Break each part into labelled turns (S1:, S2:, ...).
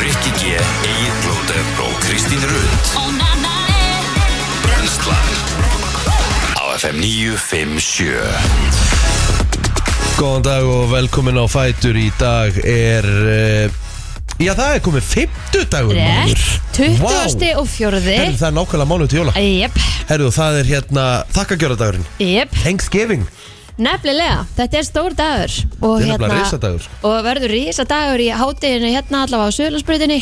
S1: Rikki G, Egil Blóter og Kristín Rund Brenslan Á FM 957
S2: Góðan dag og velkomin á Fætur Í dag er uh, Já það er komið 50 dagur
S3: Rétt, 20. og
S2: Herru,
S3: 4.
S2: það er nákvæmlega mánuð til jóla
S3: Jep,
S2: Herru, það er hérna þakkagjörðardagurinn
S3: jep,
S2: Thanksgiving
S3: nefnilega, þetta er stór dagur og
S2: Þetta
S3: hérna-
S2: er nefnilega risadagur.
S3: og verður risadagur í hátteginu hérna allavega á Söðlandsbrytinni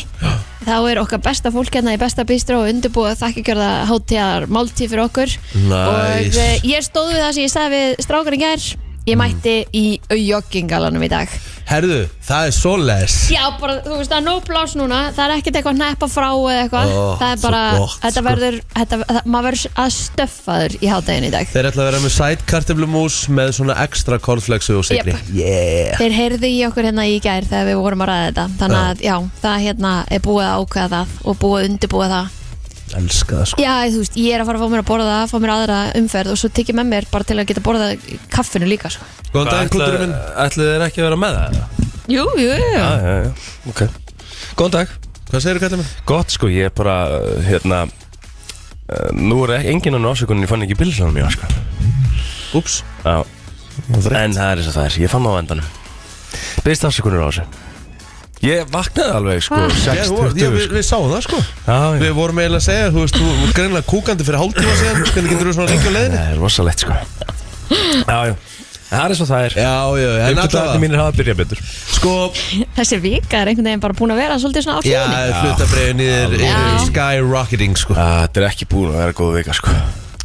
S3: þá er okkar besta fólk hérna í besta bístró og undirbúið þakkikjörða hátegar máltíð fyrir okkur og
S2: Nice.
S3: eh, ég stóð við það sem ég sagði við strákarinn í gær ég mætti í joggingalanum í dag
S2: Herru, það er svo les
S3: Já, bara, þú veist, það er nóg blás núna Það er ekkert eitthvað neppa frá eða eitthvað
S2: Ó,
S3: Það er
S2: svo
S3: bara,
S2: gott,
S3: þetta
S2: sko.
S3: verður þetta, það, Maður verður að stöffa þur í hádeginu í dag
S2: Þeir ætla að vera með sætkartiflumús Með svona ekstra kornflexu og sigri
S3: Jep.
S2: Yeah
S3: Þeir heyrðu í okkur hérna í gær þegar við vorum að ræða þetta
S2: Já.
S3: Þannig að, já, það hérna er búið að ákveða það og búið að undirbúa það
S2: Elska það sko
S3: Já, þú veist, ég er að fara að fá mér að borða það fá mér aðra umferð og svo tekið með mér bara til að geta borða kaffinu líka, sko
S2: Góðan dag, kundurinn minn
S4: Ætlu þeir ekki að vera með það?
S3: Jú, jú, jú
S4: Já, já, já, ok Góðan dag
S2: Hvað segirðu kallið minn?
S4: Gott sko, ég er bara, uh, hérna uh, Nú er ekki enginn annar ásökunin Ég fann ekki bilsanum í sko.
S2: Úps
S4: Já, en það er þess að það er Ég fann það á endanum Byrst ásökunir á þessu Ég vaknaði alveg sko,
S3: Hva?
S2: Já, þú-
S4: 6.20
S2: já, við,
S4: sko.
S2: við sáum það sko
S4: Já, já,
S2: Við vorum eiginlega að segja, þú veist, þú er greinlega kúkandi fyrir hálftíma síðan, hvernig getur þú svona lengi á leiðinni?
S4: það er rosalegt sko Já, já, það er þess að það er
S2: Já, já, en
S4: Ömdagarni
S2: allavega
S4: mínir hafa byrjað betur
S2: Sko,
S3: Þessi vika er einhvern veginn bara búin að vera svolítið svona á
S2: já,
S3: fjörunni
S2: hlutabriðin er,
S3: Já.
S2: er skyrocketing, sko
S4: Æ, Þetta er ekki búin að vera góð vika sko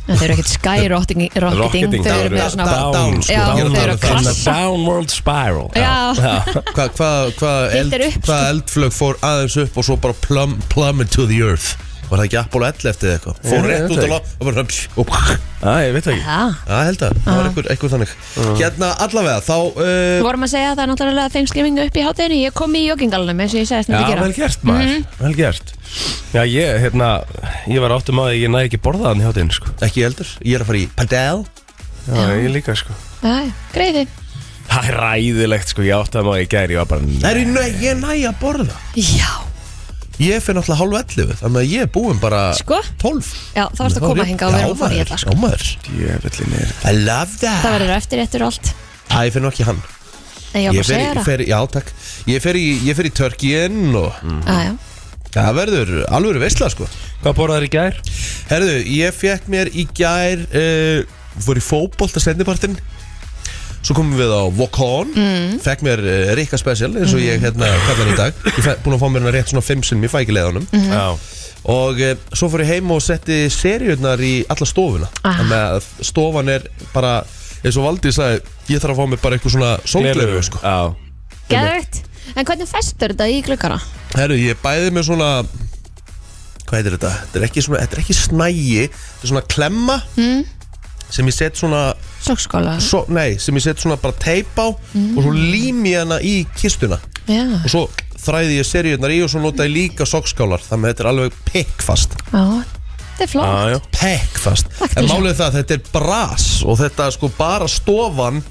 S3: Þau eru ekkert skyrocketing
S4: Rocketing,
S3: Þau eru með
S4: down,
S3: svona
S2: Down,
S4: down,
S2: sko. Ég
S3: Já,
S2: er að
S3: þau
S2: tala um það.
S3: eru að krassa
S4: Downward spiral
S3: Já.
S2: Hvað hva, hva
S3: Hitt
S2: eld,
S3: er upp, sko.
S2: hva eldflög fór aðeins upp og svo bara plum, plummet to the earth Var það ekki Apollo 11 eftir eða eitthvað? Fór
S4: Ég
S2: rétt
S4: veit
S2: út
S4: það
S2: á loft og bara psh, og psh.
S4: Æ, ég veit það ekki
S3: Það
S2: Já, held að, það var einhver, einhver þannig Hérna, allavega, þá
S3: Við
S2: uh,
S3: vorum að segja að það er náttúrulega Thanksgiving upp í hátteginu Ég kom í joggingalunum eins og ég
S4: Já,
S3: segist nefndi að gera Mhm.
S4: vel gert maður, vel gert Já, ég, hérna, ég var áttum að ég næði ekki borðaðan hjá þeim, sko
S2: Ekki eldur, ég er að fara í padel
S4: Já, ég líka, sko
S3: Já, greiði
S4: Það er ræðilegt, sko, ég áttum að ég gæri, ég var bara
S2: Það
S4: nei.
S2: er í næ, ég næ að borða
S3: Já,
S2: Ég finn alltaf hálf 11, þannig að ég er búinn bara
S3: Sko?
S2: 12
S3: já það varst að
S2: Þá er
S3: koma
S2: ég-
S3: hingað og við
S2: Já,
S3: erum að fara í
S2: maður,
S3: þetta
S2: Já
S3: sko.
S2: maður,
S4: Djöfullin er
S2: I love that
S3: Það verður eftir eftir og allt
S2: Æ, ég finn nú ekki hann
S3: En ég var
S2: Ég
S3: bara að
S2: fer, í-
S3: segja það
S2: fer, í- já, takk Ég fer í, ég fer í Törkien og
S3: Já, já.
S2: það verður alvöru veistla sko
S4: Hvað borðaður í gær?
S2: Herðu, ég fekk mér í gær uh, Fór í fótbolt að sendipartin Svo komum við á Vokon mm. Fekk mér uh, Rikka Special eins og ég hérna
S3: Mm.
S2: kallan í dag Ég fæ, búin að fá mér hérna rétt svona fimm sinn Ég fæ ekki leið á honum
S4: Já
S2: Og uh, svo fór ég heim og setti seriurnar í alla stofuna
S3: Ah.
S2: Þannig að stofan er bara eins og Valdi sagði Ég þarf að fá mér bara eitthvað svona sólgleru sko.
S4: Já
S3: Geðvegt En hvernig festur þetta í glukkara?
S2: Herru, ég bæði með svona Hvað heitir þetta? Þetta er ekki, svona, þetta er ekki snægi Þetta er svona klemma Sem ég set svona
S3: Sokkskóla
S2: so, Nei, sem ég set svona bara teip á Og svo lím ég hana í kistuna
S3: Já,
S2: Og svo þræði ég seríunar í Og svo nota ég líka sokkskálar Þannig að þetta er alveg pekkfast
S3: já Þetta er flott
S4: Já, já
S2: Pekkfast
S3: Takk
S2: En
S3: fyrir.
S2: málið er það, að þetta er bras Og þetta sko bara stofan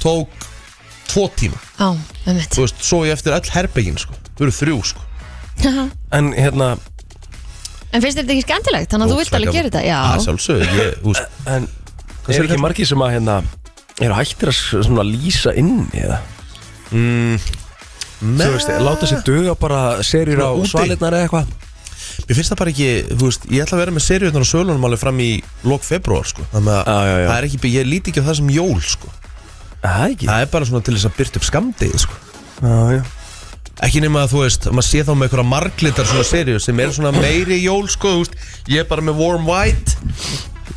S2: Tók tvo tíma
S3: Já, með mitt
S2: Þú veist, svo ég eftir öll herbyggin sko Þú eru þrjú sko
S3: En
S4: En, hérna,
S3: finnst þér þetta ekki skemmtilegt? Þannig að þú vilt alveg gera þetta
S2: Að Ah,
S3: Já,
S2: sjálfsögðu, ég, þú veist
S4: en
S2: Hvað
S4: Er
S2: segirðu,
S4: ekki
S2: Karl?
S4: margir sem að, hérna, eru hættir að s- svona lýsa inn í það? Þú veist, láta sér duga bara serjur á
S2: Svona úti?
S4: svalirnar eða eitthvað
S2: Mér finnst það bara ekki, þú veist, ég ætla að vera með seriunar og sölunum alveg fram í lok februar, sko Þannig að
S4: Já, já, já.
S2: það er ekki, ég líti ekki á það sem jól, sko
S4: Það ekki
S2: Það er bara svona til þess að byrta upp skamdegi, sko
S4: Já, já
S2: Ekki nema að þú veist, að maður sé þá með einhverja marglitar svona seriur sem er svona meiri jól, sko, þú veist Ég er bara með warm white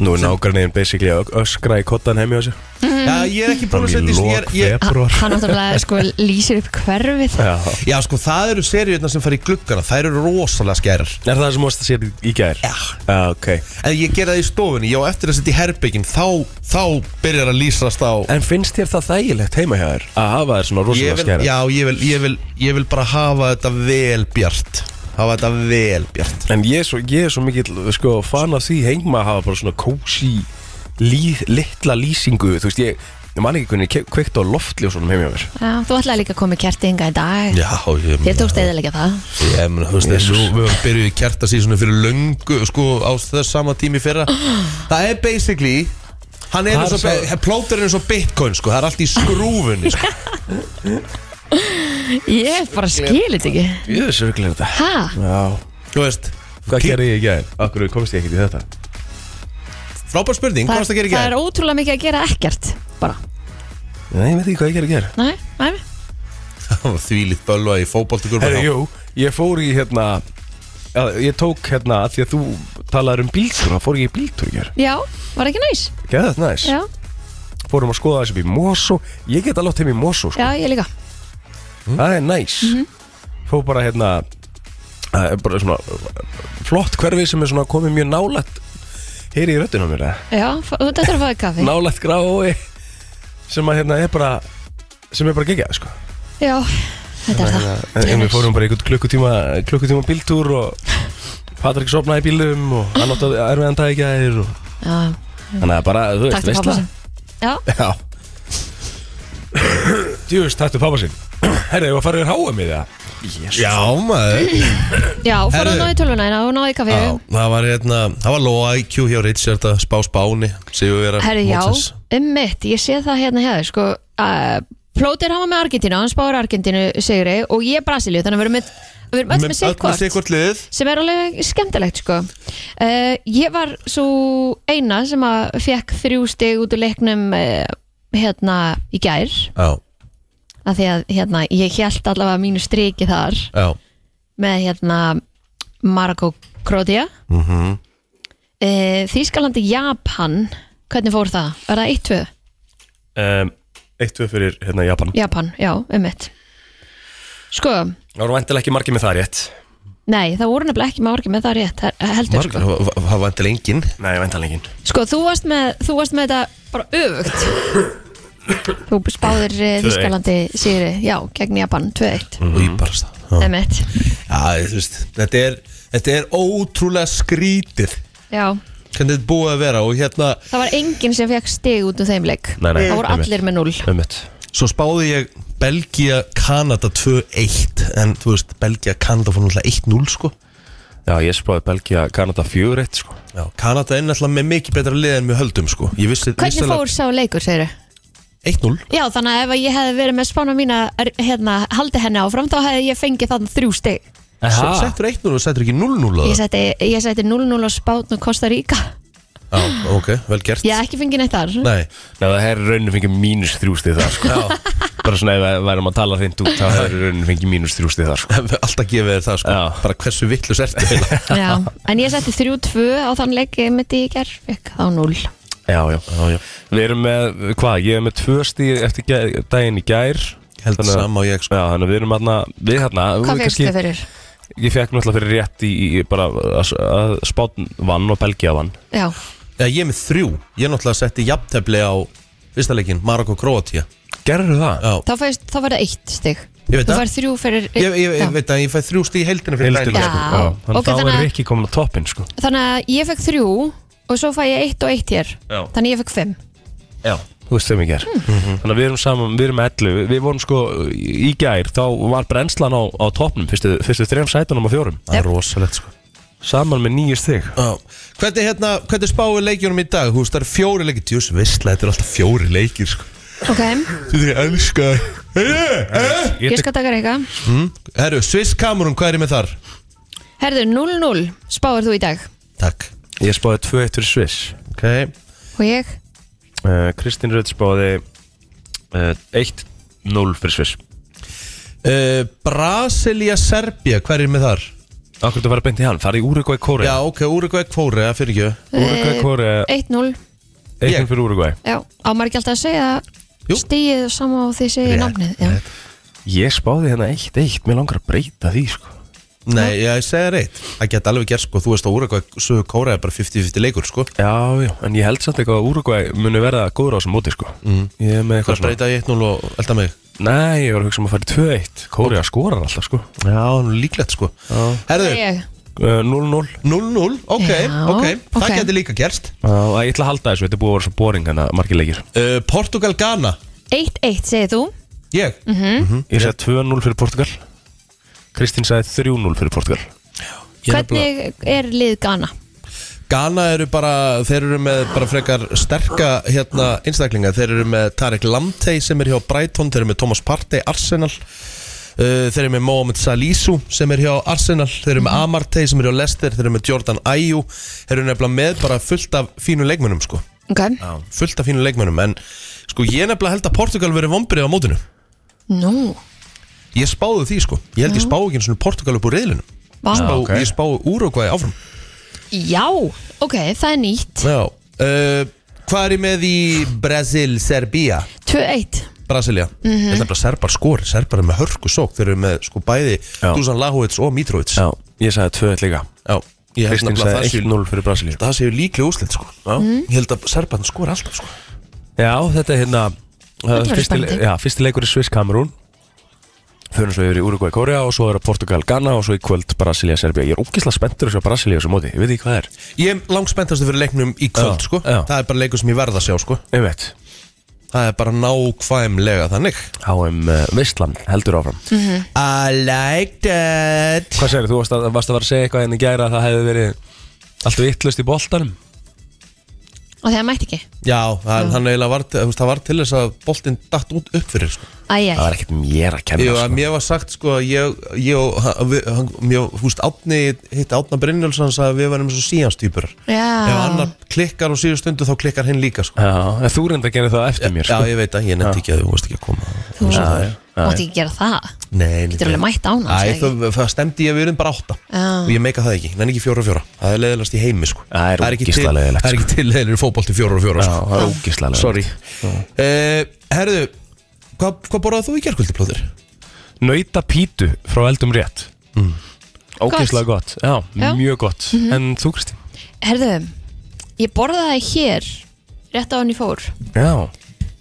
S4: Nú er nágranniðin basically að öskra í kottan heimi á sér
S3: Mm.
S2: Já, ég er ekki búin
S4: Fram
S2: að
S4: í
S2: setja í
S4: lók
S2: sér ég,
S4: februar
S3: hann Ah, náttúrulega sko lýsir upp hverfið
S4: Já
S2: Já, sko, það eru seriurnar sem fara í gluggana, þær eru rosalega skærar
S4: Er það það sem mást að sér í gær?
S2: Já.
S4: Já, ok
S2: En ég gera það í stofunni, ég á eftir að setja í herbyggin, þá, þá byrjar að lýsast á
S4: En finnst þér það þægilegt heima hjá þér? Að hafa þér svona
S2: ég
S4: rosalega
S2: vil,
S4: skæra?
S2: já, ég vil, ég, vil, ég vil bara hafa þetta vel bjart Hafa þetta vel bjart
S4: En ég er svo, ég er svo mikill, sko, fan af því heima að hafa bara svona kósi lí, litla lýsingu Þú veist, ég, Ég man ekki hvernig ég kveikt á loftljósunum heim hjá mér
S3: Já, þú ætlaði líka að koma í kertinga í dag
S2: Já, ég
S3: Þér tókst eðalega það
S2: Ég meina, þú veist,
S4: Jesus.
S2: þessu, við varum byrjuð í kjartasísunum fyrir löngu, sko, á þess sama tími í fyrra. Það er basically, hann
S4: Það
S2: er
S4: er
S2: eins og,
S4: svo-
S2: svo... plóterinn er eins og bitcoin, sko, það er allt í skrúfunni, sko.
S3: Ég bara skil þetta ekki
S4: Jöðu sörglega þetta
S3: Hæ?
S4: Já
S2: Þú veist,
S4: Hvað
S2: Ki-
S4: gerði ég í gæðin? Akkur komst ég ekkert í þetta
S2: frábær spurning, hvað varst að gera í
S3: það er
S2: gær?
S3: ótrúlega mikið að gera ekkert Bara,
S4: Nei, ég veit ekki hvað ég gerði í gæðin
S3: nei, nei
S2: Það var þvílitt bölva í
S4: Herra,
S2: fótboltugurma.
S4: jú, ég fór í hérna já, Ég tók hérna að því að þú talaður um bíltúr þá fór ég í bíltúr í gær
S3: Já, var ekki næs
S4: Gæði þetta næs
S3: Já,
S4: Fórum að skoða þessi upp í Mosó Ég get alveg heim í Mosó sko.
S3: já Mhm. ég líka
S4: Það er næs Fór bara hérna það er bara svona uh, flott hverfi sem er svona komið mjög nálætt heyri í röddina á mér eða?
S3: Já, fa- þetta er að fáið kaffi
S4: nálætt grái sem að hérna er bara sem er bara geggjað sko
S3: Já, þetta er það
S4: en, en við fórum bara einhvern klukkutíma klukkutíma bíltúr og Patrik sopnaði í bílum og hann átti að erfiðan dag ekki að þér og
S3: Já,
S4: þannig að bara, þú veist,
S3: takk til
S4: veistla
S3: pappa sinn Já,
S4: Já Djúvist, taktu pappa sinn Herra, ég var að fara yfir háum í það Jésus
S2: Já, maður.
S3: já, fór
S2: Herðu.
S3: að náði tölvuna hérna og náði kaffi
S2: Já, það var hérna, það var Lóa IQ hjá Richard að spá spáni, segjum við vera
S3: Herri, já, ummitt, ég sé það hérna hefur, sko, uh, Plóter hann var með Argentínu, hann spáður Argentínu sigri og ég Brasilíu, þannig að við erum með, við erum öll með
S2: Öll með
S3: sikkort
S2: sikkort liðið.
S3: sem er alveg skemmtilegt, sko. Uh, ég var svo eina sem að fekk þrjú stig út úr leiknum uh, hérna í gær,
S2: Já,
S3: af því að hérna, ég held allavega mínu striki þar
S2: já.
S3: með hérna Marokko Kroatia mm Þískalandi Japan hvernig fór það? Var það 1-2?
S4: um, Eitt, tvö fyrir hérna Japan
S3: Japan, já, ummitt Sko,
S4: Það voru vantilega ekki margir með það rétt
S3: nei, það voru nefnilega ekki margir með það rétt það er- heldur,
S2: Margar,
S3: sko.
S2: það var vantilega enginn.
S4: Nei, vantilega ekki
S3: sko, þú varst með þú varst með þetta bara öfugt Þú spáðir eh,
S4: 2-1.
S3: Þískalandi sigri, já, gegn Japan 2-1,
S2: Og ég bara stað. Já.
S3: ummitt
S2: Já, þú veist, þetta er, þetta er ótrúlega skrítið
S3: Já,
S2: hvernig þetta er búið að vera og hérna,
S3: það var enginn sem fekk stig út úr þeim leik
S4: Nei, nei,
S3: Það voru
S4: einmitt.
S3: allir með 0
S4: Ömmut
S2: svo spáði ég Belgia, Kanada 2-1 en þú veist, Belgia, Kanada fór náttúrulega 1-0 sko,
S4: Já, ég spáði Belgia, Kanada 4 rétt sko
S2: já, Kanada er náttúrulega með mikið betra lið en við höldum sko ég vissi,
S3: Hvernig fór sá leikur, segirðu?
S2: 1-0,
S3: Já, þannig að ef að ég hefði verið með spána mína er- hérna, haldi henni áfram, þá hefði ég fengið þann þrjú steg.
S2: svo settur 1-0 og settur ekki 0-0 að
S3: Ég
S2: það,
S3: seti, ég seti 0-0 á spán og Costa Rica.
S2: já, ok, vel gert
S3: Ég hef ekki fengið neitt þar.
S2: nei,
S4: Nei, það hefur rauninu fengið mínus þrjústið þar sko Bara svona ef við værum að tala þeim út þá hefur rauninu fengið mínus þrjústið þar sko
S2: alltaf gefið þér það sko
S4: Já.
S2: bara hversu vittlust ertu eiginlega.
S3: Já, en ég seti 3-2 á þann leik mitt í gerð, fekk þá 0.
S4: Já, já, já, já. Við erum með, hvað, ég er með tvö stíð eftir gæ- daginn í gær
S2: held
S4: Þannig að-
S2: sama og ég sko
S4: Já, þannig að við erum hérna, við hérna
S3: Hvað
S4: við
S3: fegst
S4: kannski-
S3: þau fyrir?
S4: Ég fekk náttúrulega fyrir rétt í, í bara að, að Spán vann og Belgia vann
S3: Já,
S2: já, ég er með þrjú, ég náttúrulega setti jafntefli á fyrsta leikin, Marokko, Kroatia
S4: Gerðu það?
S2: já,
S3: þá, fæst, þá var það eitt steg.
S2: Ég veit
S3: Þú
S2: það.
S3: fær þrjú fyrir...
S2: Ég, ég, ég
S3: Já.
S2: veit að ég fæ þrjú stíð í heildina sko. fyrir
S4: Heildin,
S2: daginn.
S3: Já.
S4: Þannig
S3: Ok,
S4: okay, þá
S3: þannig
S4: er
S3: að-
S4: Rikki komin á toppinn sko
S3: Þannig að ég fekk þrjú og svo fæ ég eitt og eitt hér.
S4: Já.
S3: Þannig að ég fekk fimm.
S4: Já Þú veist þeim ég ger
S3: Hmm.
S4: Þannig að við erum saman, við erum með 11 Við- Við vorum sko í í gær, þá var brennslan á, á toppnum Fyrstu, fyrstu þrejum sætunum á fjórum
S2: Það er rosalegt sko
S4: Saman með nýju stig
S2: Já. Hvernig, hérna, hvernig spáir leikjunum í dag? Þú veist, það eru fjóri leikir Djús, vissla, þetta eru alltaf fjóri leikir sko.
S3: Ok,
S2: Þetta er elska
S3: ég skal taka reyka.
S2: Hmm? Herru, Sviss Kamerun, hvað er ég með þar?
S3: Herðu, 0-0 spáir þú í dag.
S2: Takk
S4: Ég spáði 2-1 fyrir Sviss
S2: okay.
S3: Og ég?
S4: Uh, Kristín Rödd spáði uh, 1-0 fyrir Sviss
S2: uh, Brasilia, Serbia, hvað er ég með þar?
S4: Akkur þú verður beint í hann, farið í Uruguay Kóri
S2: Já, ok, Úrugvæk Kóri, það fyrir ekki
S4: Uruguay Kóri,
S3: 1-0
S2: ég.
S4: 1 fyrir Uruguay
S3: Já, á maður ekki alltaf
S2: Jú.
S3: að segja stíð sama og þið segja
S2: Rétt,
S3: námnið já.
S4: Ég spáði hérna 1-1, mér langar að breyta því sko.
S2: Nei, já, ég segi reitt Það geti alveg gert sko, þú veist að Úrugvæk Kóri er bara 50-50 leikur sko
S4: Já, já, en ég held samt eitthvað að Uruguay muni verða góður á þessum móti sko. mm. Ég er með
S2: Hvað
S4: eitthvað svona
S2: breyta ég 1-0 og elda mig?
S4: Nei, ég var að hugsa um að fara í 2-1 Kóri að skora alltaf sko.
S2: Já, nú líklegt sko
S4: Já.
S2: Herðu,
S3: Ég,
S4: uh, 0-0
S2: 0-0, ok,
S3: Já,
S2: ok, það
S3: ok.
S2: getur líka gerst
S4: Já, Ég ætla að halda þessu, þetta er búið að vera svo boring en að margir leikir
S2: uh, Portugal-Ghana,
S3: 1-1 segir þú
S2: ég
S3: Mhm.
S4: Ég sagði 2-0 fyrir Portugal Kristín sagði 3-0 fyrir Portugal
S2: Ég er nefnilega-
S3: Hvernig er lið Ghana?
S2: Ghana eru bara, þeir eru með bara frekar sterka hérna einstaklinga Þeir eru með Tarek Lamptey sem er hjá Brighton Þeir eru með Thomas Partey, Arsenal uh, Þeir eru með Mohamed Salisu sem er hjá Arsenal Þeir eru með Amartey sem er hjá Leicester Þeir eru með Jordan Ayew Þeir eru nefnilega með bara fullt af fínu leikmönnum sko
S3: Ok,
S2: Fullt af fínu leikmönnum En sko ég nefnilega held að Portugal veri vombrið á mótinu
S3: nú
S2: Ég spáði því sko Ég held ég spáði ekki eins og Portugal upp úr reyðlinum
S3: Vá.
S2: Spá,
S4: ok.
S2: Ég spáði Úrugvæði áfram
S3: Já, ok, það er nýtt
S2: Já uh, Hvað er ég með í Brasil, Serbia?
S3: 2-1
S2: Brasilia
S4: Mhm.
S2: Þetta er bara serbar skor Serbar er með hörku sók Þeir eru með sko bæði
S4: Já.
S2: Dusan Lahovits og Mitrovic
S4: Já, ég sagði 2-1 líka
S2: Já. Ég held
S4: Kristín
S2: nefnilega að það
S4: sagði Mhm.
S2: séu
S4: 1-0 fyrir Brasilíu
S2: Það séu líklega úslit sko Ég held að serbarn skor alltaf sko
S4: Já, þetta er hérna
S3: Þetta verður
S4: fyrsti,
S3: spennandi.
S4: já, fyrsti leikur er Swiss Cameroon Fyrir svo yfir í Uruguay Korea og svo er það Portugal Ghana og svo í kvöld Brasilia Serbia Ég er ógislega spenntur að sjá Brasilia þessu móti, ég veit ekki hvað er
S2: Ég er langspennastu fyrir leiknum í kvöld
S4: Já,
S2: sko
S4: já.
S2: Það er bara leikur sem ég verð að sjá sko
S4: Ég veit,
S2: Það er bara nákvæmlega þannig
S4: HM uh, Vistland heldur áfram
S2: I like that
S4: Hvað segir þú, varst að, varst að vera að segja eitthvað henni gæra að það hefði verið allt vittlust í boltanum
S3: Og þegar mætti ekki
S2: Já, það, hann eiginlega var, þú veist, það var til þess að boltinn datt út upp fyrir sko
S3: Æj,
S4: Það
S3: æj,
S4: var ekkert mér að kenna
S2: Jú,
S4: sko.
S2: að mér var sagt sko að ég, ég og hann- við- hann- mér, húst, Átni hitt Átna Brynjóls hann sagði að við varum eins og síjanstýpur ef
S3: já
S2: annar klikkar á síðu stundu þá klikkar hinn líka sko.
S4: Já, en þú reynda að gera það eftir mér
S2: já,
S4: sko.
S2: ég veit að ég nefndi ekki að þú veist ekki að koma
S3: Þú
S4: já, já.
S3: mátti ekki gera það
S2: Nei,
S3: Getur alveg mætt á hann,
S2: Æ,
S3: sagði
S2: það, það stemdi ég að við erum bara átta
S3: Já.
S2: og ég meika það ekki, nenni ekki fjóra og fjóra það er leiðilegast í heimi sko.
S4: Það er
S2: ekki
S4: ógeðslega
S2: til-
S4: leiðilegt, sko.
S2: það er ekki til leiðilegur fótbolti fjóra og fjóra
S4: Já,
S2: sko.
S4: það er ógislega
S2: sorry uh, herðu, hvað, hvað borðað þú í gerkvöldi plóðir?
S4: Nauta pítu frá eldum rétt Ógislega gott, Já,
S3: Já. Mhm.
S4: mjög gott En þú Kristín?
S3: Herðu, ég borðaði það hér Rétt á hann ég fór
S4: Já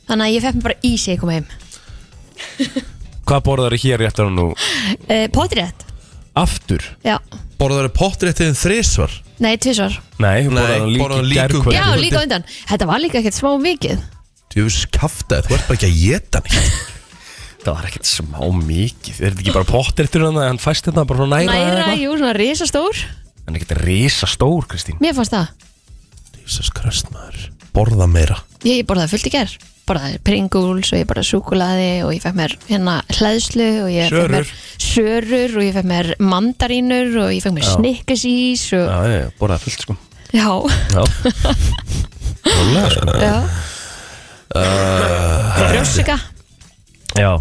S3: Þannig að ég fekk mér bara ísi að koma heim
S4: Hvað borðar hér rétt á nú?
S3: uh, Potrétt,
S4: Aftur?
S3: já
S2: borðaður pottréttiðin þrisvar
S3: Nei, tvisvar
S4: Nei, hún borðar
S2: Nei,
S4: hann líka í
S2: borðar hann líka um
S4: gærkvöldi
S3: Já, líka á undan Þetta var líka ekkert smá mikið
S2: Djöfus kaftaði, þú ert bara ekki að geta neitt
S4: Það var ekkert smá mikið Er þetta ekki bara pottertur hann að hann fæst þetta bara frá næra, eða
S3: Næra,
S4: eitthvað?
S3: jú, svona risastór
S4: Hann er ekkert risa stór, Kristín
S3: Mér fannst það
S2: Jesus Christ maður Borða meira
S3: Ég, ég borðaði fullt í ger Borðaði Pringles og ég borðaði súkulaði og ég fekk mér hérna hlæðslu og ég fekk mér sörur og ég fekk mér mandarínur og ég fekk mér snikkasís og
S4: Já, ég borðaði fullt sko
S3: já,
S4: Já Rólega, sko.
S3: já. Uh, Brjósika
S4: Já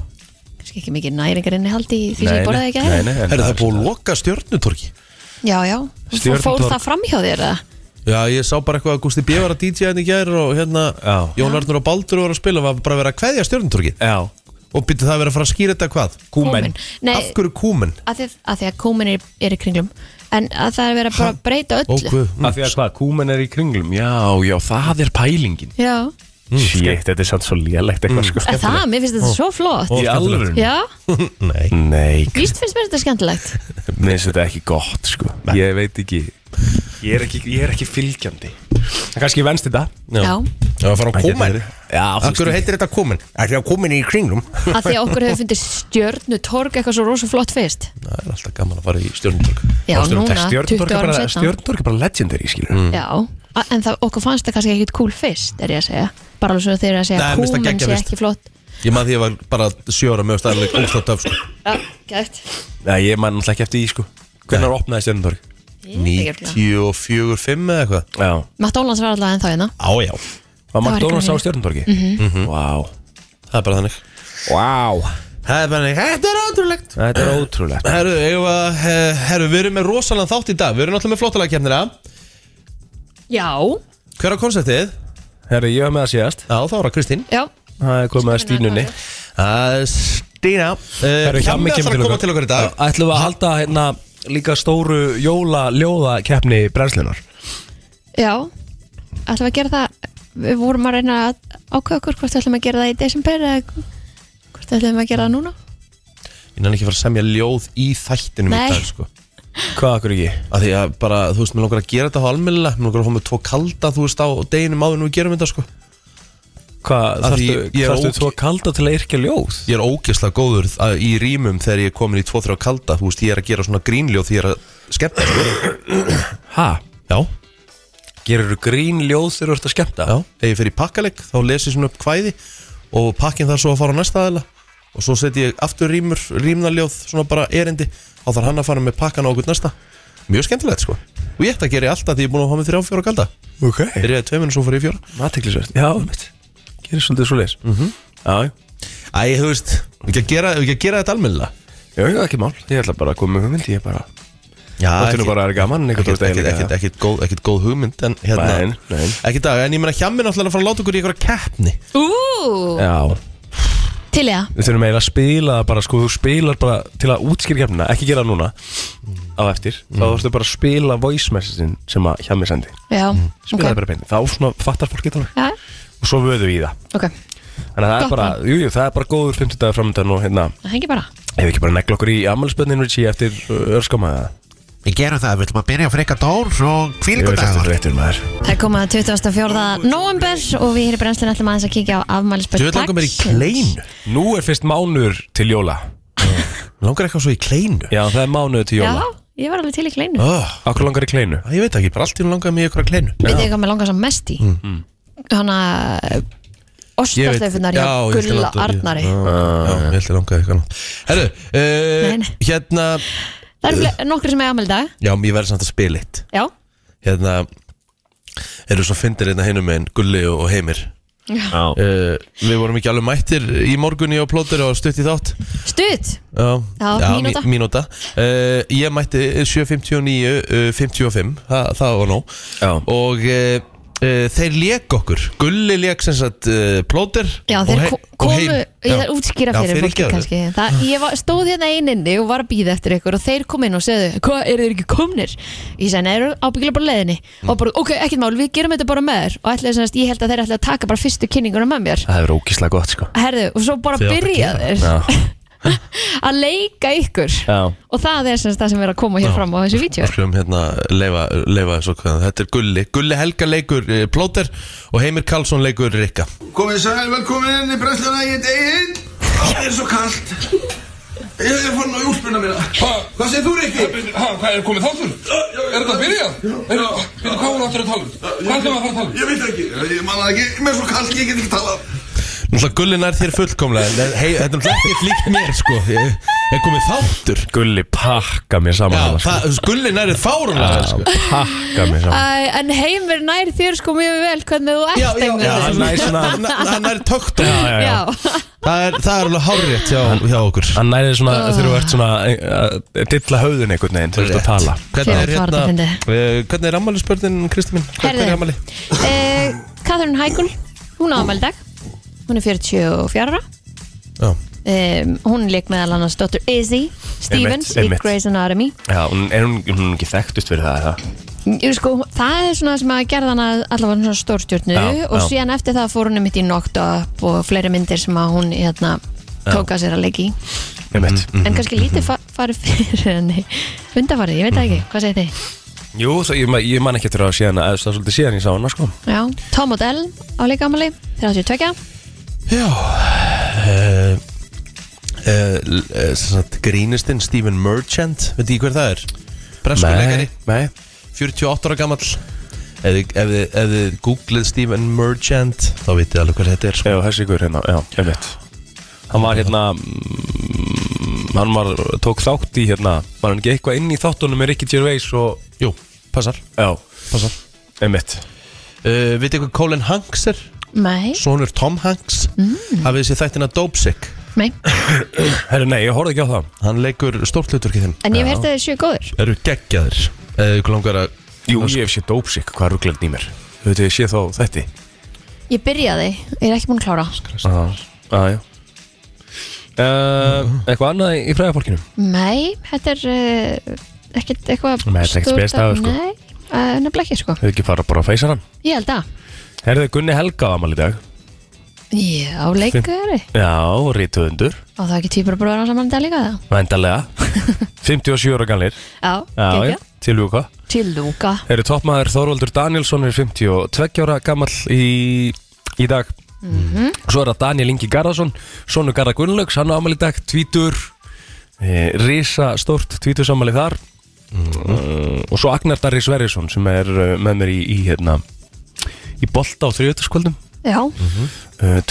S3: kannski ekki mikið næringarinni haldi því sem ég borðaði ekki
S4: nei,
S3: að
S4: nei, en
S2: Er það
S4: er
S2: búið að loka stjörnutorki?
S3: Já, já, Fór- fór
S4: Stjörnutorg.
S3: það fram hjá þér eða?
S2: Já, ég sá bara eitthvað að Gústi B var að DJ henni gær og hérna
S4: Já.
S2: Jón Arnur og Baldur voru að spila var bara að vera að kveðja stjörnutorki
S4: Já,
S2: og byrjuð það að vera að fara að skýra þetta hvað?
S4: kúmen
S3: Kúmen. Nei,
S2: Af hverju kúmen?
S3: að því að, því að kómin er, er í kringlum en að það er verið að bara breyta öllu
S2: Óguð
S4: Af því að hvað, kúmen er í kringlum Mm. Já, já, það er pælingin
S3: Já,
S4: Shit, þetta er sann svo lélegt eitthvað sko
S3: að það, mér finnst þetta svo flott
S4: Í alvöru
S3: Já,
S2: Nei
S4: Nei,
S3: víst finnst mér þetta skemmtilegt
S4: Mér finnst þetta ekki gott sko Ég veit ekki Ég er ekki, ég er ekki fylgjandi Það kannski venst þetta
S3: Já,
S2: Það var að fara á kúmen
S4: Já, þú
S2: Af
S4: veist
S2: hverju heitir þetta kúmen? Er það kúmen í kringlum?
S3: að því að okkur hefur fundið stjörnutorg eitthvað svo rosa flott fyrst
S2: Það er alltaf gaman að fara í stjörnutork
S3: Já, núna, 20
S4: Stjörndorg er
S3: Ah, árum
S4: bara,
S3: setna
S4: stjörndorg er bara legendary skilur mm.
S3: Já, a- en það, okkur fannst það kannski ekkit cool fyrst er ég að segja, bara alveg svo þeir eru að segja
S2: Nei, mér finnst það
S3: kúmen
S2: geggjað
S3: sé
S2: fyrst.
S3: ekki flott
S2: Ég maður því að ég var bara sjö ára með stærleik óslátt af sko
S3: Já, gætt
S4: Já, ég man alltaf ekki eftir því sko Hvernig opnaði stjörndorg?
S2: 94, 5 eða eitthvað
S4: Já
S3: McDonalds var allavega ennþá hérna
S2: Á já
S4: Var
S3: var Mhm.
S4: McDonalds á
S3: eitthvað
S4: stjörndorgi? Vá
S2: Það er bara þannig
S4: Mhm. Vá
S2: Það er bara þannig Þetta er átrúlegt
S4: Þetta er ótrúlegt
S2: Herru, eigum við að, eh, herru, við erum með rosalega þátt í dag Við erum náttúrulega með flottalega kemnina
S3: Já,
S2: Hver á konceptið?
S4: Herra, ég var með það síðast
S2: Já, þá er það Kristín
S3: já,
S4: Það er komið að stínunni
S2: Það er Stína
S4: Herra,
S2: Hjammi
S4: Hjammi
S2: Eh, ætlar að koma til okkur í dag
S4: Já, Ætlum við að halda hérna líka stóru jóla ljóðakeppni brennslunar
S3: já Ætlum við að gera það Við vorum að reyna að ákveða okkur hvort ætlum við að gera það í desember eða hvort ætlum við að gera það núna
S2: Ég nann ekki að fara að semja ljóð í þættinum í
S3: Nei.
S2: dag sko.
S4: Hvað akkur ekki?
S2: að því að bara, þú veist, mér langar að gera þetta á almennilega, mér langar að fá mig tvo kalda, þú veist, á deginum áður en við gerum þetta, sko
S4: Hvað,
S2: Að því
S4: þarftu,
S2: ég er
S4: þarftu
S2: óge-
S4: þú að kalda til að yrkja ljóð?
S2: Ég er ógeðslega góður að, í rýmum þegar ég er komin í 2-3 kalda, þú veist, ég er að gera svona grínljóð því ég er að skemmta, sko
S4: Ha?
S2: Já,
S4: Gerirðu grín ljóð þegar þú ert að skemmta?
S2: já, ef ég fer í pakkaleg, þá les ég svona upp kvæði og pakkin þar svo að fara á næsta aðila og svo set ég aftur rýmur, rýmnaljóð, svona bara erindi og þarf hann að fara með pakkan á okkur næsta Mjög skemmtilegt, sko Og ég ætti að gera ég alltaf því ég er búin að hafa með 3-4 kalda
S4: Ok
S2: Byrjaði tveiminn og svo fór ég í fjóra
S4: Matiklisvert, já, mitt Gerir svolítið svo leis mm -hmm. Já,
S2: Æ, þú veist, við ekki að gera, við ekki að gera þetta almennilega
S4: já, já, ekki mál Ég ætla bara að koma með hugmynd Ég er bara
S2: Já,
S4: Þetta er bara er gaman
S2: ekkert,
S4: einhvern
S2: ekkert,
S4: veginn,
S2: ekkert,
S4: já.
S2: ekkert, góð, ekkert góð hugmynd en hérna,
S4: Nein, nein.
S2: ekki dag, en ég meina hjammin alltaf að fara að láta okkur í einhverja keppni
S3: Ú,
S4: Já,
S3: til ég að
S4: við þurfum eiginlega að spila það bara Sko, þú spilar bara til að útskýra kemna Ekki gera það núna Á eftir Þá þú ertu bara að spila voice message-in Sem að hjá mér sendi
S3: Já,
S2: Mm,
S4: Spila það
S3: ok
S4: bara beint Þá svona fattar fólk þetta alveg
S3: Já,
S4: Og svo vöðu í það
S3: ok,
S4: Þannig að það er
S3: Gott
S4: bara Jú, jú, það er bara góður 50 dagar framöndan Og hérna
S3: það hengi bara
S4: Hefur ekki bara negla okkur í ammælspöndin Richie eftir uh, örskama
S5: Við gerum það, við ætlum að byrja á frekka dór og
S4: Ég veist
S5: kvílgudagðar
S4: eftir réttur maður
S3: Það er komað 24. november og við hér í brennslinu ætlum aðeins að kíkja á afmælisbörn
S2: Þú veit langar mér í
S3: dagsins.
S2: kleinu
S4: Nú er fyrst mánuður til jóla
S2: Mér langar eitthvað svo í kleinu
S4: Já, það er mánuður til
S3: Já,
S4: jóla
S3: ég var alveg til í kleinu
S2: oh,
S4: Akkur langar í kleinu
S2: Ég veit ekki, bara allt í hún langar mér í einhverja kleinu
S3: Veit ég hvað mér langar sem mest í? Hanna
S2: Ég Mm. veit-
S3: Ostasleifunar hjá
S2: Já, ég skal
S3: Gulla
S2: láta- ég-
S3: Arnari
S2: Já, já, ég ætla langaði eitthvað annað. Herru,
S3: Nei,
S2: uh,
S3: nei.
S2: hérna
S3: Það eru fle- nokkrir sem er afmæli í dag
S2: Já, ég verði samt að spila eitt
S3: Já,
S2: Hérna, eru svo fyndir hérna hinum megin Gulli og og Heimir
S4: Já
S2: uh, Við vorum ekki alveg mættir í morgunni á plótur og stutt í þátt
S3: stutt
S2: Já,
S3: Já, mínúta.
S2: mí- mínúta uh, Ég mætti 7.59 uh, 55, Þa, það var nóg
S4: Já.
S2: Og uh, uh, þeir lék okkur Gulli lék sem sagt uh, plóter
S3: Já,
S2: og
S3: þeir
S2: hei-
S3: ko-
S2: og
S3: komu,
S2: heim.
S3: ég þarf að útskýra
S2: Já,
S3: fyrir fólki
S2: fyrirgefðu.
S3: kannski
S2: Ah.
S3: það, Ég var, stóð hérna eininni og var að býða eftir ykkur og þeir kom inn og segðu, hvað, eru þeir ekki komnir? Ég segi, neður ábyggilega bara á leiðinni
S2: Mm.
S3: og bara, ok, ekkert mál, við gerum þetta bara með þér og ætlaði, semast, ég held að þeir ætlaði að taka bara fyrstu kynninguna með mér
S4: Það er ógíslega gott sko
S3: Herðu, og svo bara
S2: Þið áttu að
S3: byrja
S2: gera
S3: þeir
S4: Já,
S3: að leika ykkur
S4: já
S3: og það er semast það sem er að koma hér fram á þessu vídeo
S2: Við skulum hérna leifa, leifa svo hvað hérna. Þetta er Gulli, Gulli Helga leikur uh, plóter og Heimir Karlsson leikur Rikka
S6: Komið sæl, velkomin inn í brennsluna, ég heiti Egil Það er svo kallt Ég er fann á júlpunna mína Hvað segir þú, Rikki?
S7: Ha, hvað er komið þáttur? Er þetta að byrja? Býttu, hvað voru áttur að tala um? Hvað ætlum við að fara að tala um?
S6: Ég veit ekki, ég manna ekki, mér er svo kallt, ég get ekki talað
S2: Náttúrulega Gulli nær þér fullkomlega en, eh, hey, Þetta er náttúrulega ekkert líkt mér sko Ég ég er komið þáttur
S4: Gulli pakka mér
S2: Já,
S4: saman hana, sko.
S2: það, Gulli nærið sko. fárunlega
S4: Já, Pakka mér saman
S3: Æ, En heimir nær þér sko mjög vel hvernig þú
S2: Já,
S3: ert
S2: já, já, hann
S3: einhvern
S2: nær svona Hann nær tökkt á
S4: Já, já.
S3: Já,
S2: Það er, það er alveg hárétt hjá, hjá okkur
S4: Hann næri svona þegar þú ert svona eh, að dilla höfðun einhvern veginn til þess að
S2: Rétt.
S4: tala
S2: Hvernig er,
S3: Rétt var þetta
S2: hérna,
S3: fyndið.
S2: eh, hvernig er ammælisbörnin, Kristi mín? Hver- Hvernig er
S3: herðu
S2: ammæli?
S3: eh, Katharine Hækul, hún á afmæli í dag Hún er 44 ára
S2: Já,
S3: um, Hún leik meðal annars Dr. Izzy Stevens
S4: Einmitt, einmitt.
S3: í Grey's Anatomy
S4: Já, hún- er hún, hún er ekki þekktust fyrir það eða?
S3: Jú, sko, það er svona sem að gerða hana allavega svona stórstjórnu
S4: Já,
S3: og
S4: já.
S3: síðan eftir það fór hún mitt í Knocked Up og fleiri myndir sem að hún hérna, tók að sér að leiki
S4: Einmitt
S2: Mm.
S3: en kannski lítið fa farið fyrir henni undarfarið, ég veit það ekki, hvað segir þið?
S4: Jú, það, ég, ma- ég man ekki eftir að síðan að það er svolítið síðan ég sá hana sko
S3: Já, Tom Odell á leikamali 32
S2: já uh, uh, sagt, Grínistinn Stephen Merchant, veit ég hver það er?
S4: Sko,
S2: Breskuleikari,
S4: nei
S2: 48 ára gamall Ef þið- ef þið- ef þið googlið Stephen Merchant þá vitið alveg hver þetta er sko.
S4: Já, þessi ykkur hérna, já, einmitt Hann var hérna mm, Hann var, tók þátt í hérna Var hann ekki eitthvað inn í þáttunum með Ricky Gervais og
S2: Jú, passar,
S4: Já,
S2: passar
S4: einmitt
S2: uh, Vitið hvað Colin Hanks er?
S3: Nei,
S2: Sónur Tom Hanks mm. Hafið þessi þættina Dope Sick
S3: nei,
S4: Herri, nei, ég horfði ekki á það
S2: Hann leikur stórt hluturki þinn
S3: en ég hef hértið að þið séu góður
S2: Eru geggjaðir Eða ykkur langar að
S4: Jú, ég hef séð dópsik, hvað er rugglegn í mér sko- Þú veit, ég sé þá þetta
S3: Ég byrjaði, ég er ekki búin að klára
S4: Já, já, já Uh, eitthvað annað í fræðafólkinu
S3: Nei, þetta er uh, ekkert eitthvað
S4: Nei, þetta er ekkert
S3: stórt-
S4: spesdagur, sko.
S3: Nei, uh, nefnilega ekki sko
S4: Hefur ekki fara bara að feysa hann
S3: Ég held að
S4: Herðu Gunni Helga á amal í dag
S3: Já, leikari
S4: Já, rítuðundur
S3: Og það er ekki týpur að bróða á saman dag líka það
S4: Væntalega 57 ára gamlir
S3: Já,
S4: já,
S3: gekkja
S4: til við hvað
S3: Til lúka
S4: Eru toppmaður Þorvaldur Danielsson er 52 ára gammal í, í dag Svo er það Daniel Ingi Garðarsson Sonu Garða Gunnlaugs, hann á amal í dag Tvítur e, Risa stórt tvítursamali þar mm. Og svo Agnar Darri Sverjesson sem er eh, með mér í, í hérna í bolta á E, þriðutaskvöldum
S3: Já,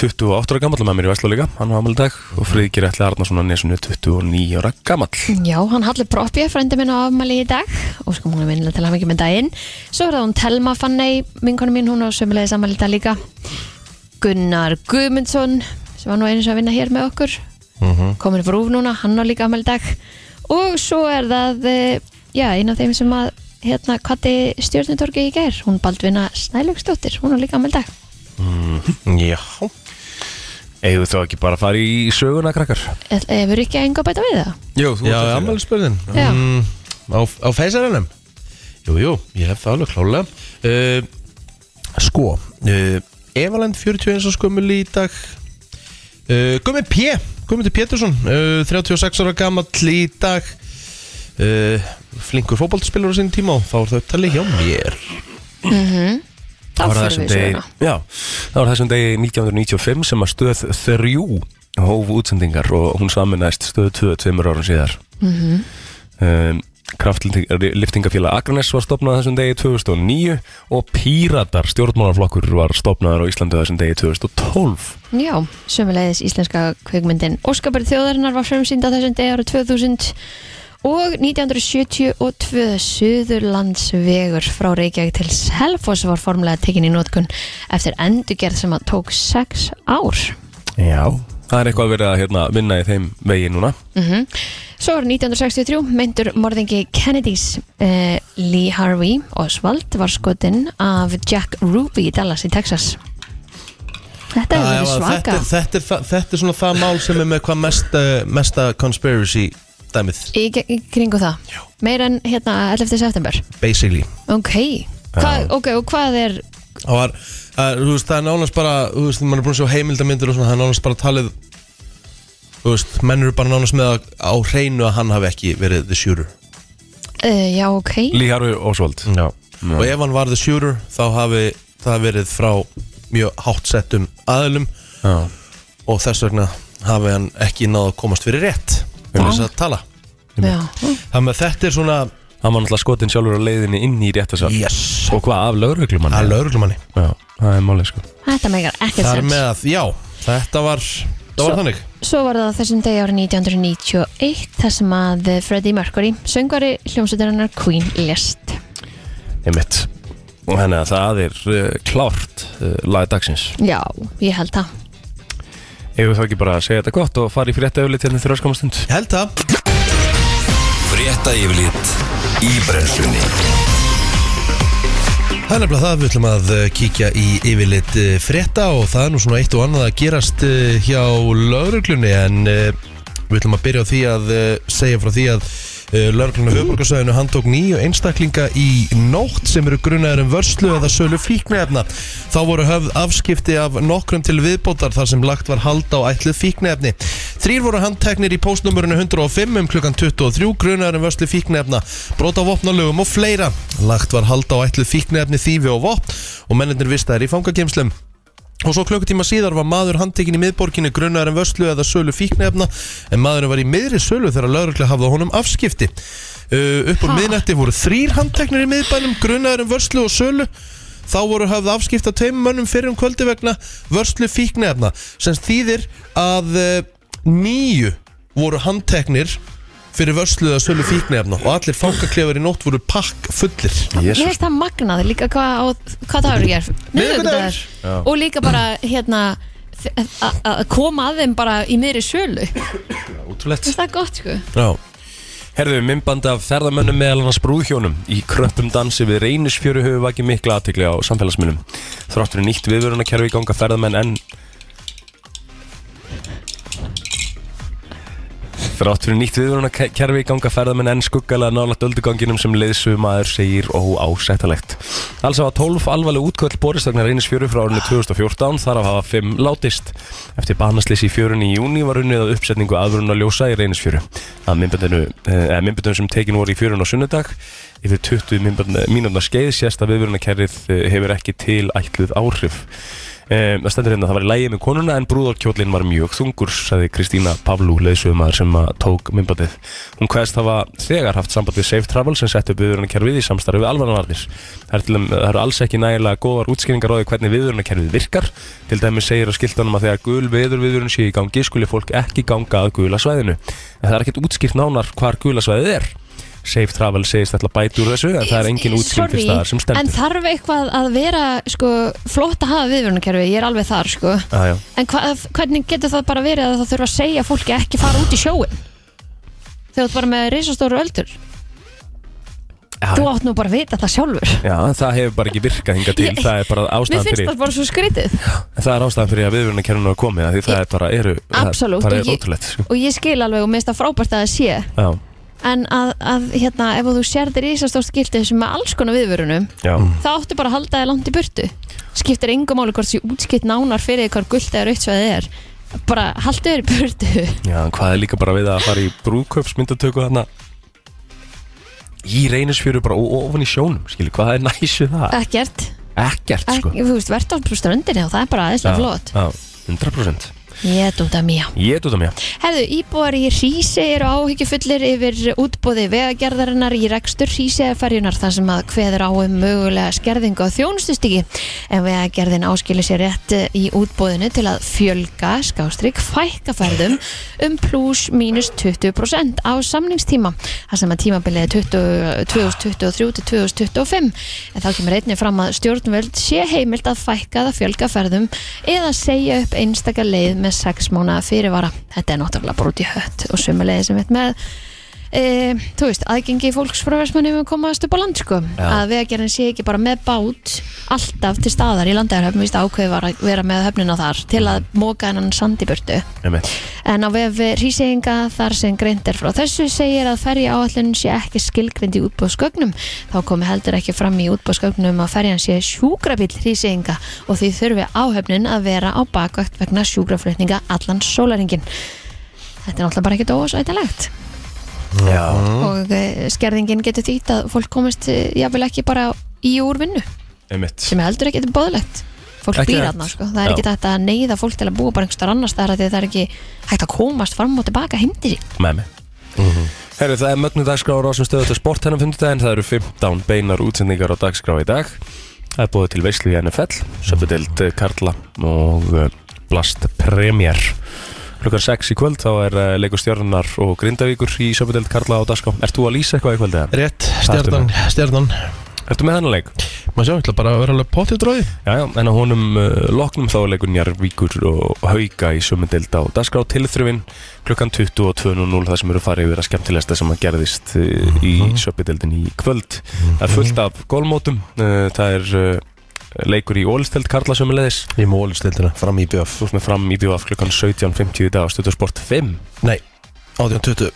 S4: 28 ára gammal með mér í Vestló líka, hann á amal í dag og Friðgir Ætli Arnarsson hann er 29 ára gammal
S3: já, hann Halli Proppi, frændi minn á afmæli í dag og sko múnum minnilega til hann ekki með daginn Svo er það hún Telma Fanney, vinkonu mín, hún á sömulegið sammæli í dag líka Gunnar Guðmundsson sem var nú eins að vinna hér með okkur
S4: Mhm.
S3: komin frá úf núna, hann á líka afmæli í dag og svo er það eh, já, eina af þeim sem að hérna, kvati stjórnutorgi í gær hún Baldvina Snælaugsdóttir, hún á líka afmæli í dag
S2: Já
S4: Eigum þá ekki bara að fara í söguna krakkar?
S3: Ef við ekki að enga bæta við það?
S4: Jú,
S2: Já, ammæli spörðin
S3: Já.
S2: Mm, Á, á feysarannum Jú, jú, ég hef það alveg klálega uh, Sko uh, Evaland 41 og skömmul í dag uh, Gummi P Guðmundur Pétursson uh, 36 ára gamall í dag uh, Flinkur fótballspilur á sinni tíma og þá er það upptali hjá mér
S3: Þá
S4: Það var
S3: fyrir
S4: þessum
S3: við söguna
S4: degi- Já, það var þessum degi 1995 sem að stöð 3 hóf útsendingar og hún saminæst stöð 2 tveimur árum síðar
S3: Mhm.
S4: mm -hmm. um, Kraftliftingafélag Akranes var stopnað þessum degi 2009 og Píratar stjórnmálaflokkur var stopnaður á Íslandu þessum degi 2012
S3: Já, sömulegis íslenska kveikmyndin Óskapari þjóðarinnar var fremsýnd á þessum degi ára 2000 og 1972 Suðurlandsvegur frá Reykjavík til Selfoss var formulega tekin í nótkun eftir endurgerð sem að tók 6 ár
S4: Já Það er eitthvað verið að hérna, vinna í þeim vegi núna
S3: Svo var 1963 meintur morðingi Kennedys eh, Lee Harvey Oswald var skotinn af Jack Ruby í Dallas í Texas Þetta
S2: Já,
S3: er
S2: já,
S3: svaka
S2: þetta, þetta, er, það- þetta er svona það mál sem er með hvað mesta, mesta conspiracy dæmið,
S3: Í, ge- í kringu það? Já. Meira en hérna 11. september?
S2: basically
S3: Ok. Hva, ok, og hvað er...
S2: það var, að, þú veist, það er nánast bara þú veist, maður er búin að sjá heimildamindir og svona það er nánast bara talið þú veist, menn eru bara nánast með að, á hreinu að hann hafi ekki verið the shooter
S3: Uh, já, ok.
S4: Líharfi Ósvöld
S2: Já. og ef hann var the shooter þá hafi það verið frá mjög hátt settum aðlum
S4: Já.
S2: og þess vegna hafi hann ekki náð að komast fyrir rétt um þess að tala
S3: já.
S2: þannig að þetta er svona
S4: Hann var náttúrulega skotin sjálfur á leiðinni inn í réttasal
S2: yes,
S4: Og hvað af lögreglumann?
S2: að lögreglumanni
S4: Já, það er málið sko
S3: Þetta megar ekkert
S2: Þar
S3: sens.
S2: með að, já, þetta var Það var þannig
S3: Svo var það á þessum degi árið 1991 þar sem að eh, Freddie Mercury, söngvari hljómsveitarinnar Queen, lest.
S4: Einmitt. Og Þannig að það er uh, klárt uh, lagið dagsins.
S3: Já, ég held það.
S4: Ef við þá ekki bara að segja þetta gott og fara í hérna frétta öflið til þeirra skamastund.
S2: Ég held það
S1: Frétta yfirlit í brennslunni
S2: Það er nefnilega það, við ætlum að eh, kíkja í yfirleitt frétta og það er nú svona eitt og annað að gerast eh, hjá lauruglunni en eh, við ætlum að byrja á því að eh, segja frá því að eh, lauruglunni höfburgarsæðinu handtók nýju einstaklinga í nótt sem eru grunaður um vörslu eða sölu fíknefna. Þá voru höfð afskipti af nokkrum til viðbótar þar sem lagt var hald á ætluð fíknefni. Þrýr voru handteknir í postnumurinu 105 um klukkan 23 grunaður um vörslu fíknefna, brota vopnalögum og fleira. Lagt var hald á ætluð fíknefni þýfi og vopn og mennirnir vistaðir í fangagemslum. Og svo klukkutíma síðar var maður handtekinn í miðborginni grunnar en vörslu eða sölu fíknefna en maðurinn var í miðri sölu þegar lögregla hafði á honum afskipti. Uh, upp úr miðnætti voru þrýr handteknir í miðbænum grunnar en vörslu og sölu þá voru hafði afskipta tveim mönnum fyrir um kvöldi vegna vörslu fíknefna sem þýðir að uh, nýju voru handteknir fyrir vörslu eða sölu fíknefna og allir fangaklefar í nótt voru pakk fullir.
S3: Ég veist það magnað líka hvað, á, hvað það eru ég er. Miðvikudagur. Og líka bara hérna þ- að að koma að þeim bara í miðri sölu.
S4: Útrúlegt.
S3: Finnst Það er gott, sko.
S2: Já.
S4: Herðu, myndbandi af ferðamönnum meðal annars brúðhjónum í kröppum dansi við reynisfjöru hefur vakið mikla aðtikli á samfélagsminnum. Þráttur er nýtt viðvörunarkerfi í ganga ferðamenn en... Þrátt fyrir nýtt viðvörunarkerfi ganga ferðamenn enn skuggalega nálaðt ölduganginum sem liðsumæður segir óásættalegt. Alls hafa 12 alvarleg útköll borist vegna reynisfjöru frá árinu 2014 þar af hafa 5 látist. Eftir banaslýs í fjörunni í júni var unnið að uppsetningu aðvörun að ljósa í reynisfjöru. Að myndböndunum sem tekin voru í fjörun á sunnudag yfir 20 mínúndar skeið sést að viðvörunarkerfið eh, hefur ekki tilætluð áhrif. Um, það stendur hérna, það var í lægi með konuna en brúðarkjólinn var mjög þungur, sagði Kristína Pavlú, leðsögumæður sem að tók myndbandið. Hún kveðst hafa þegar haft samband við Safe Travel sem setti upp viðvörunarkerfið í samstarfi við alvarnavarnir. Það, er til dæmis- það eru alls ekki nægilega góðar útskýringar á því hvernig viðvörunarkerfið virkar. Til dæmis segir að skiltanum að þegar gul viður viðvörun sé í gangi skuli fólk ekki ganga að gula svæðinu. En það er ekkert útskýrt nánar hvar gula svæðið er. Safe Travel segist alltaf bæti úr þessu en það er engin útskýring til
S3: Sorry,
S4: staðar sem stendur.
S3: En þarf eitthvað að vera sko, flott að hafa viðvörunarkerfi, ég er alveg þar sko.
S4: Ah, já.
S3: En hvað, hvernig getur það bara verið að það þurfa að segja fólki að ekki fara út í sjóin Þegar þú ert bara með risastóru öldur
S4: Já,
S3: Þú átt nú bara að vita það sjálfur
S4: Já, en það hefur bara ekki virkað hinga til,
S3: Ég-
S4: það er bara
S3: Mér
S4: ástæðan
S3: finnst
S4: fyrir
S3: það bara svo skrítið
S4: En það er ástæðan fyrir að viðvörunarkerfinu er komið af Því það er bara, eru,
S3: Absolutt,
S4: það bara er
S3: og ég-
S4: ótrúlegt sko.
S3: Og ég skil alveg og mér finnst það frábært að það sé
S4: Já,
S3: En að, að hérna, ef þú sér þér risastórt skiltið sem með alls konar viðvörunum
S4: já,
S3: þá áttu bara að halda þér langt í burtu skiptir engum máli hvort því útskipt nánar fyrir því hvar gullt eða rautt svæðið er bara haldu þér í burtu
S4: já, en hvað er líka bara við að fara í brúðköpsmyndatöku þarna Í reynisfjöru bara og og ofan í sjónum, skilur, hvað er næs við það?
S3: ekkert,
S4: Ekkert,
S3: Ek,
S4: sko
S3: þú veist, verðt á ströndinni og það er bara aðeinslega flott
S4: Já, já, 100%
S3: ég er dúnda mía
S4: Ég er út af mér
S3: herðu, íbúar í Rísi eru áhyggjufullir yfir útbóði vegagerðarinnar í rekstur Rísi ferjunar þar sem að hveður á um mögulega skerðingu á þjónustustigi en vegagerðin áskilir sér rétt í útbóðinu til að fjölga skástrík fækkaferðum um pluss mínus 20% á samningstíma þar sem að tímabilið er 20 2023 til 2025 en þá kemur einnig fram að stjórnvöld sé heimilt að fækka það fjölga ferðum eða segja upp einstaka leið með 6 mánuða fyrirvara þetta er náttúrulega bara út í hött og sömuleið sem við með e, þú veist, aðgengi fólks frá versmannum að komast upp á land sko að vegagerðin sé ekki bara með bát alltaf til staðar í landegarhöfnum víst ákveði var að vera með höfnina þar til að móka hennan sandi burtu en á vef rísinga þar sem greint er frá þessu segir að ferja áallun sé ekki skilgreind í útbóðsgögnum þá komi heldur ekki fram í útbóðsgögnum að ferjan sé sjúkrabill rísinga og því þurfi áhöfnin að vera á bakvægt vegna sjúkraflutninga allan sólaringin þetta er náttúrulega bara ekkert ósætilegt
S4: Já,
S3: og eh, skerðingin getur þýtt að fólk komist eh, jafnvel ekki bara í úrvinnu
S4: einmitt
S3: sem er heldur ekki bóðlegt fólk
S4: Ekki
S3: býr
S4: hægt.
S3: aðna sko. það er
S4: Já.
S3: ekki hægt að neyða fólk til að búa bara einhverstaðar annars þar því að það er ekki hægt að komast fram og tilbaka hindi sín
S4: með mig Herru, það er mögnu dagskrá á Rásum stöðu til sport hennan fundudaginn, það eru 15 beinar útsendingar á dagskrá í dag Það er búið til veislu í NFL, söpudeld Karla og eh, Blast Premier Klukkan 6 í kvöld, þá er eh, leikur stjörnar og grindavíkur í söpudeld Karla á dagskrá Ert þú að lýsa eitthvað í kvöld eða?
S2: Rétt, stjarnan, stjarnan
S4: Ertu með þennan leik?
S2: Maður sjá, ég ætla bara að vera alveg pottið dróði
S4: Já, já, en á honum uh, loknum þá er leikur Njarvíkur og Hauka í sömundeld á Dasgrá tilþrifin klukkan 22.00 það sem eru farið yfir að skemmtilegsta sem að gerðist uh, í sömmundeldin í kvöld. Það er fullt af gólmótum, uh, það er uh, leikur í Ólisteld Karla sömulegis
S2: Ég móli stildina, fram í bjöf
S4: Þú ert með fram í bjóaf klukkan 17.50 í dag á Stöðusport 5
S2: Nei, 18.20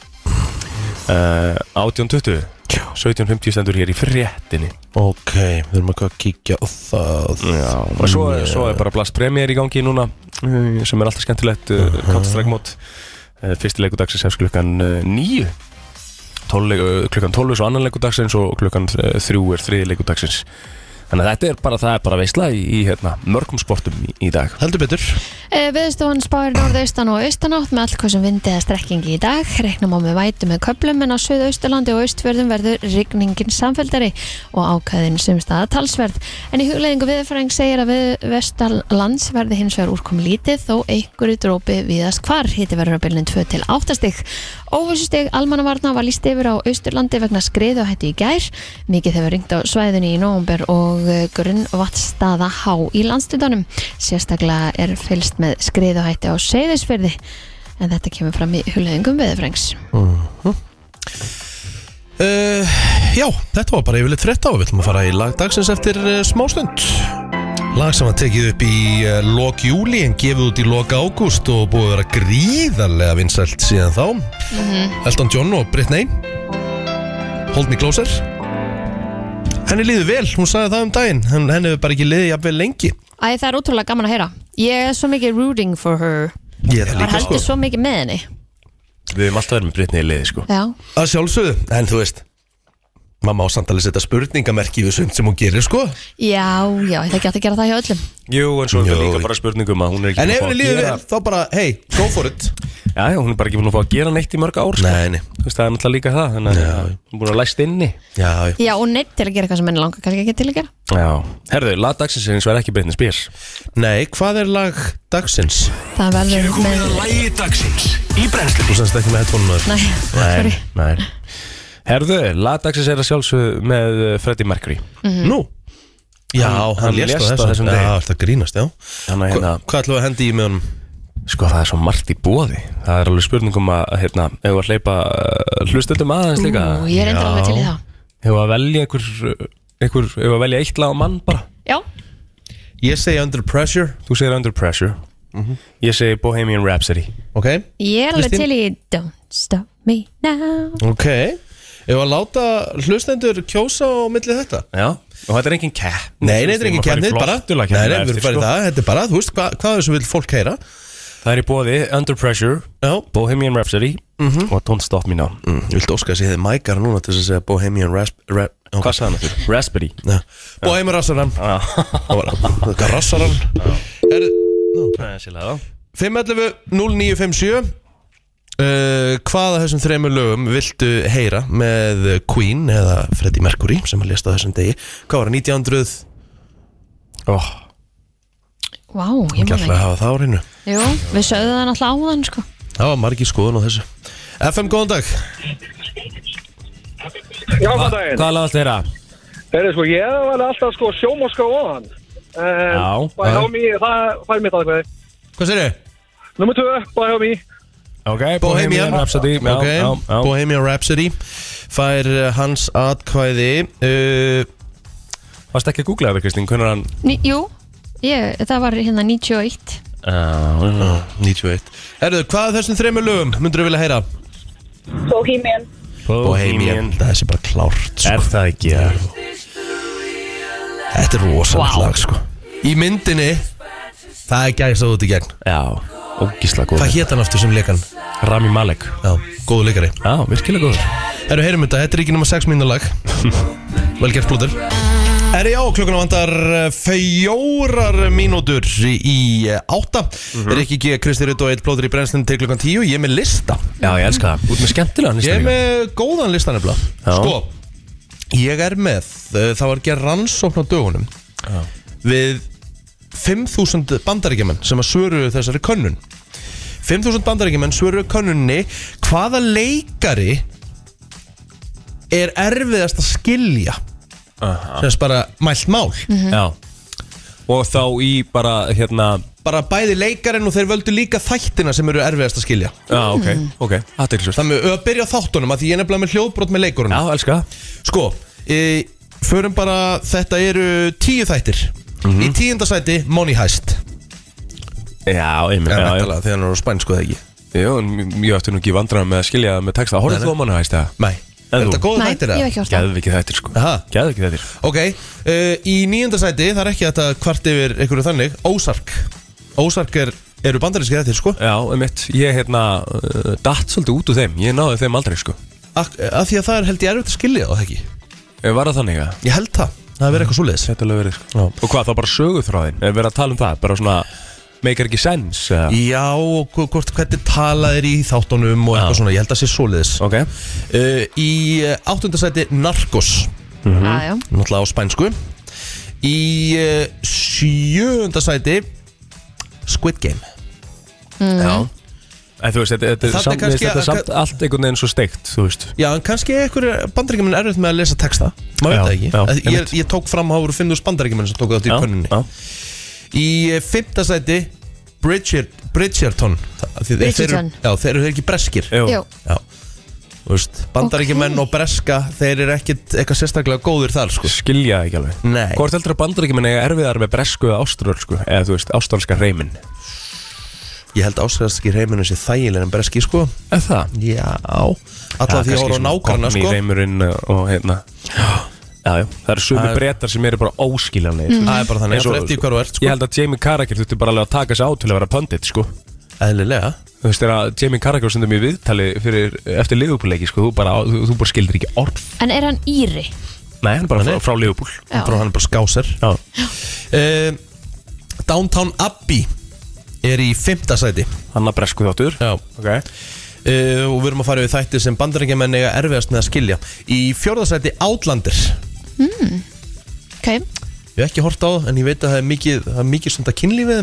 S4: uh, 18.20 17.50 stendur hér í fréttinni
S2: Ok, við erum eitthvað að kíkja á það
S4: Já, og svo, svo er bara Blast Premier í gangi núna eh, sem er alltaf skemmtilegt uh, Counter-Strike mót uh, fyrsti leikudagsins hefst klukkan uh, 9 Tólleg, uh, klukkan 12 er svo annan leikudagsins og klukkan uh, 3 er þriði leikudagsins þannig að þetta er bara, það er bara veisla í, í hérna, mörgum sportum í, í dag
S2: Heldur betur
S3: Eh, Veðurstofan spáir norðaustan og austanátt með allkvæmsum vindi eða strekkingi í dag. Reknum á með vætu með köplum en á suðausturlandi og austverðum verður rigningin samfélgari og ákæðin sem staða talsverð. En í hugleðingu viðfræng segir að við vestallands verði hins vegar úrkomi lítið þó einhverju drópi viðast hvar. Hitti verður á bylnin 2 til 8 stig. Óvissustig almannavarna var líst yfir á austurlandi vegna skriðu og hættu í gær. Mikið hefur ringt á svæðinni í nógumber og grunn vatnstaða há í landstutanum. Sérstaklega er fylst með skriðuhætti á seyðisfyrði en þetta kemur fram í hulöðingum veðurfrængs.
S2: uh, Já, þetta var bara yfirleitt frétt á Við ætlum að fara í lag dagsins eftir uh, smástund Lag sem að tekið upp í uh, lok júli en gefið út í lok ágúst og búið að vera gríðarlega vinsælt síðan þá Elton John og Britney Hold Me Closer Henni líður vel, hún sagði það um daginn Henn- Henni hefur bara ekki liðið jafnvel lengi
S3: Æ, það er ótrúlega gaman að heyra Ég er svo mikið rooting for her
S2: Ég er það
S3: Var
S2: líka sko-
S3: heldur svo mikið með henni
S4: Við höfum alltaf verið með Britney í liði sko
S3: Já,
S2: Að sjálfsögðu, en þú veist Mamma á samtalið setja spurningamerki við sumt sem hún gerir sko
S3: já, já, ég ætla ekki hægt að gera það hjá öllum
S4: Jú, en svo er þetta
S2: Jú.
S4: líka bara spurningum að hún er ekki
S2: En
S4: búin að
S2: ef
S4: fá
S2: henni
S4: að
S2: líður
S4: gera-
S2: vel, þá bara, hey, go for it
S4: Já, já, hún er bara ekki búin að fá að gera neitt í mörg ár sko.
S2: Nei, nei,
S4: Þú veist, það er náttúrulega líka það Þannig að hún er búin að læst inni
S2: já, já
S3: Já, og neitt til að gera eitthvað sem henni langar kannski ekki til að gera
S4: Já, herðu, lagdagsins er eins og er ekki Britney Spears
S2: Nei, hvað er lag dagsins?
S3: Það verður með
S1: Lægi dagsins í brennslunni
S2: Þú semst ekki með headphone-unar
S3: Nei, sorry
S4: nei Herðu, lagdagsins er að sjálfsögðu með eh, Freddie Mercury
S2: Mhm. Nú Já, hann,
S4: hann
S2: lést
S4: lést á
S2: á
S4: þessum
S2: þessum
S4: degi.
S2: Já, það grínast, já
S4: Hann er hérna,
S2: Hva- Hvað ætlum við að hendi í með honum?
S4: sko það er svo margt í bóði Það er alveg spurningum að, hérna, ef við að hleypa uh, hlustöldum aðeins líka
S3: Ú, Ég er endur alveg til í það
S4: Ef við að velja einhver, uh, einhver, ef við að velja eitt lag á mann bara
S3: Já,
S2: Ég segi Under Pressure,
S4: Þú segir Under Pressure Ég segi Bohemian Rhapsody
S2: ok?
S3: ég er alveg
S2: Kristín?
S3: til í Don't stop me now
S2: Ok, ef að láta hlustendur kjósa á milli þetta?
S4: Já, og þetta er engin kepp
S2: Nei, nei, þetta er ekki kemnið bara Nei,
S4: Nei,
S2: nei, við erum
S4: sko.
S2: bara í það, þetta er bara, þú veist, hva, hvað er það sem vil fólk heyra?
S4: Það er í bóði Under Pressure
S2: Já,
S4: Bohemian Rhapsody og Don't Stop Me Now
S2: mm, ég vildi óska að segja þið mækara núna til þess að segja Bohemian Rasp... Rap, okay.
S4: Hvað sagði hann þetta? Raspberry
S2: Já. Bohemian Rassaran Það var það, Rassaran Er,
S4: Sérlega
S2: 511-0957 uh, Hvaða þessum þremur lögum viltu heyra með Queen eða Freddie Mercury sem að lesta þessum degi? Hvað var það, 1900?
S4: Ó,
S3: Vá, ég
S2: Ekki
S3: man
S2: alltaf
S3: það
S2: að hafa það á reynu
S3: ekki Jú, við sögðum það náttúrulega áðan sko
S2: Það var margir skoðun á þessu FM, góðan dag
S8: Já, hvað daginn?
S4: Hvað lagast þeirra?
S8: Þeirri, sko, ég var alltaf sko sjómoska ofan. En
S4: Já,
S8: By
S4: já.
S8: How Me, það fær mitt aðkvæði.
S2: Hvað segir þið?
S8: Númer 2, By How Me.
S4: Ok,
S2: Bohemian
S4: Rhapsody já,
S2: Ok,
S4: já, já.
S2: Bohemian Rhapsody Fær uh, hans atkvæði uh,
S4: Varst ekki að googla það, Kristín, hvernig hann
S3: Ný, Jú, ég, það var hérna 91
S4: uh,
S2: 91 Erðu, hvað af þessum þremur lögum myndur við vilja heyra?
S9: Bohemian
S4: Bohemian
S2: Það er sér bara klárt sko.
S4: Er það ekki að
S2: Þetta er rosalegt
S3: Vá.
S2: lag sko. Í myndinni Það er gæst út í gegn
S4: Já, ógísla góð
S2: Hvað hétt hann aftur sem leikan?
S4: Rami Malek
S2: Já, góðu leikari
S4: Já, virkilega góð
S2: Erðu, heyrum þetta, þetta er ekki nema 6 mínútur lag Vel gert blútur Erðu, já, klukkuna vandar eh, fjórar mínútur í eh, átta Er ekki ekki Kristi Rutt og eitt blótur í brennslinn til klukkan 10 Ég er með lista
S4: Já, ég elska það Út með skemmtilega
S2: Ég er
S4: nýstum
S2: með góðan lista nefnilega
S4: Já.
S2: Sko, ég er með uh, Það var gerð rannsókn á dögunum Við 5.000 bandaríkjumenn sem að svöruðu þessari könnun 5.000 bandaríkjumenn svöruðu könnunni Hvaða leikari er erfiðast að skilja sem þess bara mælt mál
S4: Já Og þá í bara, hérna
S2: bara bæði leikarinn og þeir völdu líka þættina sem eru erfiðast að skilja
S4: Já, ok, ok Aðeinsvöld
S2: Mm. þannig að byrja á þáttunum að því ég er nefnilega með hljóðbrot með leikurinn
S4: Já, elska það.
S2: Sko, e, förum bara Þetta eru tíu þættir Í tíunda sæti Money Heist
S4: Já, einmitt já, já.
S2: Þegar hann er á spænsku eða ekki
S4: Jú, en ég ætti nú ekki vandræða með að skilja það með texta Horfðu þú á manna, hægst það?
S2: Nei,
S4: En
S2: er
S4: þú?
S2: þetta góð
S3: Nei,
S2: þættir
S3: ég hef
S2: eða?
S3: ekki hort það
S4: Gæðu ekki þættir, sko
S2: Aha.
S4: Gæðu ekki þættir
S2: Ok, uh, í níunda sæti Það er ekki þetta kvart yfir einhverju þannig Ósark Ósark er, eru bandaríski þættir sko
S4: Já, einmitt, ég hérna uh, datt svolítið út úr þeim, ég náði þeim aldrei sko
S2: Ak, Af því að það er held ég erfitt að skilja það ekki
S4: Ég var það þannig að
S2: Ég held það, það er verið eitthvað svoleiðis
S4: Þetta er alveg verið sko Og hvað, þá bara sögu þráðin, er verið að tala um það, bara svona Meikar ekki sens uh,
S2: Já, og hv- hvort hvernig talaðir í þáttunum og eitthvað svona, ég held að sé svoleiðis
S4: Ok
S2: uh, Í eh, áttunda sæti Narcos
S3: Já, já,
S2: náttúrulega á spænsku í uh, sjöunda sæti Squid Game
S4: Já En þú veist, þetta, þetta,
S2: Þarna
S4: er samt,
S2: kannski
S4: kannski, þetta
S2: að-
S4: er samt allt einhvern veginn svo steikt, þú veist
S2: já, en kannski einhverjir bandaríkjumenn erfitt með að lesa texta
S4: Já,
S2: maður veit
S4: já,
S2: það ekki ég,
S4: einmitt.
S2: ég tók fram að það voru 5.000 bandaríkjumenn sem tóku þátt í könninni
S4: já.
S2: í eh, fimmta sæti Bridger, Bridgerton Þa- því þeir-
S3: Bridgerton.
S2: þeir, eru- já, þeir eru þeir ekki breskir
S4: Jú.
S3: jú
S2: já Þú veist, bandaríkjumenn
S3: Ok.
S2: og breska þeir eru ekkit eitthvað sérstaklega góðir þar sko.
S4: Skilja það ekki alveg
S2: Nei.
S4: Hvort heldur að bandaríkjumenn eiga erfiðar með bresku eða áströlsku Eða þú veist, áströlska reymin
S2: Ég held áskræðaskir heimurinn sé þægilega en breski sko
S4: Er það?
S2: Já Alla því ára á nákvæmna
S4: Í
S2: sko
S4: reymurinn og hérna Já, já, það eru sömu
S2: Það er-
S4: brettar sem eru bara óskiljanlegir
S3: Mhm.
S4: sko.
S2: Það er bara þannig,
S4: Eins og-
S2: það er eftir hvað þú ert
S4: Ég
S2: sko
S4: held að Jamie Carragher þurfti bara alveg að taka sig á til að vera pundit sko.
S2: Eðlilega
S4: Þú veist, þegar Jamie Carragher sendur mér viðtali fyrir, eftir Liverpool-leiki sko, þú bara, þú, þú bara skildir ekki orð
S3: En er hann íri?
S4: Nei, hann er bara frá, frá Liverpool
S3: Já.
S2: Bara hann er bara skáser
S4: Já,
S2: uh, Downtown Abbey er í fymta sæti
S4: hann er bresku þáttur
S2: Já
S4: okay.
S2: Uh, og við erum að fara við þættir sem bandarækjumenn eiga erfiðast með að skilja í fjórðasæti Outlander ég
S3: Ok,
S2: hef ekki hort á það en ég veit að það er mikið, það er mikið stund að kynlífið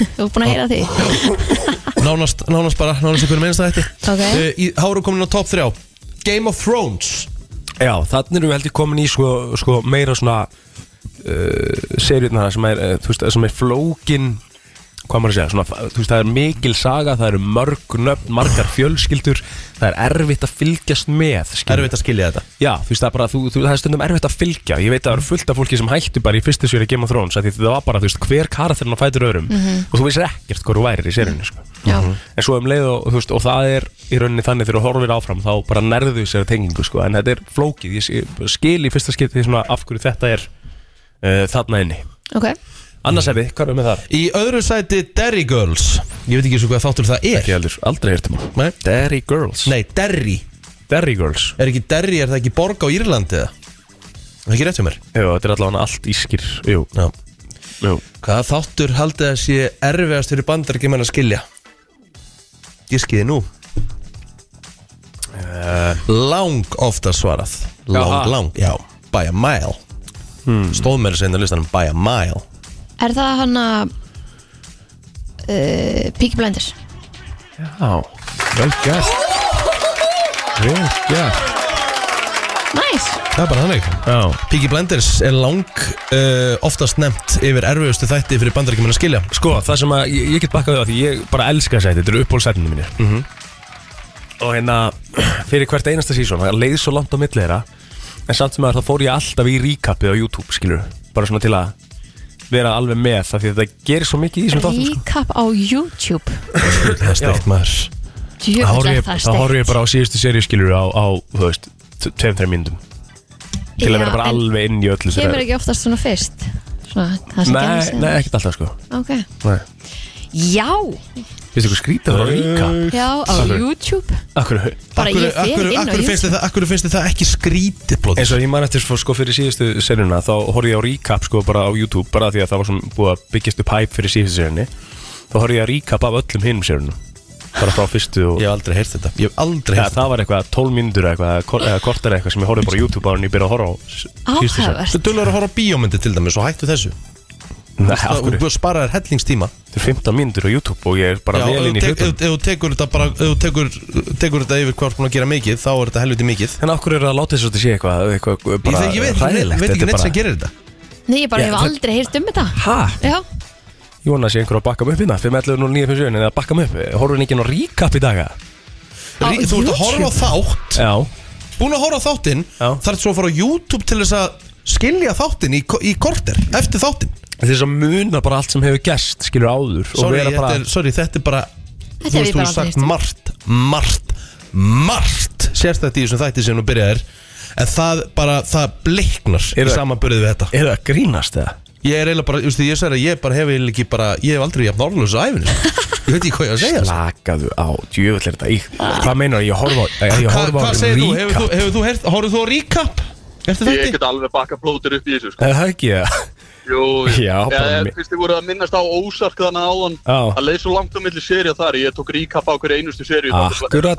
S2: þeim
S3: þú ert búin að heyra því
S2: nánast, nánast bara, nánast ykkur minnst það þetta
S3: Ok.
S2: uh, Háru komin á top 3 Game of Thrones
S4: Já, þannig erum við heldur komin í sko, sko meira svona uh, seriðna sem er, uh, þú veist, sem er flókin hvað maður að segja, svona, þú veist, það er mikil saga, það eru mörg nöfn, margar fjölskyldur, það er erfitt að fylgjast með, skilur.
S2: erfitt að skilja þetta
S4: Já, þú veist, það er bara, þú, þú, það er stundum erfitt að fylgja Ég veit að það eru fullt af fólki sem hættu bara í fyrstu sér í Game of Thrones af Því það var bara, þú veist, hver karakterinn á fætur öðrum Og þú veist ekkert hvað þú værir í sérinu, sko
S3: Já.
S4: En svo um leið og, þú veist, og það er í rauninni þannig þegar þú horfir áfram Þá bara nærðu þú sér að tengingu, sko En þetta er flókið, ég sé- skil í fyrsta skipti svona af hverju þetta er uh, þarna inni
S3: Ok,
S4: Annars hefði, hvað erum við þar?
S2: í öðru sæti Derry Girls ég veit ekki svo hvað þáttur það er
S4: Ekki heldur, aldrei um hirtum
S2: Nei.
S4: Derry Girls
S2: nei, Derry
S4: Derry Girls
S2: er ekki Derry, er það ekki borg á Írlandi eða? Er það ekki rétt hjá mér
S4: Jú, þetta er allavega allt ískir Jú,
S2: Já.
S4: jú
S2: hvaða þáttur haldið að sé erfiðast fyrir bandarækjumenn að skilja ég skiði nú Eh, lang ofta svarað lang,
S4: ha.
S2: lang, já, by a mile hmm. stóð mér að segja að listanum by a mile
S3: er það hann að uh, Peaky Blinders?
S4: Já, vel gert Vel gert
S3: Nice,
S2: það er bara þannig
S4: Já,
S2: Piggy Blenders er lang uh, oftast nefnt yfir erfiðustu þætti fyrir bandaríkjumenn að skilja
S4: sko, það sem að ég, ég get bakkað á því ég bara elska þess að þetta eru uppbólsætinu mínir -hmm. og hérna fyrir hvert einasta sísón, það leið svo langt á milli þeirra en samt sem að það fór ég alltaf í recapið á YouTube, skilur bara svona til að vera alveg með það því að þetta gerir svo mikið í þessum þáttum sko.
S3: recap á YouTube
S2: Það er steikt maður
S4: Það
S3: Jöfnvel
S4: horfi
S3: er
S4: ég-
S3: það
S4: þá horfi ég
S3: steikt
S4: bara á síðustu seríu skilur á, á þú veist, tveim-þreim myndum til að vera
S3: Já,
S4: bara
S3: en
S4: alveg inn í öllu
S3: Kemur
S4: þeirra-
S3: ekki oftast svona fyrst Svona, það sem
S4: Nei,
S3: gerðist
S4: nei, ekkert alltaf sko
S3: eða- Ok,
S4: Nei.
S3: já,
S4: Vistu hvað skrítið var að ríka?
S3: já, á
S4: Akkur-
S3: YouTube
S4: Akkur,
S3: Bara ég
S2: akkur,
S3: fer inn á
S2: akkur
S3: YouTube
S2: finnst þið það, akkur finnst þið það ekki skrítið blóð
S4: eins og ég man eftir sko, sko fyrir síðustu serjuna þá horfði ég á recap sko bara á YouTube bara því að það var svona búið að byggjast upp hæp fyrir síðustu serjunni þá horfði ég á recap af öllum hinum serjunum bara frá fyrstu og
S2: Ég hef aldrei heyrt þetta Ég hef aldrei
S4: ja,
S2: heyrt
S4: það var eitthvað 12 myndur eitthvað eða kor- eða kortar eitthvað sem ég horfði bara á YouTube ára en ég byrja að horfa á s- síðustu serjuna
S2: þetta Þú
S3: Áhæfvert
S2: dular að horfa á bíómyndi til dæmis og hættu þessu
S4: Nei, af
S2: Það- Þú
S4: hverju?
S2: búið að spara þér hellingstíma
S4: Þetta er 15 myndur á YouTube og ég er bara
S2: Já, ef
S4: vel
S2: þú
S4: inn í
S2: tek-
S4: hlutum
S2: ef- ef þú tekur þetta bara Ef þú tekur, tekur þetta yfir hvað þú er búin að gera mikið Þá er þetta helviti mikið
S4: En af hverju er það að láta þess að þetta sé eitthvað, eitthvað
S2: Ég,
S4: bara
S2: ég veit,
S4: hræðilegt?
S2: ég veit
S4: Þetta
S2: ekki
S4: er
S2: neitt sem
S4: bara-
S2: gerir þetta
S3: Nei, ég bara
S4: Já,
S3: hef
S4: það-
S3: aldrei heyrt um þetta
S4: Ha?
S3: Já,
S2: Uh,
S4: Ég vona að sé einhver að bakka mig upp hérna 5.11.09.57 eða bakka mig upp Horfum við ekki ná recap í daga?
S3: Á
S2: Rí- Þú ert að horfa á þátt
S4: Já
S2: búin að horfa á þáttinn
S4: Já.
S2: þarf svo að fara á YouTube til þess að skilja þáttinn í, í korter eftir þáttinn
S4: Þess að muna bara allt sem hefur gerst skilur áður og
S2: sorry,
S4: vera
S2: þetta
S4: bara
S2: er- sorry, þetta er bara
S3: Þetta
S2: þú veist,
S3: hef ég
S2: þú
S3: bara
S2: hefur
S3: aldrei
S2: sagt
S3: heyrt um.
S2: margt, margt, margt sérst þetta í þessum þætti sem þú byrjaðir en það bara, það bliknar
S4: Er
S2: í
S4: það-
S2: samanbyrðið við þetta
S4: Er það að grínast eða?
S2: ég er eiginlega bara, þú veist, ég sagði að ég bara hef eiginlega ekki bara, ég hef aldrei jafn orðlösa á æfinu ég veit ekki hvað ég á að segja sko.
S4: Lakaðu á, djöfull er þetta í Hvað meinar ég horfa á, ég, ég
S2: Hva,
S4: horfa á
S2: hvað segir þú, hefur þú,
S4: recap
S2: hefur þú heyrt, horfðu þú á recap eftir
S10: Ég
S2: þætti?
S10: get alveg bakka plótir upp í þessu sko.
S4: Er það ekki það?
S10: Jú, jú.
S4: Já,
S10: Ég,
S4: bara
S10: ég,
S4: mi-
S10: fyrst ég voru að minnast á Ósark þannig áðan
S4: Já.
S10: Það leið svo langt á milli serið þar Ég tók recap á hverju einustu serið
S4: Akkurat.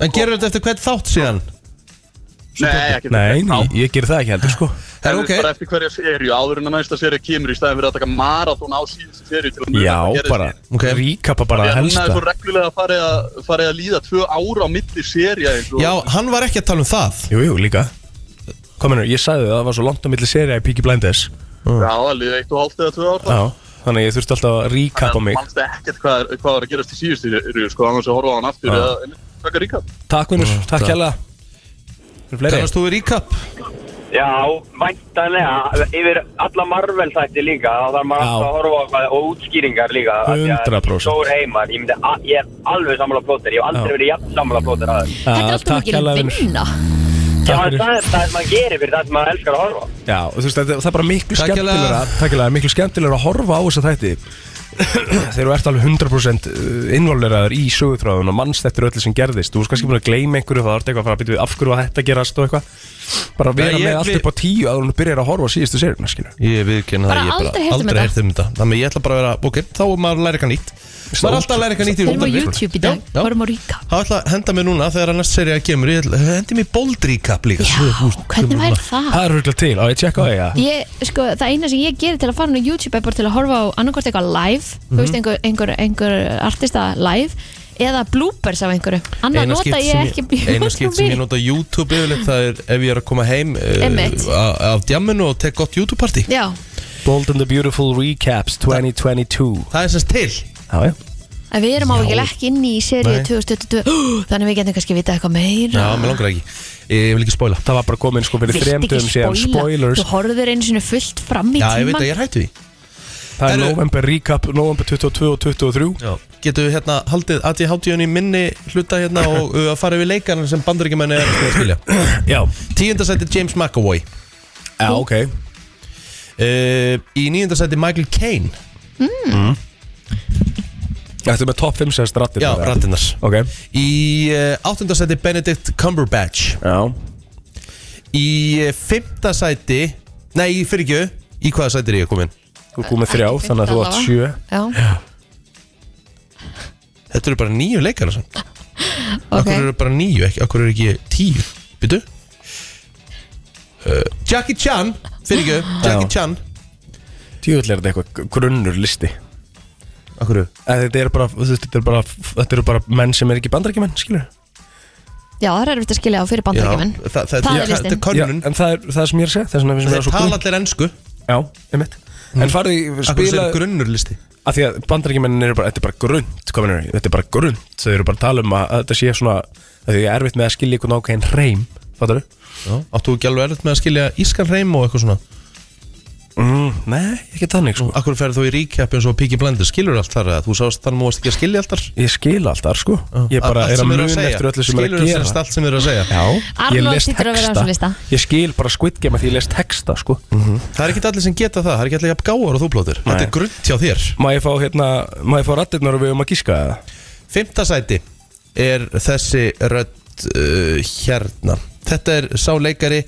S2: en gerur þetta eftir hvern þátt síðan?
S10: Nei, ekki
S4: Nei, nei, ég ger það ekki heldur sko
S2: Er,
S10: Það er
S2: ok,
S10: bara eftir hverja serju, áður en að næsta serið kemur í staðin fyrir að taka marathón á síðustu serju til að muna
S4: Já,
S10: hvað gerðist.
S4: bara,
S2: Ok.
S4: recapa
S10: Því
S4: bara
S10: að núna er
S4: helsta
S10: svo reglulega farið að, farið að líða tvö ára á milli serja eins og
S2: já, hann var ekki að tala um það
S4: Jú, jú, líka Hvað meinar, ég sagði það, það var svo langt á milli serið í Peaky Blinders
S10: já að líða eitt og hálft eða tvö ára
S4: Já, þannig að ég þurfti alltaf að recapa mig
S10: mannst ekkert hvað, er- hvað var að gerast í síðustu serju sko, annars að horfa á hann aftur eða einmitt taka recap
S4: Mm, Takk vinnur, takk
S2: takk.
S4: hérlega Fyrir fleiri
S2: kannast þú við recap?
S11: Já, væntanlega, yfir alla Marvel þætti líka, þá þarf maður
S4: Já.
S11: alltaf að horfa á eitthvað og útskýringar líka. af því að þetta er
S4: 100%.
S11: Stór heimar, ég, myndi, a- ég er alveg sammála plóter, ég hef aldrei
S4: Já.
S11: verið jafn sammála plóter að þess.
S4: Þetta er alltaf takk mikil hérlega, vinur.
S3: vinna.
S11: Já,
S4: Takk
S11: en
S4: fyrir.
S11: það er það sem maður gerir fyrir það sem maður elskar að horfa. á.
S4: Já, og þú veist, þetta, það er bara miklu
S11: Takk hérlega.
S4: skemmtilegra Takkilega, miklu skemmtilegra að horfa á þessa þætti Þegar þú ert alveg 100% innvolveraður í sögutráðun og mannst eftir öllu sem gerðist Þú veist kannski búin að gleyma einhverju það er eitthvað að fara að byrja af hverju var þetta að gerast og eitthvað Bara
S2: Já,
S4: vera
S2: ég-
S4: með allt upp á tíu áður en þú byrjar að horfa á síðustu sérina, skilur
S2: Ég viðkynna það,
S3: Bara
S2: ég
S3: aldrei heyrt um
S2: aldrei
S3: þetta.
S2: heyrt um þetta Þannig ég ætla bara að vera, ok, þá er maður að læra eitthvað nýtt Maður er alltaf að læra eitthvað nýtt í
S3: Þeir eru á
S2: útvarpi.
S3: YouTube í dag,
S2: Já, já.
S3: horfum á Ríka
S2: Þá ætla að henda mér núna þegar að næst serið kemur Ég ætla, hendi mér boldríkap líka sko. Já,
S3: hvernig væri það?
S2: Ah.
S4: Það er huglega til, á ég tjekka á því að
S3: Ég, sko, það eina sem ég gerir til að fara á YouTube er bara til að horfa á annarkort eitthvað live þú
S2: Mhm.
S3: veist, einhver, einhver, einhver artista live eða bloopers af einhverju annað
S2: Eina
S3: nota
S2: skipt
S3: ég
S2: sem
S3: ekki
S2: ég- eina skipt sem ég nota YouTube yfirleitt það er ef ég er að koma heim
S3: Einmitt.
S2: uh, a- af djamminu og tek gott YouTube party
S3: Já,
S4: Bold and the Beautiful Recaps 2022
S2: Það er semst til
S4: Já, já
S3: en við erum
S2: Já.
S3: ávigilega ekki inni í seríu
S2: Nei.
S3: 2022 Hú, þannig við getum kannski vita eitthvað meira
S2: Já, mér langar ekki Ég vil ekki spóla
S4: Það var bara komin sko
S3: Viltu ekki spoila? Þú horfður einu sinni fullt fram í
S2: Já, ég veit
S3: tíman
S2: að ég er hættu því
S4: Það er november recap, november 22 og 23
S2: Já. Getum við hérna haldið að ég hátíðun í minni hluta hérna og uh, að fara við leikarna sem bandaríkjumenni er að skilja
S4: Já
S2: Tíundasæti James McAvoy
S4: Já, ok
S2: uh, Í níundasæti Michael Caine
S4: Þetta er með top 5 sérst rattir
S2: Já, rattinnar
S4: Ok
S2: Í uh, áttundasæti Benedict Cumberbatch
S4: Já
S2: Í uh, fymtasæti Nei, fyrir ekki Í hvaða sæti er ég komin?
S4: Þú er komið þrjá, þannig að þú átt sjö
S3: Já,
S2: Þetta eru bara nýju leikar okay.
S3: ok
S2: Akkur eru bara nýju, ekki, akkur eru ekki tíu Býtu uh, Jackie Chan Fyrir ekki, Jackie Chan
S4: Tjóðlega er þetta eitthvað grunnur listi
S2: Akkur
S4: Þetta eru bara, þú veist, þetta eru bara, þetta eru bara menn sem er ekki bandarækjumenn, skilur
S3: Já, það er erfitt að skilja á fyrir bandarækjumenn
S2: Já, það- það-
S3: Það
S2: já,
S3: er listin
S2: þetta er könnun.
S4: Já, En það er það er sem ég er að segja, það er svona við sem
S2: Þeir
S4: erum svo
S2: tala
S4: grunn
S2: allir ennsku
S4: Já, einmitt En farðu í
S2: Akkur
S4: spila
S2: eru grunnurlisti
S4: Af því að bandarækjumennin eru bara, þetta er bara grunnt, hvað mennur Þetta er bara grunnt, þau eru bara að tala um að að þetta sé svona Það er erfitt með að skilja ykkur nákvæðin reym, fattar
S2: Áttu ekki alveg erfitt með að skilja ískan reym og eitthvað svona
S4: mm, Nei, ekki þannig sko
S2: Akkur ferð þú í recap eins og Piki Blender Skilur allt þar að þú sást þannig múast ekki að skilja allt þar
S4: Ég skil alltaf, sko Ég bara
S2: Allt
S4: er að
S2: sem þeir eru
S4: muna
S2: segja.
S4: eftir öllu sem er að
S2: Skilurðu
S4: gera
S2: sem sagt allt sem þeir eru að segja
S4: Já, ég
S3: Arnold
S4: les
S3: hlýtur að vera á þessum lista.
S4: texta Ég skil bara Squid Game að því ég les texta sko.
S2: Það er ekki allir sem geta það, það er ekki allir jafn gáðar og þú plótir Þetta er grunnt hjá þér
S4: Má ég fá, hérna, má ég fá rattirnar og við um að gíska það?
S2: Fymta sæti er þessi rödd uh, hérna Þetta er sá leikari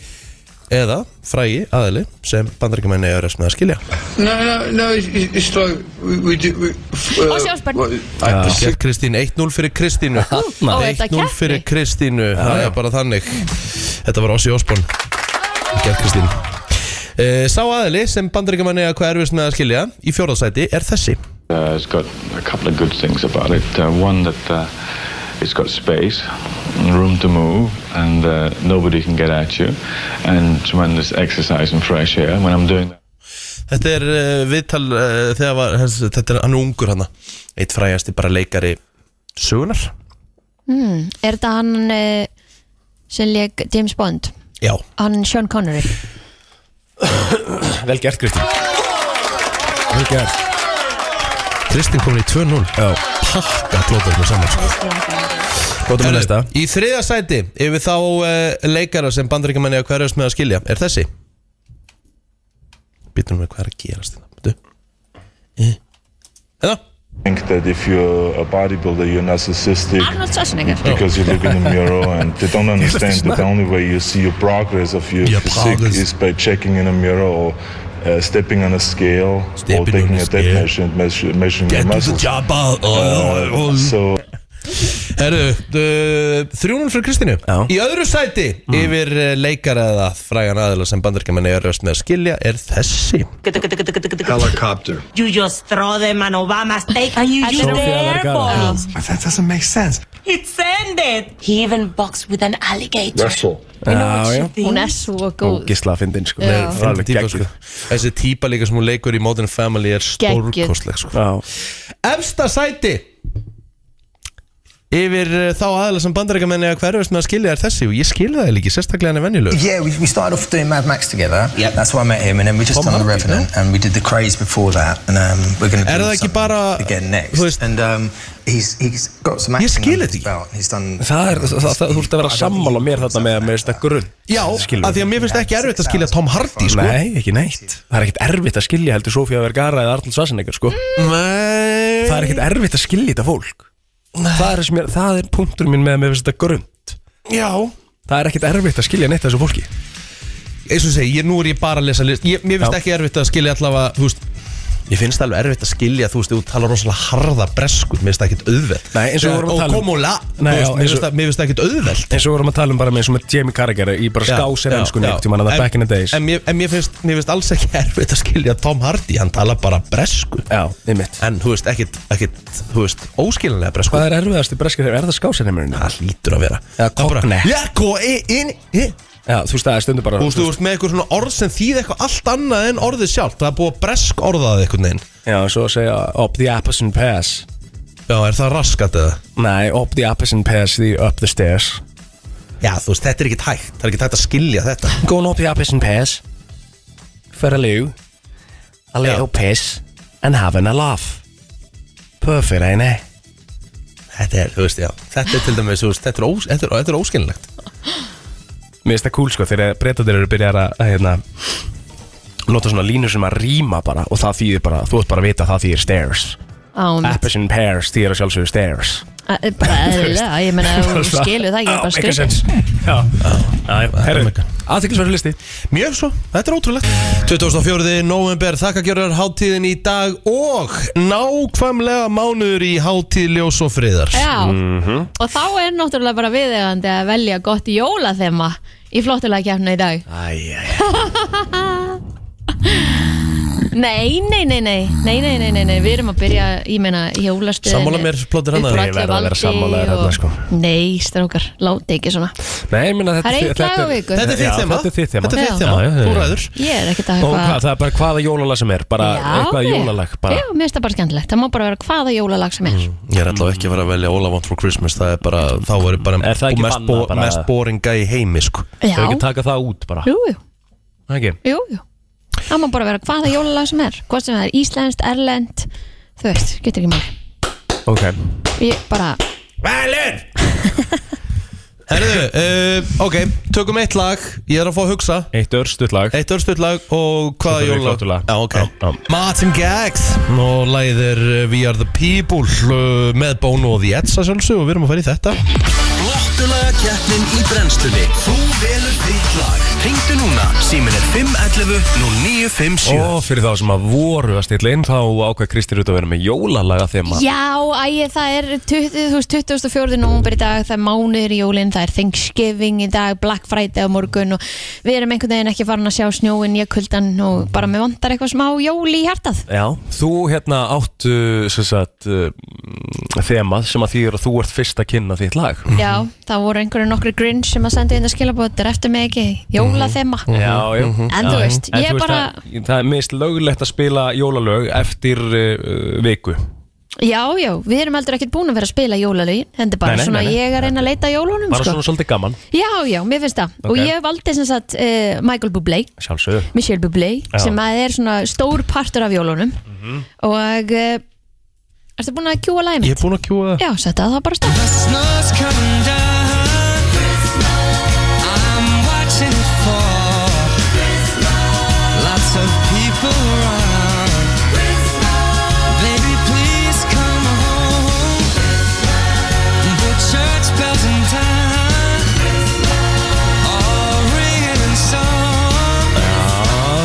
S2: eða frægi aðili sem bandaríkjumenni er að að skilja
S7: No, no, no, it's, it's it's like we, we do. We, uh,
S3: Sjálfsbörn.
S7: what-
S2: Þetta er Gert Kristín 1-0 fyrir Kristínu
S3: Ó, er þetta
S2: 1-0
S3: keppni?
S2: fyrir Kristínu Það
S4: já.
S2: er bara þannig Þetta var Ossi Osborn Gert Kristín uh, Sá aðili sem bandaríkjumenni er hvað erfist með að skilja í fjórðasæti er þessi
S12: Uh, it's got a couple of good things about it. Uh, one that uh, it's got space, and room to move, and uh, nobody can get at you. And tremendous exercise and fresh air. When I'm doing that.
S2: Þetta er uh, viðtal uh, þegar var, þess, þetta er hann er ungur hann eitt frægasti bara leikari sögunar
S3: Mm, Er þetta hann eh, sem leik James Bond?
S2: Já,
S3: Hann Sean Connery
S4: Vel gert Kristi Vel gert
S2: Kristín komin í 2-0
S4: Já
S2: Pakka plótar með saman sko.
S4: Góðum að
S2: Herru,
S4: lesta
S2: Í þriða sæti ef við þá uh, leikara sem bandaríkjumenni að hverjast með að skilja er þessi Býtum við hvað er að gerast þetta Hérna
S13: think that if you're a bodybuilder, you're narcissistic
S3: Arnold Schwarzenegger
S2: Ah.
S13: because you look in the mirror and they don't understand that the only way you see your progress of your
S2: Your
S13: physique
S2: progress.
S13: is by checking in a mirror or uh, stepping on a scale or taking
S2: Stepping on a
S13: a tape
S2: scale.
S13: measure and measure, measuring your
S2: Get to the
S13: muscles.
S2: job uh, uh, uh.
S13: So
S2: Herru, uh, 3-0 fyrir Kristínu Í öðru sæti yfir uh, leikara eða frægan aðila sem bandaríkjumenni að hverjast með að skilja er þessi
S7: Helicopter.
S14: You just throw them an Obama steak and you use the air balls.
S7: But that doesn't make sense.
S14: It's ended. He even boxed with an alligator.
S7: Wrestle.
S4: Já, já
S3: Hún er svo góð
S4: Ógisla að fyndin sko
S3: Já.
S4: Nei, Það er alveg
S2: Típa, sko.
S4: geggjur
S2: Þessi típa líka sem hún leikur í Modern Family er
S3: Geggjuð.
S2: stórkostleg sko.
S4: Já
S2: Efsta sæti yfir eh, þá aðeins sem bandaríkamenni að hverfast með að skilja er þessi og ég skilja það ekki, sérstaklega hann er venjulegur
S15: Yeah, we, we started off doing Mad Max together. Yeah, that's where I met him, and then we just
S2: Tom
S15: done the
S2: Hardy,
S15: Revenant, and we did the Craze before that, and um, we're going to
S2: Er það
S15: do
S2: ekki
S15: something again next. And um, he's he's got some
S4: Ég
S15: acting
S4: skil
S15: under his belt. and He's done.
S4: Það er, það, það, þú ert að vera sammála mér þarna með, með þetta grunn
S2: Já, af því að mér finnst ekki erfitt að skilja Tom Hardy sko.
S4: Nei, ekki neitt Það er ekkert erfitt að skilja heldur Sofía Vergara eða Arnold Schwarzenegger sko.
S2: Nei
S4: Það er ekkert erfitt að skilja þetta fólk það er, sem ég, það er punktur minn með að mér finnst þetta grunn
S2: Já
S4: Það er ekkert erfitt að skilja neitt af þessu fólki
S2: eins og segi, ég, nú er ég bara að lesa list ég, Mér finnst
S4: Já.
S2: ekki erfitt að skilja allavega Þú veist Ég finnst alveg erfitt að skilja, þú veist, þú talar rosalega harða bresku, mér finnst það ekkert auðveld
S4: Nei, eins og við vorum að tala um-
S2: Og komóla, þú
S4: Nei, já, eins
S2: veist, mér
S4: og-
S2: finnst það- mér finnst það ekkert auðveld
S4: eins og við vorum að tala um bara með, eins og með Jamie Carragher í bara
S2: Já,
S4: skásef
S2: já,
S4: ennskunni
S2: já.
S4: en það
S2: En-
S4: er back in the days
S2: En, mér, en mér, finnst, mér finnst alls ekki erfitt að skilja Tom Hardy, hann talar bara bresku
S4: Já, einmitt
S2: En þú veist, ekkit, ekkit, þú veist, óskilinlega bresku
S4: Hvað er erfiðast í breskið þegar, er það skásefnheimurinn?
S2: Það lítur að vera
S4: Já, kokne
S2: Já, go in, in, in
S4: Já, þú veist það er stundu bara
S2: Þú veist, þú veist með eitthvað svona orð sem þýð eitthvað allt annað en orðið sjálft Það er búið að bresk orðaðið eitthvað neginn
S4: Já, svo að segja up the opposite pass
S2: Já, er það raskat eða?
S4: Nei, up the opposite pass, the up the stairs
S2: Já, þú veist, þetta er ekkit hægt Það er ekkit hægt að skilja þetta
S4: Going up the opposite pass For a loo A little piss And having a laugh Perfect, ain't it?
S2: Þetta er, þú veist, já Þetta er til dæmis, þú veist, þetta er, ós, þetta er, þetta er óskilinlegt
S4: Mér finnst það cool sko þegar breytandir eru byrjar að að, hérna, nota svona línur sem að rýma bara og það þýðir bara, þú ert bara að vita að það þýðir stairs
S3: Á, mitt.
S4: Apples and pears þýðir að sjálfsögðu stairs
S3: Að- Ah. eh, bara eðlilega, ég meina ef þú skilur það ekki,
S4: Já, make a
S3: bara skilur
S4: sense. Já, herru, aðtiklisverðu listi
S2: Mjög svo, þetta er ótrúlegt 2004. november, þakkagjörðar hátíðin í dag og nákvæmlega mánuður í hátíð ljós og friðar
S3: Já.
S2: Mhm.
S3: og þá er náttúrulega bara viðegandi að velja gott jólathema í flottulega kefna í dag
S4: Æja
S3: Nei, nei, nei, nei, nei, nei, nei, nei, nei, við erum að byrja, ég meina, jólastuðinni
S2: Sammála mér, plótir hann
S3: Upp úr
S2: að
S3: öllu valdi
S4: sammála þér þarna, sko.
S3: Nei, strákar, láti ekki svona
S4: Nei, ég meina, þetta,
S3: Það er einn dag á viku. Þetta er þitt
S4: Já,
S2: þema.
S4: Þetta er þitt þema
S2: Þetta er þitt
S4: Já.
S2: þema.
S4: Já, já,
S2: Þú
S4: já.
S2: ræður.
S3: Ég er ekkert að
S4: Og hvað, það er bara hvaða jólalag sem er Bara eitthvað
S3: ég-
S4: jólalag bara. Mm.
S3: Já, mér finnst það bara skemmtilegt, það má bara vera hvaða jólalag sem er
S2: Ég er alltaf ekki að vera að velja All I Want For Christmas Það er bara, þá er bara,
S4: Er það ekki
S2: mest,
S4: bannað
S2: bo
S4: bara?
S2: mest boringa í heimi sko.
S3: Já. Þau ekki
S4: taka það út bara
S3: Jú, jú,
S4: Ekki
S3: jú, jú Það má bara vera hvaða jólalag sem er Hvort sem það er íslenskt, erlend Þú veist, getur ekki máli
S4: Ok
S3: Ég bara,
S2: Valur Herðu, uh, ok, tökum eitt lag Ég er að fá að hugsa
S4: Eitt örstuð lag
S2: Eitt örstuð lag og
S4: Svo
S2: hvaða
S4: þarf ég
S2: jólag
S4: flottulag.
S2: Já, ok
S4: Já, já.
S2: Martin Gags Og lagið er eh, We Are The People eh, Með Bono og The Edsa sjálfsög Og við erum að fara í þetta
S1: Flottulega keppnin í brennstunni Þú velur þitt lag Ringdu núna, símin er 511 0957
S4: Og fyrir þá sem að voru að stilla inn Þá ákvað Kristi Rútt að vera með jólalaga þema
S3: já, æ, það er 20 þú veist, 24. nómber í dag Það er mánuður í jólin, það er Thanksgiving í dag Black Friday á morgun og Við erum einhvern veginn ekki farin að sjá snjóin Ég kuldan og bara með vandar eitthvað smá jól í hjartað
S4: Já, þú hérna áttu sem sagt, uh, þemað sem að þýðir að þú ert fyrst að kynna þitt lag
S3: Já, það voru einhverju nokkri grinch sem að senda inn að skilabóttir eftir mig ekki jólathema
S4: Mhm.
S2: Mhm,
S4: Já, já.
S3: En þú veist,
S4: En
S3: ég
S4: þú
S3: bara-
S4: það, það er mist löglegt að spila jólalög eftir uh, viku
S3: Já, já, við erum heldur ekkert búin að vera að spila jólalögin Þetta er bara
S4: Nei, nei,
S3: svona,
S4: nei, nei.
S3: ég er að reyna að leita að jólunum
S4: Bara
S3: sko.
S4: svona svolítið gaman
S3: Já, já, mér finnst það Og
S4: Ok.
S3: ég valdi sem sagt uh, Michael Bublé
S4: Sjálfsögur
S3: Michelle Bublé,
S4: Já.
S3: sem að er svona stór partur af jólunum Og uh, Ertu búin að kjúa lagið mitt?
S2: Ég er búin að kjúa
S3: Já, setja það bara stað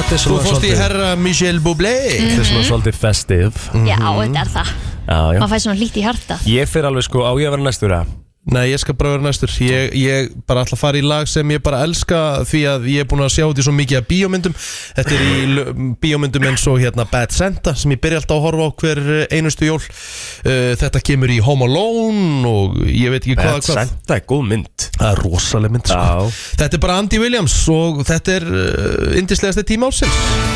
S2: Þú fórst í herra Mm. Michel Bublé
S4: Þetta er svona svolítið festiv
S3: Já, þetta er það
S4: Já, já
S3: Maður fæ svona lítið í hjartað
S4: Ég fyrir alveg sko á ég að vera næstur að
S2: Nei, ég skal bara vera næstur ég, ég bara ætla að fara í lag sem ég bara elska Því að ég er búin að sjá þetta í svo mikið af bíómyndum Þetta er í l- bíómyndum eins og hérna Bad Santa Sem ég byrja alltaf að horfa á hver einustu jól Eh, Þetta kemur í Home Alone Og ég veit ekki hvað
S4: Bad Santa er góð mynd
S2: Það er rosaleg mynd sko. Þetta er bara Andy Williams Og þetta er uh, indislegasti tíma ársins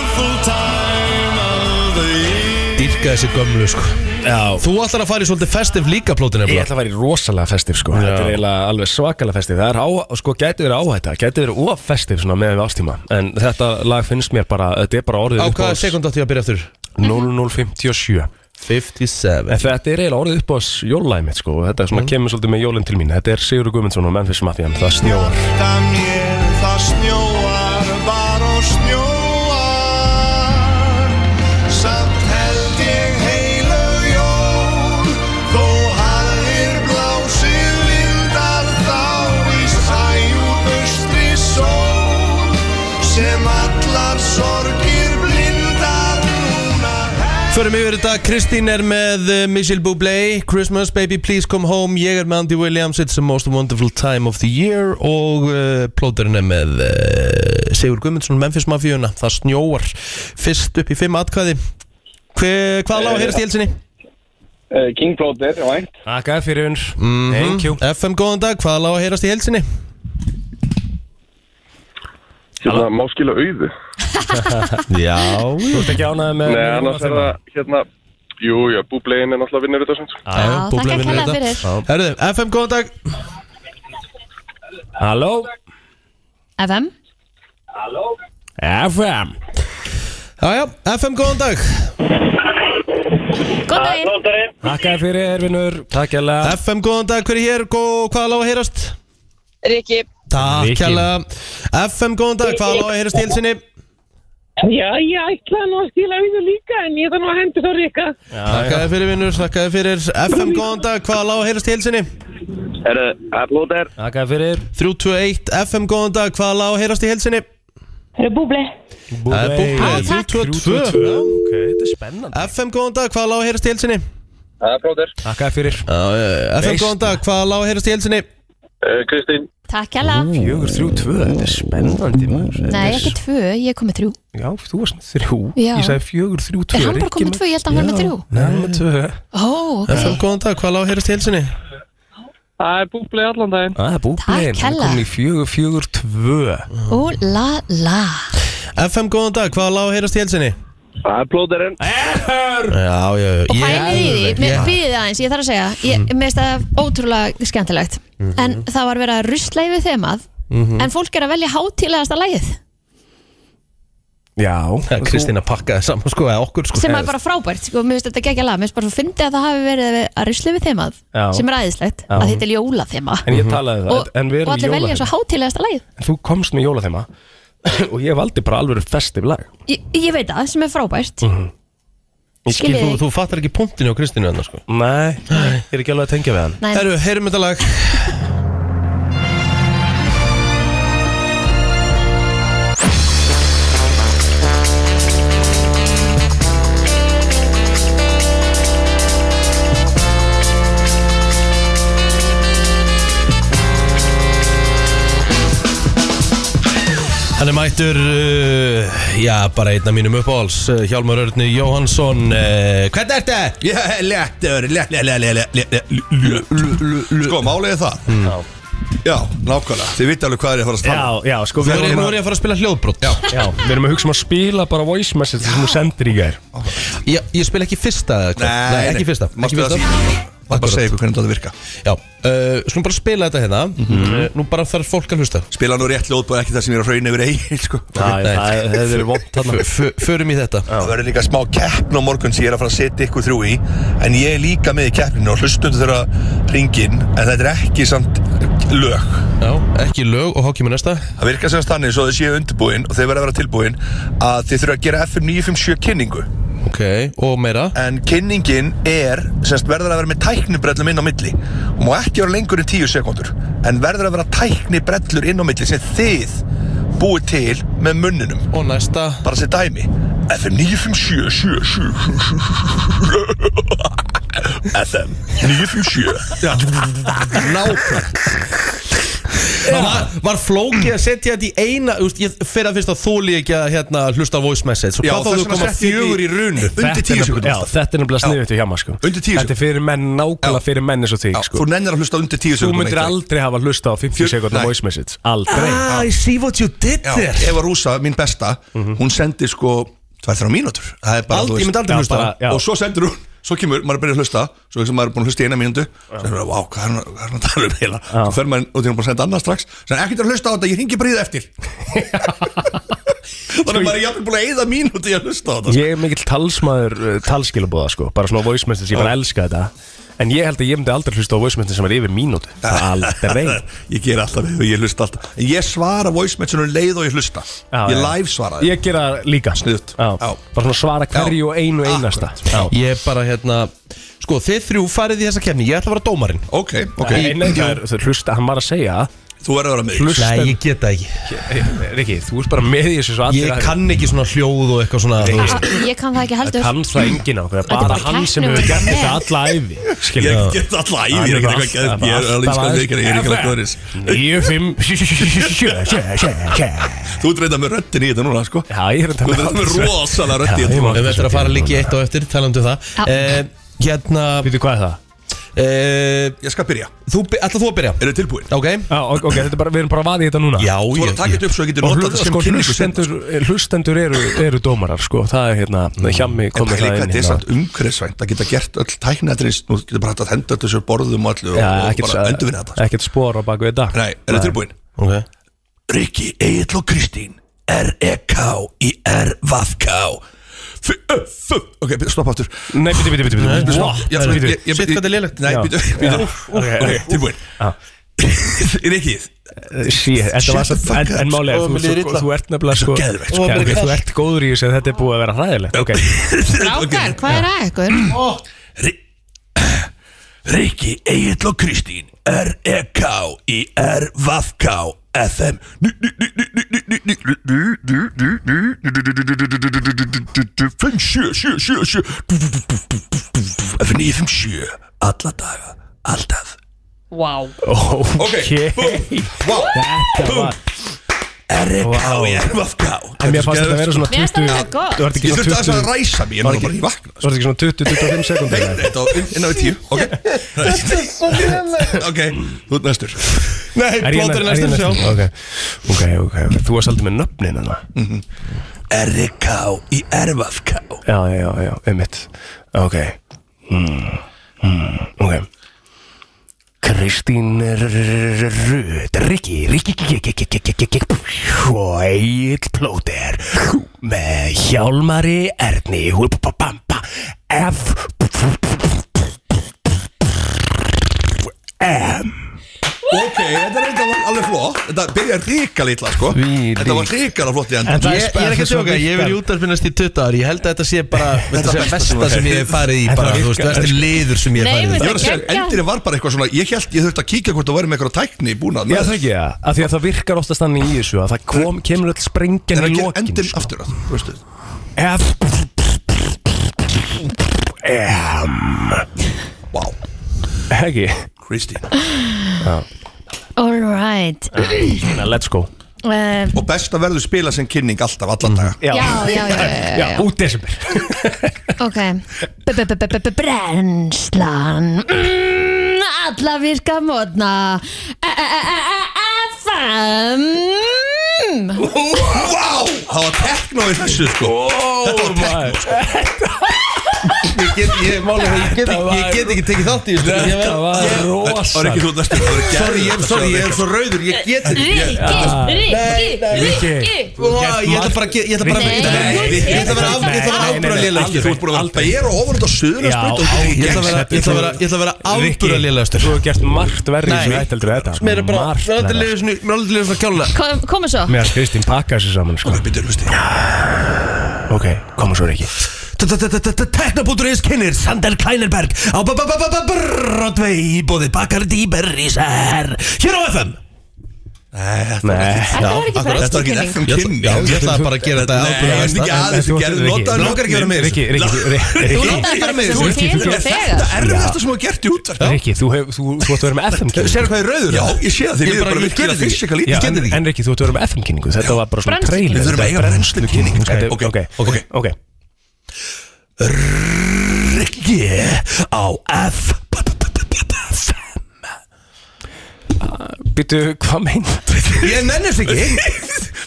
S16: time of the year.
S2: Dýrka þessi gömlu sko Já. Þú ætlar að fara í svolítið festiv líka plótin
S4: Ég ætla að fara í rosalega festiv sko Þetta er eiginlega alveg svakalega festiv Það er á, sko, gæti verið áhætta Gæti verið of festiv svona með ástíma En þetta lag finnst mér bara, þetta er bara orðið
S2: Á hvaða sekund átti ég að byrja aftur?
S4: 0057
S2: 57
S4: En þetta er eiginlega orðið upp á jólæði mitt sko Þetta
S2: Mm.
S4: er svona kemur svolítið með jólinn til mín Þetta er Sigur Guðmundsson og Memphis Mafia Það snjóar
S16: Þetta mér það snjóar bara og snjóar Samt held ég heilög jól Þó harðir blásir vindar þá í sæjúustri sól Sem allar sorgir blindar núna
S2: Förum yfir þetta, Kristín er með uh, Michelle Bublé, Christmas Baby Please Come Home, ég er með Andy Williams, It's the Most Wonderful Time of the Year og uh, plóturinn er með uh, Sigur Guðmundsson, Memphis Mafíuna, það snjóar fyrst upp í fimm atkvæði. Hve, hvað lág að heyrast í helsinni?
S4: King Plóter, já vænt Takk að fyrir uns Thank you
S2: FM, góðan dag, hvað lág að heyrast í helsinni?
S17: Hérna, má skila auðu
S2: Já Mm-hmm.
S4: Þú ert ekki ánæðið með
S17: Nei, annars er það hérna Jú, já, búblegin er náttúrulega vinnur þetta sem
S2: Já, Bublé vinnur þetta. Herðu, FM, góðan dag
S4: Halló
S3: FM
S4: FM
S2: Jájá, FM, góðan dag
S3: Góð daginn Góð daginn
S4: Takk að fyrir erfinur Takk að
S2: FM, góðan dag, hver er hér, Gó- hvað lág að heyrast?
S9: Riki
S2: Takk
S4: Riki.
S2: kjalla FM, góðan dag, hvað lág að heyrast í helsinni?
S18: Já, ég ætlaði nú að skila auðu líka en ég ætla nú að hendur það rika.
S2: Þakkaði fyrir vinnur, þakkaði fyrir FM, góðan dag, hvað lág að heyrast í helsinni?
S4: Herru, Plóter Takk að fyrir
S2: 321, FM, góðan dag, hvað lág að heyrast í Eh, helsinni?
S18: Herru, búbli.
S2: Það er
S4: Ah,
S2: búblið,
S4: takk.
S2: 322
S4: Já, Ok, þetta er spennandi
S2: FM, góðan dag, hvað lág að heyrast í helsinni?
S17: Það er plóter
S4: Takk að fyrir
S2: FM,
S4: Veist.
S2: góðan dag, hvað lág að heyrast í helsinni?
S17: Kristín
S3: Takk hérlega
S4: 432, þetta er spennandi maður.
S3: Nei, ekki tvö, ég kom með þrjú
S4: Já, þú varst með þrjú
S3: Já.
S4: Ég sagði fjögur, þrjú, tvö
S3: Er hann bara
S4: Rikki
S3: kom með tvö, ég held að hann var með
S4: Já,
S3: þrjú
S4: Nei, hann var með tvö
S3: Ó,
S2: FM,
S3: ok
S2: góðan dag, hvað lág að heyrast í helsinni?
S18: Það er búbli allan daginn.
S4: Það er búblið
S3: Takk hella.
S4: komin í fjögur, fjögur, tvö
S3: Ó, la, la
S2: FM, góðan dag, hvað lág að heyrast í helsinni?
S17: Það er plóterinn
S2: Já, já, já
S3: Og
S2: ég-
S3: pælið í því,
S2: ég-
S3: mér býðið aðeins, ég þarf að segja Ég mm. meðist það ótrúlega skemmtilegt En það var verið að rusla yfir þemað
S2: Mhm.
S3: En fólk er að velja hátílegasta lagið
S4: Já
S2: Kristín að pakka það saman sko, eða okkur sko
S3: Sem er bara frábært, sko, mér finnst þetta geggjað lag Mér finnst bara svo fyndið að það hafi verið að rusla yfir þemað
S4: Já.
S3: Sem er aðeinslegt,
S4: Já.
S3: að þetta er jólaþema
S4: En ég talaði það,
S3: Og,
S4: en- en við
S3: og
S4: erum
S3: allir velja
S4: jólaþema
S3: svo hátílegasta lagið
S4: En Þú komst með jólaþema Og ég valdi bara alveg festiv lag
S3: ég, ég veit það, sem er frábært
S4: Ég skil-
S2: Þú,
S3: Skiljiði.
S2: þú fattar ekki punktinu á Kristínu hennar sko
S4: Nei, ég er ekki alveg að tengja við hann
S3: Nei.
S2: Herru, heyrum þetta lag Hann er mættur, uh, já, bara einn af mínum uppáhalds, uh, Hjálmar Örni Jóhansson. Uh, hvernig ert það?
S5: Já, léttur, létt, létt, létt, létt, létt, létt,
S19: Sko, málið er það
S4: Já,
S19: já nákvæmlega Þið viti alveg hvað er ég að fara að tala
S4: já, sko
S19: Nú
S4: við
S19: er ég-
S4: erum
S19: nú er
S2: ég að fara að spila hljóðbrot
S19: Já,
S4: já við erum að hugsa um að spila bara voice message sem þú sendir í gær
S2: Ég, ég spila ekki fyrsta eða hvað?
S19: Nei,
S2: Nei,
S19: nei.
S2: ekki fyrsta
S19: Mástu
S2: ekki
S19: það
S2: fyrsta.
S19: Má bara segja ykkur hvernig þetta virka
S2: Já, uh, skulum bara spila þetta hérna Nú bara þarf fólk að hlusta
S19: Spila nú rétt ljóðbúð, ekki það sem ég er að hrauna yfir eigin sko.
S4: Já, já, það hefði verið vont þarna.
S2: F- Förum í þetta
S19: Það verður líka smá keppn á morgun sem ég er að fara að setja ykkur þrjú í En ég er líka með í keppninu og hlustum þeirra ringin En þetta er ekki samt lög
S2: Já, ekki lög og hókjum í næsta
S19: Það virkar sem að stanni svo þau séu undirbúin og þau verða að vera tilbúin að þið þurfa að gera FM 957 kynningu
S2: Ok, og meira
S19: En kynningin er, semst verður að vera með tæknibrellum inn á milli og má ekki vera lengur en 10 sekundur en verður að vera tæknibrellur inn á milli sem þið búið til með munninum
S2: Og næsta
S19: Bara sem dæmi FM 957 FM 957
S2: Nákvæm var, var flókið að setja þetta í eina úst, Ég fyrir að finnst að þóli ekki að hérna, hlusta á voice message Svo
S4: Já,
S2: Hvað þá
S4: þess
S2: þú
S4: vegna
S2: koma
S4: setti ég
S2: fjögur í runu
S4: Þetta er nefnilega- Já, þetta er nefnilega sniðut í hjá maður sko Undir tíu Þetta er fyrir menn, nákvæmlega fyrir menn eins og þig sko Þú
S19: nennir að hlusta undir tíu
S4: Þú
S19: sekúndum
S4: myndir
S19: eitt lag.
S4: aldrei hafa hlusta á 50 sekundna
S19: Nei.
S4: voice message Aldrei
S2: Ah, I see what you did
S19: Já,
S2: there
S19: Eva Rúsa, mín besta, hún sendir sko tvær þrjá mínútur Það er bara,
S2: Aldrei,
S19: þú
S2: ég myndi aldrei
S19: Já,
S2: hlusta.
S19: bara- já. Og svo sendir hún, svo kemur, maður er að byrja að hlusta Svo sem maður er búin að hlusta í eina mínútu Svo er maður, vá, hvað er hún hvað er hún að tala um heila Svo fer maður og því hún er búin að senda annað strax Svo er ekkert að hlusta á þetta, ég ringi bara í það eftir Þannig að maður er jafnvel búin að eyða mínútu í að hlusta á þetta sko.
S4: Ég er mikill talsmaður uh, talskilabóða sko Bara svona voice message, ég bara elska þetta En ég held að ég myndi aldrei hlusta á voice message sem er yfir mínútu Aldrei
S19: Ég ger alltaf við og ég hlusta alltaf En ég svara voice message um leið og ég hlusta Ég
S4: já.
S19: live svara
S4: Ég gera líka
S19: Sniðut
S4: Já, Ah. bara svona svara hverju og einu einasta
S2: Ég er bara hérna Sko þið þrjú farið í þessa kefni Ég ætla að vera dómarinn
S19: Ok,
S4: Nei, nei, það er- það er hlusta, hann var að segja
S19: Þú verður að vera
S2: mig. Nei, ég get það
S4: ekki Riki, Eh, þú ert bara með í þessu svo allir
S2: Ég kann ekki svona hljóð og eitthvað svona þú veist.
S3: Ég kann það ekki heldur
S4: kann það enginn á okkur,
S3: Þetta er
S4: bara
S3: bara
S4: hann sem hefur
S3: keppni við
S4: gert
S3: menn.
S4: þetta alla æfi skilur.
S19: um Ég get alla ævi, ég er ekkert eitthvað geðveikt, ég er alveg
S4: Alltaf
S19: skal
S4: aðeins.
S19: viðurkenna, ég er ekkert eitthvað öðruvísi.
S4: 9, 5, 7, 7, 7, 7
S19: Þú ert reynda með röttin í þetta núna sko
S4: Já, ég er um reynda
S19: með röttin Þú ert reynda með rosalega röttin í þetta núna.
S2: Við verðum eftir að fara líki eitt á eftir, talandu það
S19: Já.
S2: Eh, Hérna eh,
S4: Býtu hvað er það?
S19: Ég skal byrja
S2: Þú, ætla þú að byrja?
S19: Eru tilbúin?
S2: Ok
S4: Já, ok, ok, þetta er bara, við erum bara að vaða í þetta núna
S2: Já,
S19: Þú voru að taka þetta upp svo ég geti notað þetta sem
S4: sko,
S19: kynningu seinna,
S4: hlustendur, hlustendur eru, eru dómarar, sko, það er hérna Hjammi
S19: Mm. En
S4: komið
S19: pæli
S4: það
S19: hvað
S4: inn
S19: þetta er
S4: hérna.
S19: samt umhverfisvænt að geta gert öll tæknatrins Nú getur bara hægt að henda þessu borðum og allu og-
S4: Já,
S19: og
S4: ekkert
S19: bara endurvinna þetta sko.
S4: Ekkert spór á baku þetta
S19: Nei, er þetta tilbúin?
S2: Ok
S19: Rikki, Egil og Kristín R-E-K í R-V-K Ok, stoppa aftur
S4: Nei, byrju, byrju,
S2: Eh,
S4: byrju, byrju.
S19: Stopp, ég ætla-
S4: Byrju.
S19: ég- ég-
S4: Shit, hvað þetta er lélegt.
S19: Nei,
S4: Já.
S19: byrju,
S4: Já.
S19: byrju
S4: Ok,
S19: Ok,
S4: ok.
S19: tilbúin
S4: Já.
S19: Rikki
S4: Sí, þetta var
S19: Shut the
S4: samt,
S19: fuck
S4: en, en
S19: up.
S4: málega,
S19: Ó,
S4: þú,
S19: mér
S4: þú,
S19: líður illa.
S4: þú ert nefnilega
S19: Svo
S4: sko,
S19: geðveikt,
S4: sko,
S19: sko.
S4: ok, þú ert góður í þessu en þetta er búið að vera hræðilegt okay.
S3: Rákar, hvað er að ykkur?
S19: Rikki, Egil og Kristín R-E-K í R-V-K FM Fimm, sjö, sjö, sjö, sjö FM 957 Alla daga, alltaf
S3: Wow
S19: Ok, búm, vá, búm R-E-K í R-V-K
S4: En mér fannst þetta að vera svona
S3: Mér
S4: 20
S3: fannst þetta vera gott.
S4: Þú ert ekki
S19: Ég
S4: svona
S19: þurfti
S4: 20
S19: aðeins að ræsa mig, ég
S4: Var
S19: náði
S4: ekki-
S19: bara í vakna
S4: Þú ert ekki svona 20-25 sekundar
S19: Nei, þetta var inn- innan við tíu, ok Ok, þú ert næstur
S2: Nei,
S4: Er ég
S2: plótur er
S4: næ- er ég
S2: næstur sjá
S4: næstur? Ok, ok, ok, ok Þú varst aldrei með nöfnin hennar
S19: R-E-K í R-V-K
S4: Já, já, já, já, einmitt Ok Hmm, hmm, Ok Kristín Röð Rikki, Rikki, Rikki, Rikki, Rikki, Rikki Og Egil Plóter Með Hjálmari Erni Húlpapapampa F
S19: Ok, þetta er reynda alveg flott Þetta byrjaði ríka litla, sko Þetta var ríkala flott í enda
S2: Ég, ég er ekki að sjóka, ég hef verið útarfinnast í 20 ári Ég held að þetta sé bara Þetta
S19: besta
S2: sé
S19: sem
S2: besta
S19: var-
S2: sem ég hef farið í
S19: Þetta
S2: bara,
S19: virkar,
S2: Þú veist, besti
S19: sko.
S2: liður sem ég hef
S3: Nei,
S2: farið í
S3: við-
S19: Ég var að segja,
S3: Geggjað.
S19: endirinn var bara eitthvað svona Ég held, ég þurfti að kíkja hvort það væri með eitthvað tækni búin að
S4: Já það ekki það, af því að það virkar oftast þannig í þessu að það kom, kemur öll sprengjan
S19: En
S4: í
S19: ekki
S4: lokin
S19: endirinn
S2: sko.
S19: aftur að veistu
S4: F M
S19: Vá
S4: Ekki
S19: Kristín
S3: Alright
S4: Hérna, Let's go
S3: uh,
S19: Og besta verður spila sem kynning alltaf, allan
S2: Mm.
S19: daga
S3: Já, já, já, já, já.
S4: út desember
S3: Ok B- b- b- b- b- Brennslan Mm, Alla virka mótna E- e- e- e- e- FM
S19: Vá, það var tekno í þessu, sko
S4: Oh
S19: Þetta var tekno, sko Ég get, ég, máli, ég
S2: get ekki- ég get ekki tekið þátt í þessu
S19: Þetta
S2: Ég verð-
S4: var
S2: ég-
S4: rosalegt.
S19: Það er ekki þú næstu
S2: Sorry, ég, sorry, ég er svo rauður, ég get ekki
S3: Rikki, Rikki,
S2: Rikki.
S3: Rikki
S2: Ó, Ég ætla bara að ge- ég ætla bara að- ég ætla bara að- ég ætla bara að- ég ætla bara að afbúra
S19: Þú
S2: lélegastur
S19: ert búin að vera Ég er á ofan út á
S4: Já,
S19: söðunarsbrut og
S4: ágætt.
S2: Ég ætla að vera- ég ætla að vera- ég ætla að vera afbúra lélegastur
S4: Þú hefur gert margt verið
S2: Nei. Sko,
S4: sem þetta heldur þetta
S2: Mér er bara,
S4: Margt
S2: mér er aldrei
S4: verra.
S2: liðið svona, mér er aldrei liðið svona kjála
S3: Kom- Komum svo
S4: Mér að Kristín pakka þessu saman sko
S19: Ok, byrju, hlusti
S4: Ok, koma svo Riki
S2: Teknobútur.is kynir Sander Kleinerberg á b- b- b- b- b- Broadway í bóði Bakardi Berrisær hér á FM
S19: Nei,
S4: var
S19: þetta
S4: ekki
S3: Þetta var ekki
S19: Þetta var
S3: bara
S19: ekki
S3: eftirkynning.
S19: FM kynning
S2: Já, ég ætlaði bara að gera þetta
S19: Nei, ég
S2: ábyrgð-
S19: veist ekki aðeins
S2: Þú-
S19: Þú gerði
S2: Rikki,
S19: notaði
S2: langar ekki að vera með
S4: Rikki,
S2: þessu.
S4: Rikki, Rikki,
S19: Þú
S4: Rikki.
S19: notaði bara með
S4: Rikki,
S19: þessu
S4: Rikki,
S19: til
S4: þú-
S19: og þegar. Þetta er erfiðasta sem þú hefur gert í útvarpi.
S4: Rikki, þú hef- þú þú ætti að vera með FM-kynningu
S19: Sérðu hvað ég er rauður? Já, ég sé það, þið líður bara
S4: ég
S19: virkilega
S4: get þetta ekki.
S19: fysikal lítið,
S4: Já,
S19: ég
S4: en-
S19: get þetta ekki.
S4: En Rikki, þú ætti að vera með FM-kynningu Þetta var bara svona
S19: Brennslu-
S4: trailer
S19: Við þurfum að eiga brennslukynningu.
S4: Ok, ok, ok, ok
S19: Rikki á F
S4: Býtu, hvað meint?
S2: Ég nenni þessu ekki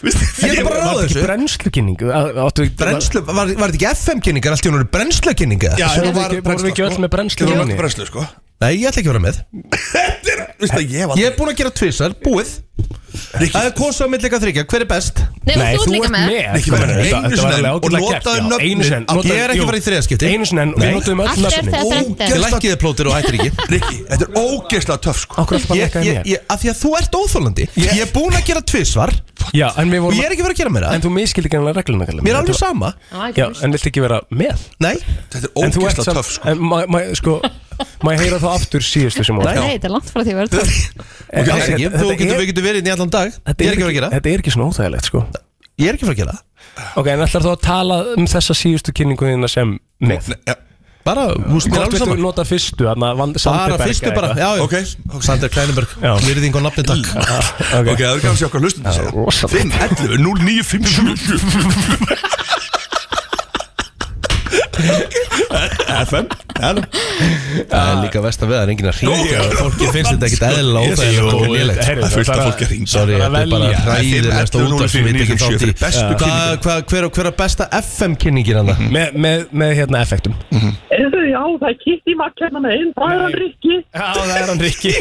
S2: Ég er bara að ráða þessu
S4: Brennslukynningu áttu-
S2: Brennslu, var, var þetta ekki FM-kynningar? Allt í hún eru brennslukynningar
S19: Já,
S4: Svo var- vorum við ekki öll með brennslu
S19: Þú
S4: á
S19: voru
S4: manni?
S19: með brennslu, sko
S2: Nei, ég ætla ekki að vera með
S19: Vist að ég var
S2: Ég er búin að gera tvisar, búið Það er kosa á milli eitthvað þryggja, hver er best?
S3: Nei, Nei, þú ert þú líka ert með. með.
S2: Ekki
S4: Kom
S2: verið,
S4: hérna, þetta-
S2: einu
S4: þetta var
S2: sinni
S4: alveg
S2: enn og
S4: ágætlega gert,
S2: notaðu
S4: já,
S2: nöfnin
S4: einu sinni enn, notaðu-
S2: Ég er
S4: jú.
S2: ekki farið í þriðaskipti
S4: Einu sinni enn, við notuðum öll Allt er nöfnin. þetta þrennt, eða?
S2: Ég lækkiði plótir og ættir ekki
S19: Rikki, þetta er ógeðslega töff sko
S4: Akkur ertu bara að
S2: Ég-
S4: lækka í
S2: ég-
S4: mér?
S2: ég- Af því að þú ert óþólandi Ég er búin að gera tvisvar
S4: Já, en við vorum
S2: Og ég er ekki verið að gera meira.
S4: En þú miskildi ekki hann regluna Kalli.
S2: Mér er
S4: Þetta
S2: alveg
S4: var-
S2: sama.
S3: Já, ekki
S4: Já,
S3: veist.
S4: en vilt ekki vera með
S2: Nei
S19: Þetta
S4: En þú ert
S19: ógeðslega
S4: samt-
S19: töff, sko.
S4: En ma- ma- sko Má ég heyra þá aftur síðustu sem var
S3: Nei, þetta er langt frá því að vera það
S2: Ok, alls
S4: Þetta-
S2: ekki.
S4: þetta
S2: Þú
S4: er-
S2: getur- Við getum verið inn í allan dag Ég er ekki að fara að gera
S4: Þetta er ekki svona óþægilegt sko
S2: Ég er ekki að fara að gera
S4: Ok, en ætlar þú að tala um þessa síðustu kynningu þína sem með?
S2: Bara,
S4: Sko,
S2: húst, mér er alveg sama.
S4: nota fyrstu, hann að
S2: Bara fyrstu bara, já, já Sander Kleinenberg, virðing og nafni takk
S4: Ok.
S19: Ok, það er kannski okkar hlustum þess að 5, 11, 0, 9, 5, 7 FM Hello
S2: Það er líka vest að veða, það er enginn að ringja
S19: Nú,
S2: Fólki finnst þetta ekkit eðla
S19: Ég sé
S2: óþægilegt
S19: það.
S2: og lélegt
S19: Heyrðu, það er fullt af fólki að hringja. Það
S2: Sorry,
S19: er
S2: þetta er bara
S19: velja.
S2: hræðilegast
S19: 5, 11,
S2: útvarp sem við
S19: 09,
S2: tekjum þátt í
S19: 97, bestu
S2: Hvað-
S19: kynningin.
S2: hvað- Hver hver er besta FM-kynningin hann?
S4: Með, með, með hérna effektum
S18: Heyrðu, já, það er Kitty Mack hérna með inn, það er hann Rikki.
S4: Já, það er hann Rikki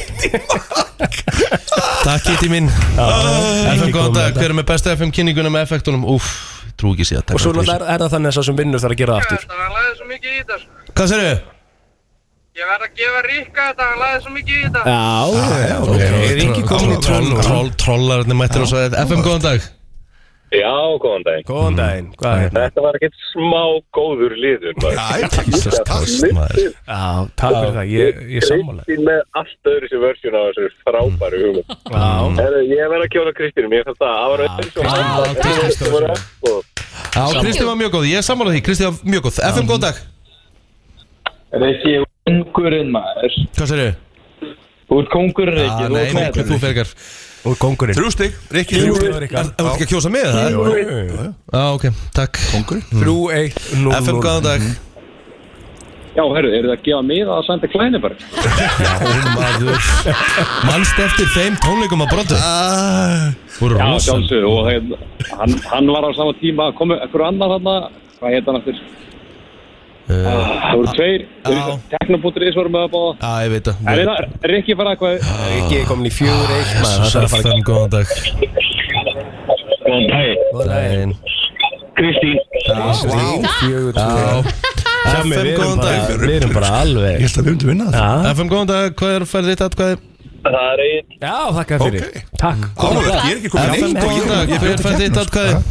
S2: Takk Kitty mín FM góðan dag, hver er með besta FM-kynninguna með effektunum? Úff, trú ekki síðan
S4: Og svo náttúrulega er, er það þannig að sá sem vinnur þarf að gera það aftur
S18: Það var laðið svo mikið í þetta, sko.
S2: Hvað serðu?
S18: Ég verð að gefa Rikka þetta, hann laðið svo mikið í þetta.
S2: Ah,
S4: Já,
S2: Trollarnir mættir og svo FM góðan dag
S20: Já, góðan daginn
S4: Góðan daginn, hvað er
S2: Hérna.
S20: Þetta var ekkert smá góður liður
S19: Já,
S4: Já, takk fyrir það, ég, ég sammála
S20: Kristín með allt öðru sem versjón á þessu frábæru hugum
S2: Mm.
S4: Já,
S20: Ég verð að kjóla Kristínum, ég þarf það Það
S2: Ah,
S20: var öðru sem hann var
S2: Já, Kristi var mjög góð, ég er sammála því, Kristi var mjög góð FM góðan dag
S21: Rikki, kongurinn maður
S2: Hvað serðu?
S21: Þú ert kongurinn
S2: Ah,
S21: Rikki,
S2: nei, nei, þú fergar
S4: Og kongurinn
S19: Þrjú stig, Rikki
S2: Þrjú
S19: þrjú
S2: stig,
S19: stig.
S2: Rikki. Þú ert ekki að kjósa með það?
S19: Jú, jú, jú, jú.
S2: Já, ok, takk
S19: Kongurinn
S4: Þrjú, eitt, nú,
S2: FM góðan dag
S21: Já, herru, eru það að gefa miða að senda klæni bara?
S2: maður Manst eftir þeim tónleikum að brota Voru
S21: Já,
S2: rosa
S21: sjálfsög, og hérna, hann, hann var á sama tíma að koma ekkur annar hann hvað heit hann aftur? Ah,
S2: Uh,
S21: Það voru tveir, teknobútris voru með að báða
S2: Já, ég veit
S21: En
S2: það
S21: hérna, Rikki fara eitthvað
S4: Rikki er komin í fjögur, eitt maður Það er að fara
S2: FM góðan dag
S20: Góðan daginn
S4: Góðan daginn
S20: Kristín
S4: Þrjú, fjögur, tvö Hjá
S2: FM
S4: mig, við erum
S2: góðan dag.
S4: bara- Við erum bara alveg
S19: Ég held að við höfum til vinna það
S2: FM góðan dag, hvað er færið þitt atkvæði?
S20: Það er einn
S4: Já, þakka þér fyrir Takk
S19: Áhugavert, ég er ekki komið
S2: FM góðan dag, hvað er færið þitt atkvæði?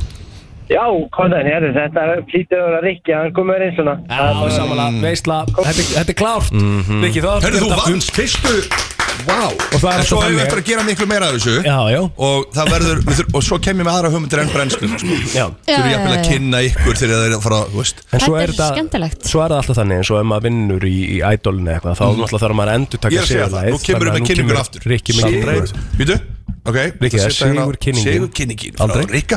S18: Já, kondan, hérna, þetta flýtur að vera Rikki, hann kom með einn svona.
S4: Já, samanlega, veistla Þetta þetta er klárt Rikki, þá
S19: Herru, Mm. þú vannst fyrstu Vá
S4: Og það er
S19: En
S4: alltaf
S19: svo hefur
S4: þannig.
S19: við eftir að gera miklu meira af þessu
S4: Já, já
S19: Og það verður við þurfum- Og svo kem ég með aðra hugmyndir enn brennslu sko.
S4: Já.
S19: Þurfum
S3: Já,
S19: jafnvel
S3: já,
S19: að
S3: já.
S19: kynna ykkur Þegar það er að fara Þú veist
S4: En svo
S3: Þetta
S4: er
S3: er skemmtilegt.
S4: Svo er það alltaf þannig eins og ef maður vinnur í, í idolinu eitthvað þá náttúrulega þarf maður að um endur
S19: Mm. Ég
S4: taka
S19: er að segja það Nú kemur við með kynningur aftur
S4: Rikki með kynningur
S19: Vítu Ok
S4: Rikki, það er sigur kynningin.
S19: Sigur kynningin
S4: Aldrei.
S19: Rikka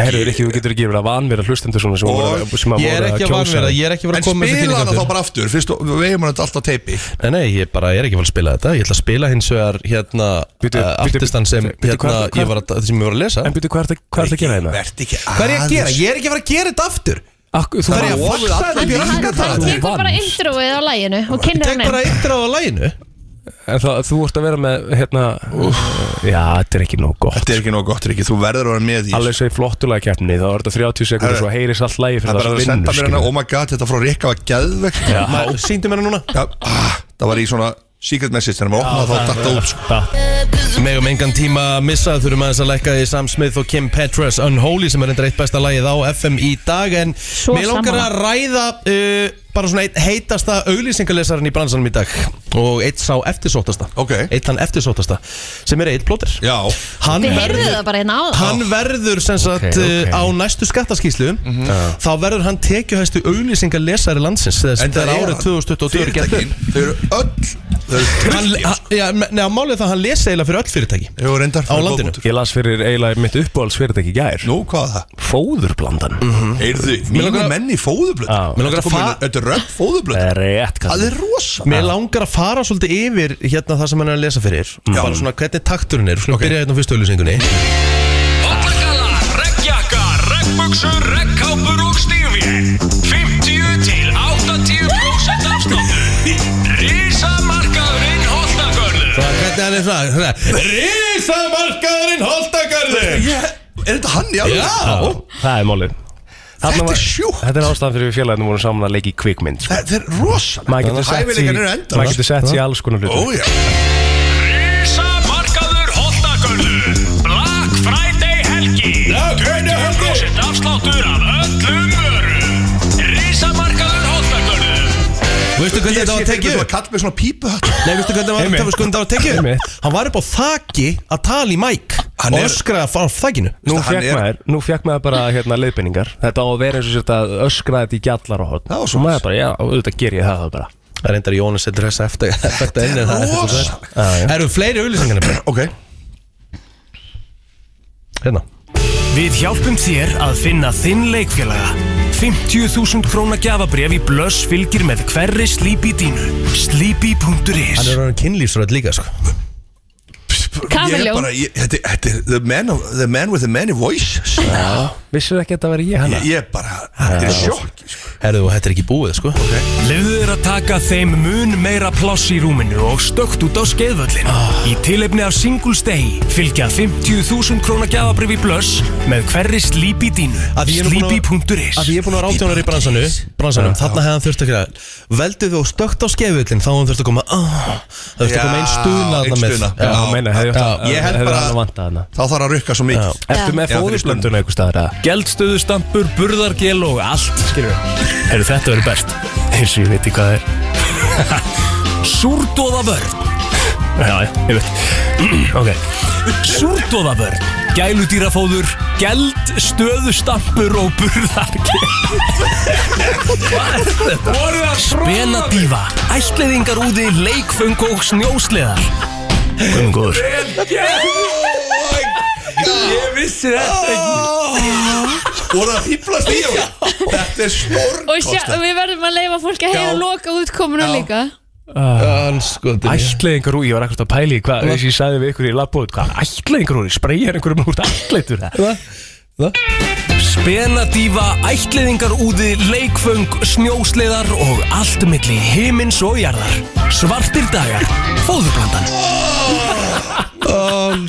S4: Herru, Rikki, þú getur ekki verið að vanvera hlustendur svona sem voru sem
S2: Ég er
S4: voru
S2: ekki að vanvera,
S4: þig.
S2: ég er ekki að vera
S19: En
S2: að koma með þessi
S19: spila
S2: kynningu
S19: hana þá
S2: aftur.
S19: bara aftur Fyrst og- við eigum hann alltaf teipi
S2: Nei, nei, ég bara, ég er ekki að fara að spila þetta Ég ætla að spila hins vegar hérna
S4: Bíddu, bíddu,
S2: uh, artistan sem
S4: bíddu,
S2: hérna
S4: hvað-
S2: ég var að, það sem ég var að lesa
S4: En byrju, hvað ertu hvað ertu að gera hérna?
S19: Vert ekki
S2: Hvað er ég að gera? Ég er ekki að fara að gera þetta aftur
S4: Akku, þú
S2: Það er ég
S19: ofið
S2: að faxa
S19: allir
S2: þetta upp í
S3: Hann hann
S2: raskataran.
S4: Þú
S3: tekur bara
S4: vannst.
S3: introið á læginu og
S2: Ég
S3: kynnar
S2: tek
S3: hann
S2: bara
S3: einn
S2: eittir á að læginu
S4: En það, þú ert að vera með, hérna Já, þetta er ekki nóg gott
S19: Þetta er ekki nóg gott Rikki Þú verður að vera með í þessu.
S4: Alveg svo í flottulega keppni, þá er þetta 30 sekundur
S19: Herru,
S4: svo heyris allt lægi fyrir
S19: Það er bara
S4: það
S19: að
S4: sem
S19: senda hérna,
S4: vinnur sko.
S19: mér hana Oh my god Þetta frá Rikka var gæðvegt
S4: Já.
S2: Sýndi mér það núna
S19: Já, ah, það var í svona secret message þannig að maður opnaði þá datta út sko.
S2: Megum engan tíma að missa þurfum aðeins að lækka í Sam Smith og Kim Petras Unholy sem er reyndar eitt besta lagið á FM í dag en
S16: Svo
S2: mér langar
S16: sammála.
S2: að ræða uh, bara svona eitt heitasta auglýsingalesarinn í bransanum í dag og eitt sá eftirsóttasta okay. eitt hann eftirsóttasta sem er eitt plóter Já Hann
S3: Við heyrðum
S2: verður
S3: það bara hérna á
S2: Hann verður sem sagt
S3: Ok, ok.
S2: okay, á næstu skattaskíslu þá verður hann tekjuhæstu auglýsingalesari landsins þess,
S19: Enda
S2: þetta er
S19: er
S2: árið
S19: hann.
S2: 2022 gerður.
S19: Fyrirtækin, þau eru öll þau eru
S2: Hann, hann, já, neða, málið er það að hann lesa eiginlega fyrir öll fyrirtæki
S19: Jú, reyndar
S2: Á landinu
S4: Ég las fyrir eiginlega mitt uppáhalds fyrirtæki í gær
S19: Nú, Mhm. hvað er það?
S4: Fóðurblandan mm -hmm.
S19: Heyrðu, mínir menn í fóðublöð
S2: Mér langar að fa-
S19: Þetta er röpp
S4: Eh.
S19: fóðublöð
S4: Rétt kallinn.
S19: Það er rosa
S2: Sko, Mér langar að fara svolítið yfir hérna það sem hann er að lesa fyrir bara svona hvernig takturinn er, skulum byrja hérna á fyrstu auðlýsingunni
S16: Óblakala, regnjakka, regnbuksur, regnkápur og stífvél 50 til 80% afsláttur Rísamarkaðurinn Holtagörður
S2: Það hvernig hann er það, það Rísamarkaðurinn Holtagarður
S19: Er þetta hann í alveg?
S4: Já, það er málið Þetta
S19: er sjúkt
S4: Þetta er ástæðan fyrir við félaginu vorum saman að leika í kvikmynd sko.
S19: Þetta er rosa
S4: Maður getur sett sig í- maður getur sett sig í alls konar hluti
S19: Ó, já.
S16: Rísamarkaður Holtagörður Black Friday helgi 20% afsláttur af öllum vörum Rísamarkaður Holtagörður
S2: Veistu hvernig þetta var að tekið upp?
S19: Kall með svona pípuhatt
S2: Nei, veistu hvernig var-
S4: Einmitt.
S2: þetta var skoðum þetta var að tekið upp? Hann var upp á þaki að tala í mæk
S4: Hann
S2: og
S4: er-
S2: öskraði að fara á þakinu
S4: Nú fekk maður, nú fekk maður bara hérna leiðbeiningar Þetta á að vera eins og sérst að öskra þetta í gjallar og hótt Og svo maður bara, já, auðvitað ger ég það þá bara
S2: Það er endar Jónas setur þessa eftir Þetta er
S4: rosa.
S2: Það eru fleiri auðlýsingarnir
S19: Ok
S2: Hérna
S6: Við hjálpum þér að finna þinn leikfélaga. 50.000 króna gjafabref í blöss fylgir með hverri slípi dínu.
S2: Hann
S6: Slípi.is
S2: er hann kynlýfsröð líka sko
S19: Ég er bara, ég- þetta þetta er the man, of, the man with the many voices
S4: Já, vissir ekki að þetta veri ég hana?
S19: Ég er bara, þetta er sjokk
S2: Herðu, og þetta er ekki búið sko okay.
S6: Lefðu þér að taka þeim mun meira pláss í rúminu og stökt út á skeiðvöllin.
S2: Ah.
S6: Í tilefni af Singles Day fylgja 50.000 króna gjafabref í blöss með hverri slípi dínu.
S2: Að því ég er nú búin að-
S6: Slípi.is
S2: að því ég er búin að vera átjónar í bransanu, bransanum Þarna hefði hann þurft að gera Veldið þú stökt á skefvillin Þá hefði hann þurft að koma ah, Það þurft að koma einn stuna þarna með
S4: Já, meina, hefði
S2: Já.
S19: Ég held bara- Þá þarf að rukka svo mikið
S4: Ertu með
S19: Já, fyrir
S4: fóðurblönduna einhver staðar að?
S6: Gjeldstöðustampur, burðargel og allt Skilur við Herru þetta verður best Eins og ég veit í hvað það er Súrdóðavörn Já, já, ég veit Ok Súrdóðavörn Gæludýrafóður Gjeldstöðustampur og burðargel Hvað er þetta? Spenadífa Ætliðingarúði, leikföng og snjósleðar Guðum góður
S16: Ég vissi þetta ekki
S19: Voru það hýflast í hún? Þetta er stórkostlegt
S3: Og sjá, við verðum að leifa fólki að
S4: Já.
S3: heyra loka útkomuna líka
S4: Ætlaðingar úr, ég var ekkert að pæli hvað þess að ég sagði við ykkur í labbóð hvað ætlaðingar úr, spreyjar einhverjum úr ætlaðingur það
S6: Spenadífa, ætliðingarúði, leikföng, snjósleðar og allt milli himins og jarðar. Svartir dagar, fóðurblandan.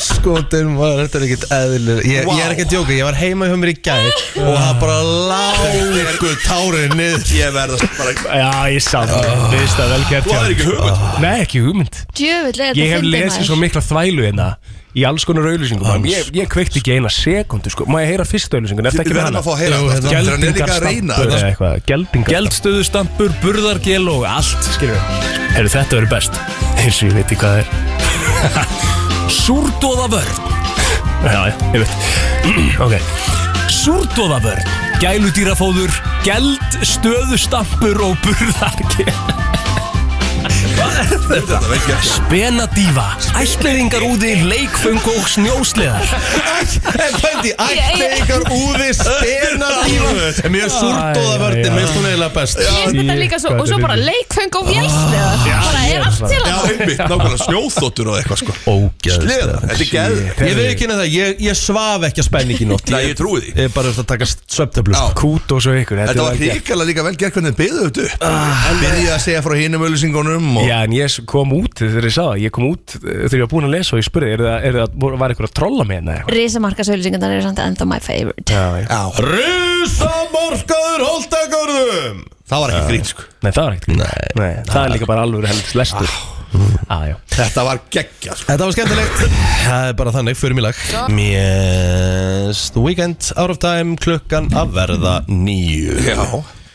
S2: Skotin maður, þetta er ekkert eðlir ég, ég er ekki að djóka, ég var heima hjá mér í gæð Og það bara lágu tárið niður
S19: Ég verð að bara
S4: Já, ég sá það, veist það vel gert
S19: Þú hafðir ekki hugmynd.
S4: Nei, ekki hugmynd
S3: Djöfull er þetta
S4: Ég hef
S3: fyndið,
S4: lesið
S3: maður.
S4: svo mikla þvælu hérna í alls konar auðlýsingum
S19: Hans.
S4: ég, ég kveikti ekki eina sekundu sko. Má ég heyra fyrstu auðlýsingun, eftir ekki
S19: Við
S4: með
S19: verðum
S4: hana
S19: að fá að heyra
S4: Jú,
S19: þetta,
S4: hérna.
S19: þetta er líka að reyna
S4: Geldingarstampur eða
S19: þetta.
S4: eitthvað, geldingarstampur
S6: Gjeldstuðustampur, burðargel og allt, skiljum við. Herru, þetta verður best. Eins og ég veit í hvað það er. Súrdóðavörn. Já, já, ég veit. ok. Súrdóðavörn, gæludýrafóður, gjeldstöðustampur og burðargel. Hvað er þetta? Spenadífa, ætliðingar úti, leikföng og snjósleðar.
S2: En fændi, ætlaðingar úði Stena dífa En mér er súrdóða vördi, mér er svona eiginlega best
S3: Ég finnst þetta líka svo, og svo bara leikfeng og vélsleða
S19: Já,
S3: Bara
S19: ég
S3: er allt til
S19: Já,
S3: að
S19: einmitt, nákvæmlega snjóþóttur og eitthvað sko Sleðar, þetta er geð
S2: Ég veit ekki henni það, ég, ég svaf ekki að spenningi nótt
S19: Nei, ég trúi því
S2: Ég er bara að taka svefntöflu sko.
S4: Kút og svo ykkur
S19: Þetta var hrikalega líka vel gert hvernig þið byggðu þetta upp. En Byrjaði að segja frá hinum öllusingunum og
S4: Já, en ég s- kom út þegar ég sá það Ég kom út eh, þegar ég var búinn að lesa og ég spurði Er það, er það, voru- var ykkur að trolla með hérna?
S3: Risamarkasauðlýsingarnar eru samt enda my favorite
S2: Rísamorkaður Holtagörðum
S19: Það var ekki grín sko
S4: Nei, það var ekkert grín Nei, það er líka bara alveg helst lestur Ah,
S22: Aðjó
S2: Þetta var geggjað
S19: sko.
S2: Þetta var skemmtilegt Það er bara þannig, förum í lag Mest Weekend Out of Time klukkan að verða nýju Já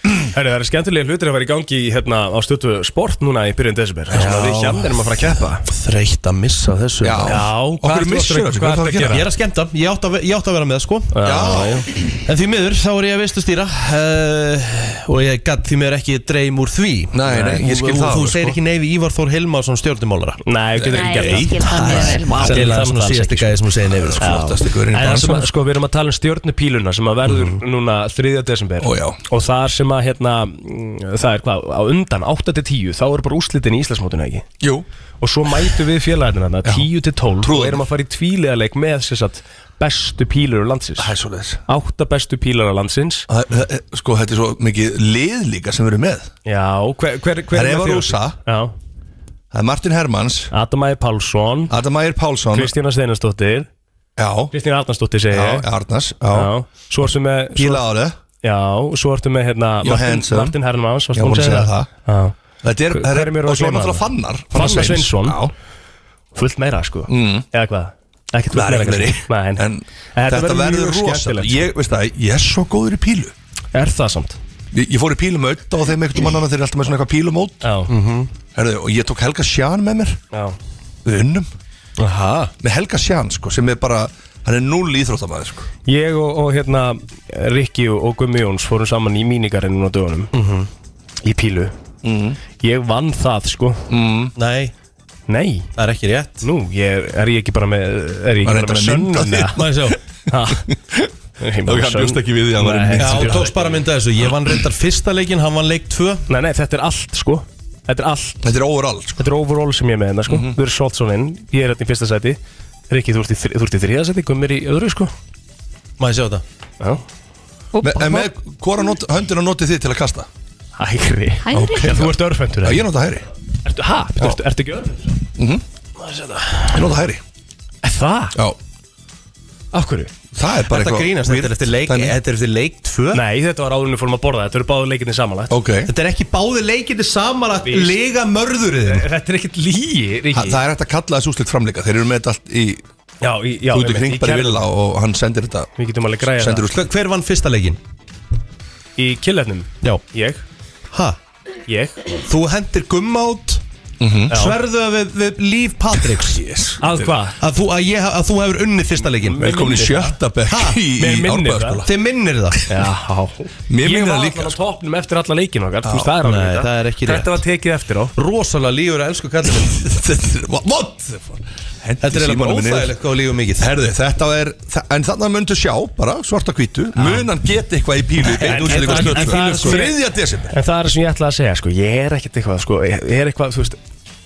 S4: Herri, það eru skemmtilega hlutir að vera í gangi í, hérna, á stötu sport núna í byrjun desember þar sem að Við hjarn erum að fara að keppa um.
S2: Þreytt að missa þessu
S4: Já. Já, hvað ertu að- hvað ertu að gera?
S2: Ég er að skemmta, ég átti að, ve- ég átti að vera með það sko
S4: Já.
S2: En því miður, þá er ég að veist að stýra uh, Og ég gatt því miður ekki dreym úr því Eh,
S19: Nei, nei, ég skil
S2: Og- og
S19: það
S2: Þú
S19: alveg,
S2: segir
S19: sko.
S2: ekki nei við Ívar Þór Hilmarsson stjórnumálara
S4: Nei, þú getur ekki gert það.
S2: það
S4: Skil
S2: er
S4: það
S2: svona
S4: alls
S2: síðasti
S4: ekki,
S2: gæði sem þú segir nei við
S4: Já. En það sem að,
S2: sko.
S4: sko, við erum að tala um stjórnupíluna sem að verður núna 3. desember Mhm. Ó, og þar sem að hérna, mm, það er hvað, á undan 8-10 þá eru bara úslitin í Íslandsmótinu ekki Jú. og svo mætu við félaginu þarna 10-12 og erum að fara í tvíliðarleik með sér satt bestu pílur á landsins Það er svo leis Átta bestu pílar á landsins
S19: Sko, þetta er svo mikið lið líka sem við erum með
S4: Já, hver, hver, hver
S19: Það er
S4: með
S19: Eva
S4: þér?
S19: Rúsa
S4: Já
S19: Það er Martin Hermans
S4: Adamæði Pálsson
S19: Adamæði Pálsson
S4: Kristína Steinarsdóttir
S19: Já
S4: Kristína Arnarsdóttir segir
S19: Já,
S4: ég.
S19: Arnars, já.
S4: Svo ertu með svo-
S19: Gíla Áli.
S4: Já, svo ertu með hérna Martin,
S19: Johansson.
S4: Martin Hermans varst
S19: Já,
S4: búin
S19: búin að segja það.
S4: Já
S19: Þetta er-
S4: Hver-
S19: það er-
S4: hverjum eru
S19: og
S4: að
S19: svo
S4: gleyma
S19: náttúrulega
S4: þarna?
S19: Fannar.
S4: Fannar
S19: Fannar Sveins.
S4: Sveinsson
S19: Já.
S4: Fullt meira sko
S19: Mm.
S4: Eða hvað Ekkert
S19: Það er
S4: fullt
S19: ekki
S4: meira
S19: meiri.
S4: kannski. Nei, en, en
S19: Þetta verður
S4: mjög
S19: rosa
S4: skemmtilegt, sko.
S19: Ég, veist það, ég er svo góður í pílu
S4: Er það samt?
S19: Ég, ég fór í pílumöld og þeim einhvern mann annað þeir eru alltaf með svona eitthvað pílumót
S2: Mhm.
S4: -hmm.
S19: Herðu, og ég tók Helga Sján með mér
S4: Já.
S19: Við unnum Aha. Með Helga Sján, sko, sem er bara hann er null íþróttamæður, sko
S4: Ég og, og hérna Rikki og, og Gummi Jóns fórum saman í mínigarinn núna á dögunum
S2: Mhm.
S4: Í pílu Ég vann það sko mm.
S2: Nei
S4: Nei
S2: Það er ekki rétt
S4: Nú, ég, er ég ekki bara með Er ég ekki bara með
S2: Var reyndar að mynda
S4: sönnun
S2: þig.
S4: eða?
S2: Má ég sjá?
S4: Ha? Ég er bara
S2: Ok, hann
S4: sönn-
S2: bjóst ekki við því að hann væri
S4: Nei,
S2: mynd. Já,
S4: hann bjóst
S2: tókst bara að mynda þessu Ég vann reyndar fyrsta leikin, hann vann leik 2
S4: Nei, nei, þetta er allt sko Þetta er allt
S19: Þetta er overall sko.
S4: Þetta er overall sem ég er með hérna sko mm -hmm. Þú eru Soltsson inn, ég er hérna í fyrsta sæti Rikki, þú ert í, þri- þú ert í þriða sæti, Gummir í öðru sko
S2: Má ég sjá þetta?
S4: Já
S19: Me, En með hvora not, höndina notið þið til að kasta?
S4: Hægri
S19: Hægri?
S4: Já, Þú ert örfendur
S19: Já, ég nota hægri
S4: Ertu, ha? Ertu, ertu, ertu ekki örfendur?
S19: mm Ég nota hægri
S4: Það?
S19: Já
S4: Af hverju?
S19: Það er
S2: Þetta grínast, þetta er eftir leik- þetta er eftir leik 2
S4: Nei, þetta var áðurinn við fórum að borða Þetta eru báðu leikinni samanlagt
S19: Ok
S2: Þetta er ekki báði leikinni samanlagt
S4: Víst.
S2: Lega mörðurinn
S4: Eh, Þetta er ekkert lígi, Ríki
S19: Ha, það er hægt að kalla þessu úslit framleika Þeir eru með þetta allt í
S4: Já, í, já
S19: Þú ert í
S4: einmitt,
S19: kring
S4: í
S19: bara í
S4: kerfinu.
S19: vila og hann sendir þetta
S4: Við getum alveg græja
S19: Sendir
S4: það.
S19: úslit
S2: Hver vann fyrsta leikin?
S4: Í killefnum?
S2: Já
S4: Ég
S2: Ha?
S4: Ég
S2: Þú hendir gumma út
S4: Já.
S2: Sverðu að við, við líf Patricks yes.
S4: Að hvað?
S2: Að þú, að, ég, að þú hefur unnið fyrsta leikin
S4: Mér Velkomin í minnir sjötta það. bekk
S2: Ha?
S4: í- í Mér minnir Árbæjarsskóla. það.
S2: Þið minnir það
S4: Mér ég var alltaf á topnum eftir alla leikinu okkar Þú veist, það er alveg
S2: Nei,
S4: þetta.
S2: það er ekki rétt
S4: Þetta var tekið eftir á
S2: Rosalega lífur að elsku kallir
S19: What the fuck
S2: Þetta er eiginlega bara óþægilegt hvað lífum mikið
S19: Herðu, þetta er þa- En þannig myndu sjá bara svarta hvítu Munan geti eitthvað í pílu
S4: En- en-
S19: Beint úslit
S4: en-
S19: eitthvað
S4: en það er
S19: stöld
S4: svo-
S19: Þriðja desember
S4: En það er það sem ég ætla að segja, sko Ég er ekkert eitthvað, sko Ég ég er eitthvað, þú veist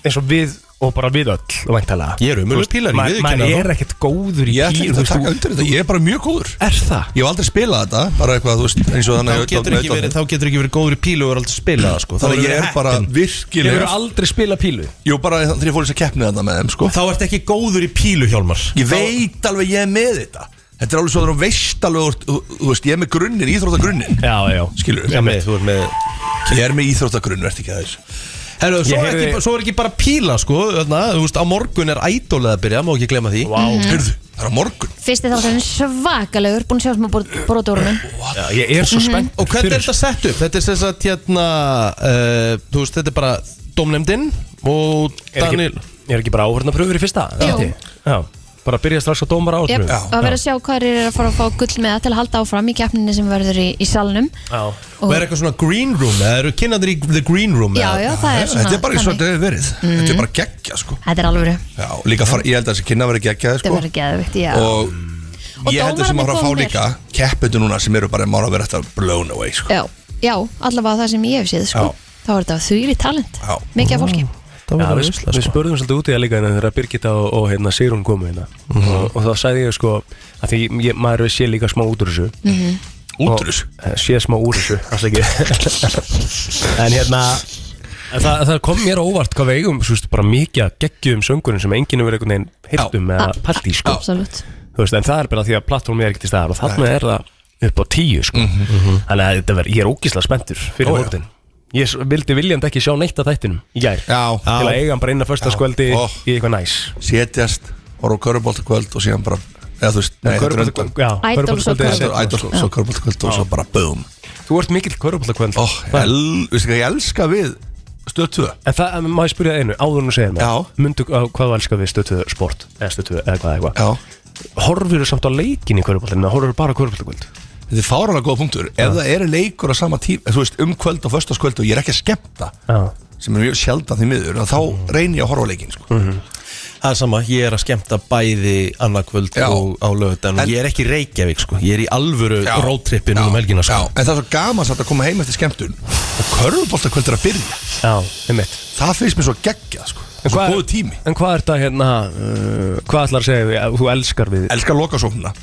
S4: eins og við og bara við öll væntalega
S19: Ég er ömurlegur pílari, ég viðurkenni
S4: Mæn
S19: það.
S4: er ekkert góður í
S19: Ég ætla
S4: píl,
S19: ekki
S4: þú
S19: að
S4: veist,
S19: taka
S4: þú-
S19: undir þetta Ég er bara mjög góður
S4: Er það?
S19: Ég hef aldrei spilað þetta Bara eitthvað, þú veist eins og
S2: Þá
S19: þannig að-
S2: getur ekki verið, þá getur ekki verið góður í pílu og verið alltaf spilað sko.
S19: Þannig að ég er bara virkilega
S4: Hefurðu aldrei spila pílu?
S19: Jú, bara þegar ég fór þess að keppni þarna með þeim sko.
S2: Þá ert ekki góður í pílu, Hjálmar
S19: Ég veit alveg ég er með þetta Þetta er alveg svo þannig að veist alveg þú ert- Þú þú veist, ég er með grunnin, íþróttagrunnin
S4: Já, já
S19: Skilur
S2: Já, með, þú ert með
S19: Ég er með íþróttagrunn, verð ekki aðeins
S2: Herru, svo,
S19: Ég
S2: er
S19: heyrði-
S2: ekki, svo er ekki bara píla sko, öðna, þú veist, á morgun er ædólið að byrja, má ekki glemma því
S4: wow.
S3: Mhm.
S19: Hörðu, það er á morgun
S3: Fyrsti þátturinn svakalegur, búin að sjá smá brotorunum
S4: Já, ég er
S3: Mhm.
S4: svo spennt
S2: Og hvernig er þetta sett upp? Þetta er sem sagt hérna uh, Þú veist, þetta er bara domnefndin Og
S4: Er ekki-
S2: Daniel
S4: Er ekki bara áhörna pröfur í fyrsta?
S3: Jú.
S4: Ekki? Já, bara byrja strax á dómar
S3: Jep,
S4: áhörnum
S3: og að vera að sjá hvað er að fara að fá gull með til að halda áfram í keppninni sem verður í, í salnum
S4: Já.
S2: Og er eitthvað svona green room Eða eru kynnandir í the green room
S3: Já,
S2: eða?
S3: já, það er svona
S19: Þetta er bara eins og þetta hefur verið
S3: Mhm.
S19: Þetta er bara geggja, sko
S3: Þetta er alveg,
S19: Já, og líka fara, ég held að þessi kynna verið geggjaði,
S3: þetta
S19: sko
S3: verður geðvikt, já
S19: Og ég held að þessi
S3: dómararnir
S19: maður að fá
S3: komnir.
S19: líka Keppetu núna sem eru bara Mára verið þetta blown away, sko
S3: já, já, allavega það sem ég hef séð sko. þá er þetta þvíli talent
S19: Já.
S3: mikið af fólki
S2: Það
S4: Já, við, við spurðum svolítið út í það líka hérna þegar Birgitta og, og hérna, Sýrún komu hérna og, og þá sagði ég sko að því ég, maður sé líka smá út úr þessu
S23: Mhm.
S4: Út úr þessu? Sé smá úr þessu, alls ekki En hérna en það, það kom mér á óvart hvað við eigum svo veist, bara mikið að geggjum söngurinn sem enginn hefur einhvern veginn hirtum eða pælt í sko
S3: Absolutt
S4: Þú veist, En það er bara því að plattformið er ekkert í staðar og þarna
S3: Nei.
S4: er það upp á tíu sko Þannig að þetta verð, ég er ógíslega spenntur fyrir
S19: Mhm, Ó, já.
S4: hóttin Ég s- vildi viljandi ekki sjá neitt af þættinum í gær
S19: Já
S4: Til að eiga hann bara inn að föstaskvöldi í eitthvað næs
S19: Setjast, horfa á körubóltakvöld og síðan bara eða þú veist,
S4: Nei, körfubolta- já, Idols og körfuboltakvöld.
S19: Ædol og
S4: Já.
S19: svo körubóltakvöld og svo bara boom
S4: Þú ert mikill körubóltakvöld
S19: Ó, el- veistu hvað ég elska við stöttu
S4: En það, en má ég spyrja einu, áður en þú segir mér Já Mundu á hvað þú elskar við stöttuð sport Eða stöttuð, eða hvað, eða hvað Já Horfir þú samt á leikin í körubóltinu, horfir þú bara á körubóltakvöld
S19: Þetta er fáralega góða punktur Ef það eru leikur á sama tíma, þú veist, um kvöld og föstaskvöld og ég er ekki að skemmta
S4: Já
S19: sem er mjög sjaldan því miður að þá reynir ég að horfa á leikin sko.
S2: Það er sama, ég er að skemmta bæði annarkvöld og á lögutan og ég er ekki í Reykjavík sko, ég er í alvöru roadtrippin um helgina sko.
S19: En það er svo gaman samt að koma heim eftir skemmtun og körfuboltakvöld er að byrja
S4: Já, einmitt
S19: Það finnst mér svo geggja sko. Svo góðu tími
S4: En hvað er þetta hérna, uh, hvað ætlar að segja við, að þú elskar við
S19: Elskar lokasóknina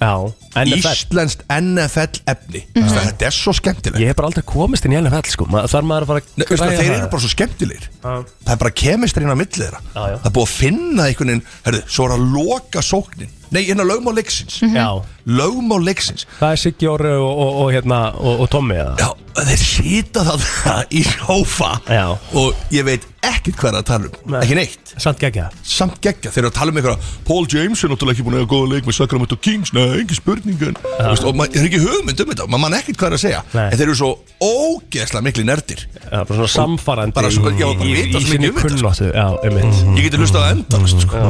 S4: Já, NFL
S19: Íslenskt NFL efni Þetta er svo skemmtilegt
S4: Ég hef bara aldrei komist inn í NFL sko, Ma, þar maður að fara að
S19: Nei, veistu,
S4: græja
S19: Þeir
S4: það.
S19: eru bara svo skemmtilegir Það er bara kemistrinn á milli þeirra Það er búið að finna einhvern veginn Hörðu, svo er að loka sóknin Nei, hérna lögmál leiksins
S4: Mhm. Já.
S19: Lögmál leiksins
S4: Það er Siggi Orri og, og, og, hérna, og, og Tommi eða?
S19: Já, þeir sýta það í hófa
S4: Já.
S19: Og ég veit ekkert hvað er að tala um Ekki neitt
S4: Samt geggja
S19: Samt geggja Þeir eru að tala um einhverja Paul James er náttúrulega ekki búin að eiga góða leik með Sacramento Kings Nei, engin spurningun Vist, Og maður er ekki hugmynd um þetta Maður mann ekkert hvað er að segja
S4: Nei.
S19: En þeir eru svo ógeðslega mikli nerdir
S4: Já, bara svona samfarandi
S19: Bara svo, já, bara
S4: í, í,
S19: vita
S4: í
S19: svo
S4: sinni
S19: mikið um þetta Mhm.
S4: kunnáttu Já, einmitt
S2: Mm.
S19: Ég geti hlustað að enda sko.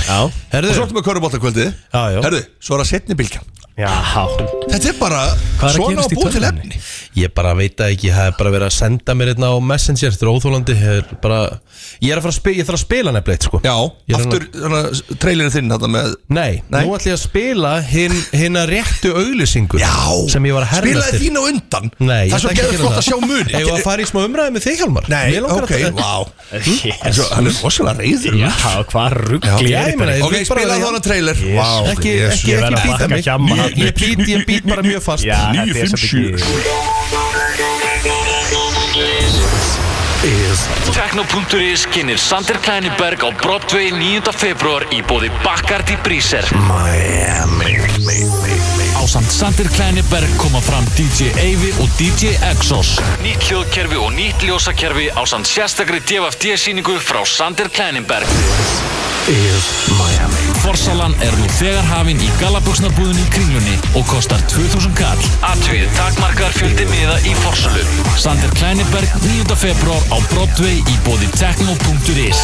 S4: Já
S19: Og svo ertu með körubóltakvöldið
S2: Já, já.
S19: Herðu, svo er það setni bylgja
S4: Já
S19: Þetta er bara
S2: Hvað er að
S19: svona á
S2: gerast í
S19: búið til
S2: tölvunni?
S19: efni
S2: Ég bara veit það ekki, það er bara verið að senda mér hérna á Messenger, þetta er óþólandi er bara, Ég er að fara að spila, ég þarf að spila nefnilegt sko
S19: Já,
S2: Ég er
S19: aftur trailinu þinn þetta með
S2: Nei, nú ætlum ég að spila hinn hin réttu auglýsingu Já, sem ég var að herna
S19: Spilaði þín á undan
S2: Nei, ég
S19: Það er svo
S2: ætla ekki
S19: geður
S2: gera
S19: flott
S2: það.
S19: að sjá muni
S2: Eigum við að fara í smá umræði með þig Hjalmar
S19: Nei,
S2: Mig langar
S19: ok,
S2: að-
S19: vá
S2: Yes.
S19: Svo, Hann er rosalega reyður
S2: Já,
S4: hvað
S2: rugli er þetta?
S19: Ok,
S2: Ég bara-
S19: spilaði þána trailer
S2: Yes. Ekki, ekki, ekki býta mig Ég- Ég být, ég být bara mjög fast
S4: Já, þetta er samt ekki-
S2: 957.
S8: Tekno.is kynir Sander Kleineberg á Broadway 9. februar í bóði Bacardi Breezer Miami Á samt Sander Kleineberg koma fram DJ Eyvi og DJ Exos Nýtt hljóðkerfi og nýtt ljósakerfi á samt sérstakri DFD síningu frá Sander Kleineberg
S24: Is Miami
S8: Forsalan er nú þegar hafin í galabuxnarbúðinni kringlunni og kostar 2000 kall Atvið takmarkar fjöldi miða í Forsalu Sander Kleineberg 9. februar á Broadway í bóði Tekno.is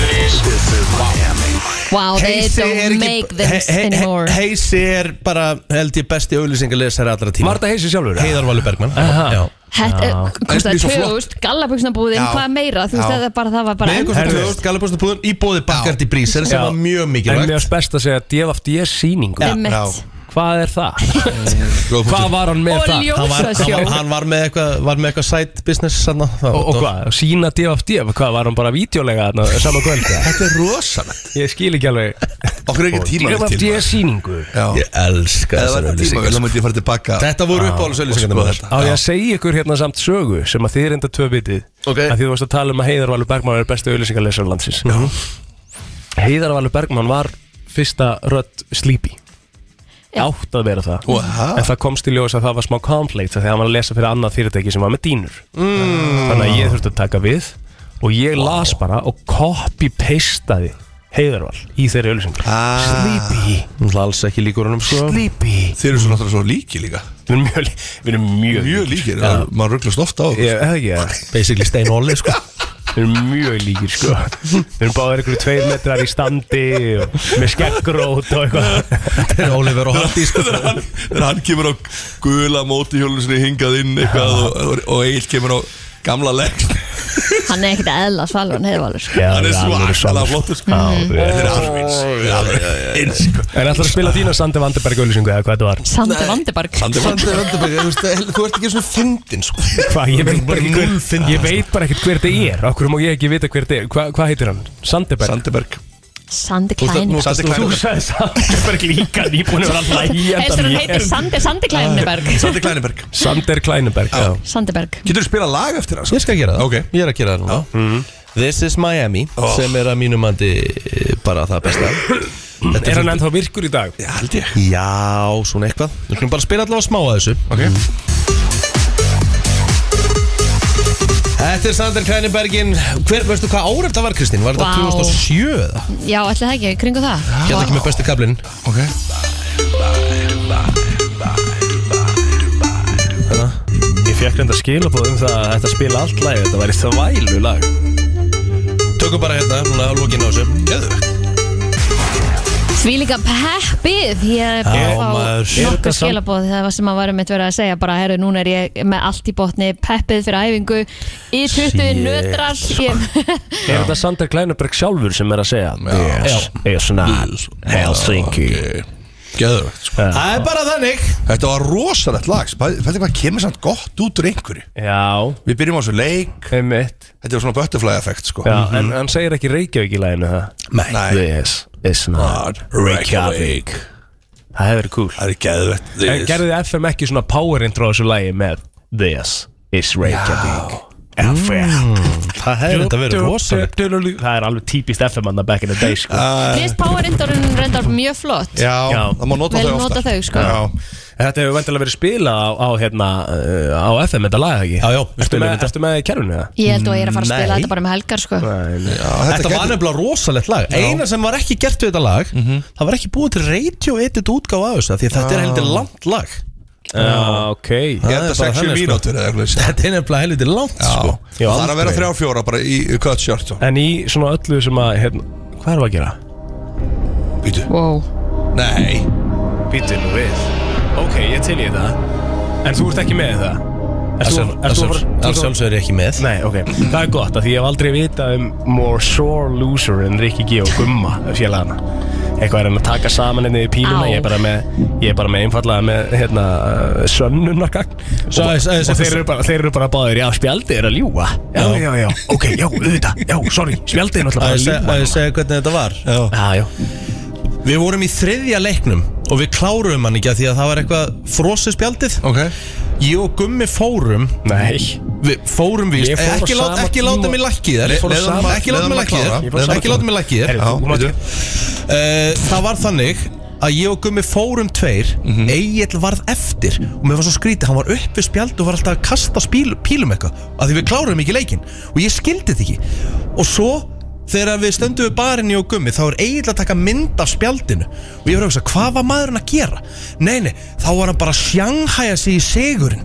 S24: This is Miami
S3: Wow, Oh, they don't make this anymore
S2: Heisi er bara held ég besti auglýsingalesari allra tíma
S4: Var þetta Heisi sjálfur?
S2: Heiðar Valur Bergmann
S4: Aha.
S2: Já.
S3: Þetta er- kostaði 2000, gallabuxnabúðin,
S2: Já.
S3: hvað meira Þú veist,
S2: Já.
S3: þetta bara, það var bara
S2: Nei,
S3: enn-
S2: kostar 2000 Gallabústa búðun í bóði Bakkardi Brísel sem
S4: Já.
S2: var mjög
S4: En
S2: mikilvægt
S4: mér er best að segja DFD síningu
S2: Já. Einmitt. Já.
S4: Hvað er það? Hvað var hann með það?
S2: Hann var, hann, var, hann var með eitthvað var með eitthvað side business sann
S4: Og, og hvað? Sína DFD? Hvað var hann bara vídeolega þarna sama kvöld?
S19: Þetta er rosalegt
S4: Ég skil ekki alveg
S19: Okkur er ekki tímavill til,
S4: DFD
S19: maður.
S4: síningu
S2: Ég elska
S19: Eða
S2: þessar
S19: var
S2: auglýsingar,
S19: tímavill, þá
S2: sko.
S19: myndi ég fara tilbaka
S2: Þetta voru
S19: Já,
S2: uppáhaldsauglýsingarnar
S19: og
S2: mínar.
S19: skoða
S4: Á ég
S19: þetta.
S4: að segja ykkur hérna samt sögu sem að þið er enda tvö bitið okay. að því þú varst að tala um að Heiðar Valur Bergman er bestu auðlýsingarleysar landsins Já. Heiðar Valur Bergman var fyrsta rödd Sleepy átt að vera það
S19: Wow.
S4: en það komst í ljós að það var smá conflict af því að hann var að lesa fyrir annað fyrirtæki sem var með dýnur
S6: Mm.
S4: þannig að ég þurfti að taka við og ég las bara og copy-pastaði Heiðarval í þeirri auðlýsingar ah. Sleepy
S2: Það alls ekki líkur honum sko
S4: Sleepy
S19: Þeir eru svo náttúrulega svo líki líka
S4: Við erum mjög, við erum mjög,
S19: mjög líkir ja. Maður rugglast ofta á okkur,
S4: Ég, eða ekki, ja.
S2: Basically stein og olli, sko
S4: Við erum mjög líkir, sko Við erum báðir einhverju tveir metrar í standi og með skeggrót og eitthvað
S2: Þetta er Oliver og Hardy, sko
S19: Þegar hann- þegar hann kemur á gula mótihjólinu sinni hingað inn eitthvað og, og, og Egil kemur á gamla legg
S3: Hann er ekkert að eðla svalvan heiðvalur
S19: Hann er svakalega flottur sko. Þetta er alveg eins þetta er alveg eins sko.
S4: En ætlar að spila þína Sandi Vanderberg auðlýsingu eða hvað þetta var?
S3: Sandi Vandebarg
S19: Sander
S2: Sander Vandenberg, þú veist, þú ert ekki svona fyndin sko
S4: Hvað, ég veit bara ekki
S2: Núll
S4: hver, ég
S19: sko.
S4: veit bara ekkert hver þetta er Okkur má ég ekki vita hver þetta er Hva, Hvað heitir hann? Sandeberg?
S19: Sandeberg
S3: Sandi
S4: Þú
S3: Kleineberg
S4: sagði Sandeberg líka Nýbúin að vera að hlæja
S3: Eins og hún heitir Sandi, Sandi Kleineberg
S19: Sander Kleineberg
S4: Sander Kleineberg, já
S3: Sandeberg
S19: Getur þú spila lag eftir það? sko?
S2: Ég skal gera það okay. Ég er að gera það núna
S4: Mhm.
S2: This is Miami
S4: Oh.
S2: sem er að mínum andi eh, bara það besta Þetta
S4: Er hann ennþá virkur í dag?
S19: Já, held ég
S2: Já, svona eitthvað Við skulum bara spila allavega smá að þessu okay. Þetta er Sander Krænibergin Hver, veistu hvað ár þetta var Kristín? Var þetta
S3: Vá.
S2: 2007 eða?
S3: Já, ætli það ekki, kringu það
S2: Ég ætla ekki með bestu kablin Ok
S4: Ég fekk reynda skilabóð um það að þetta spila allt lagi Þetta væri þvælu lag
S2: Tökum bara hérna, núna á lókinu á þessu Geðvegt
S3: Því líka peppið Ég
S2: Já,
S3: fá
S2: maður. Er þetta
S3: nokkuð
S2: samt-
S3: skilabóð Það var sem að varum mitt verið að segja bara Herru, núna er ég með allt í botni Peppið fyrir æfingu Í 20
S4: Shit.
S3: nötrar Ég-
S4: Er þetta Sander Kleineberg sjálfur sem er að segja Yes, yes, yes Helsinki
S19: Geðvögt
S4: Það
S2: er bara þannig
S19: sko. Þetta var rosalegt lag sko. Þetta hvað kemur samt gott út úr einhverju
S4: Já
S19: Við byrjum á þessu leik
S4: Einmitt.
S19: Þetta var svona butterfly effekt sko
S4: Já, en hann segir ekki Reykjavík í læginu það
S19: Nei. Nei.
S4: This is not Reykjavík Það hefur verið cool Það
S19: er geðvett
S4: En gerði FM ekki svona power intro á þessu lægi með This is Reykjavík FM Það
S2: hefði þetta verið rosalegt.
S4: Það er alveg típist FM anna back in the day sko
S3: Mér finnst powerindorinn reyndar mjög flott
S4: það má
S3: Vel nota þau sko
S4: Þetta hefur vantilega verið spilað á, á, hérna, uh, á FM þetta lag ekki? Já, já, við spilum þetta Ertu með í kerfinu það?
S3: Ég held að ég er að fara að spila
S4: Nei.
S3: þetta bara með helgar sko
S2: Þetta, var nefnilega rosalegt lag
S4: Já. Mhm.
S2: Eina sem var ekki gert við þetta lag Það var ekki búið til radio edit útgáð af þessu af Því að þetta er
S4: Já.
S2: heldur langt lag
S4: Já, ok
S19: Ég held að 60 mínútur eða eitthvað
S2: Þetta er nefnilega heldur langt sko.
S19: Já, Það er að vera þrjá fjóra bara í í cut shirt sko.
S4: En í svona öllu sem að, hérna, hvað erum við að gera?
S19: Býtu
S3: wow.
S19: Nei
S4: Býtu nú við Ok, ég til ég það En þú ert ekki með það? Ert þú- ert þú- ert
S2: Það
S4: þú-
S2: sjálfsögur er ég ekki með
S4: Nei, ok, það er gott að því ég hef aldrei vitað um More sore loser en Rikki G og Gumma félagana Eitthvað er hann að taka saman henni í píluna
S2: Á.
S4: Ég er bara með, ég er bara með einfallega með hérna, uh, sönnunargagn
S2: Svo
S4: Og,
S2: aðeins- aðeins-
S4: og þeir, eru bara, þeir eru bara báðir, já, spjaldið er að ljúga Já, já, já, ok, já, auðvitað, já, sorry, spjaldið er náttúrulega bara
S2: Að ég
S4: að
S2: seg-
S4: ljúga
S2: að ég segja hvernig þetta var
S4: Já, já
S2: Við vorum í þriðja leiknum og við kláruðum hann ekki að því að það var eitthvað frosið spjaldið
S19: okay.
S2: Ég og Gummi fórum
S4: Nei
S2: Við fórum víst
S4: Ég fór á
S2: Ekki, lát,
S4: sama
S2: ekki
S4: tíma-
S2: láta mig lækki þér
S4: Ég fór á
S2: Leiðum-
S4: sama-
S2: Ekki láta
S4: leiðum
S2: mig
S4: að
S2: lækki
S4: klára. Ég fór á
S2: þér
S4: sama
S2: Ekki láta
S4: tíma.
S2: mig lækki þér
S4: Heyrðu, þú mátt
S2: Já, Eh, Það var þannig að ég og Gummi fórum tveir
S19: Mhm.
S2: Egil varð eftir og mér var svo skrítið, hann var upp við spjald og var alltaf að kasta spíl, pílum eitthvað að því við kláruðum ekki leikinn og ég skildi þetta ekki og svo þegar við stöndum við barinn í og Gummi þá er Egil að taka mynd af spjaldinu og ég var að hugsa, hvað var maðurinn að gera? Nei, nei, þá var hann bara að sjanghæja sig í sigurinn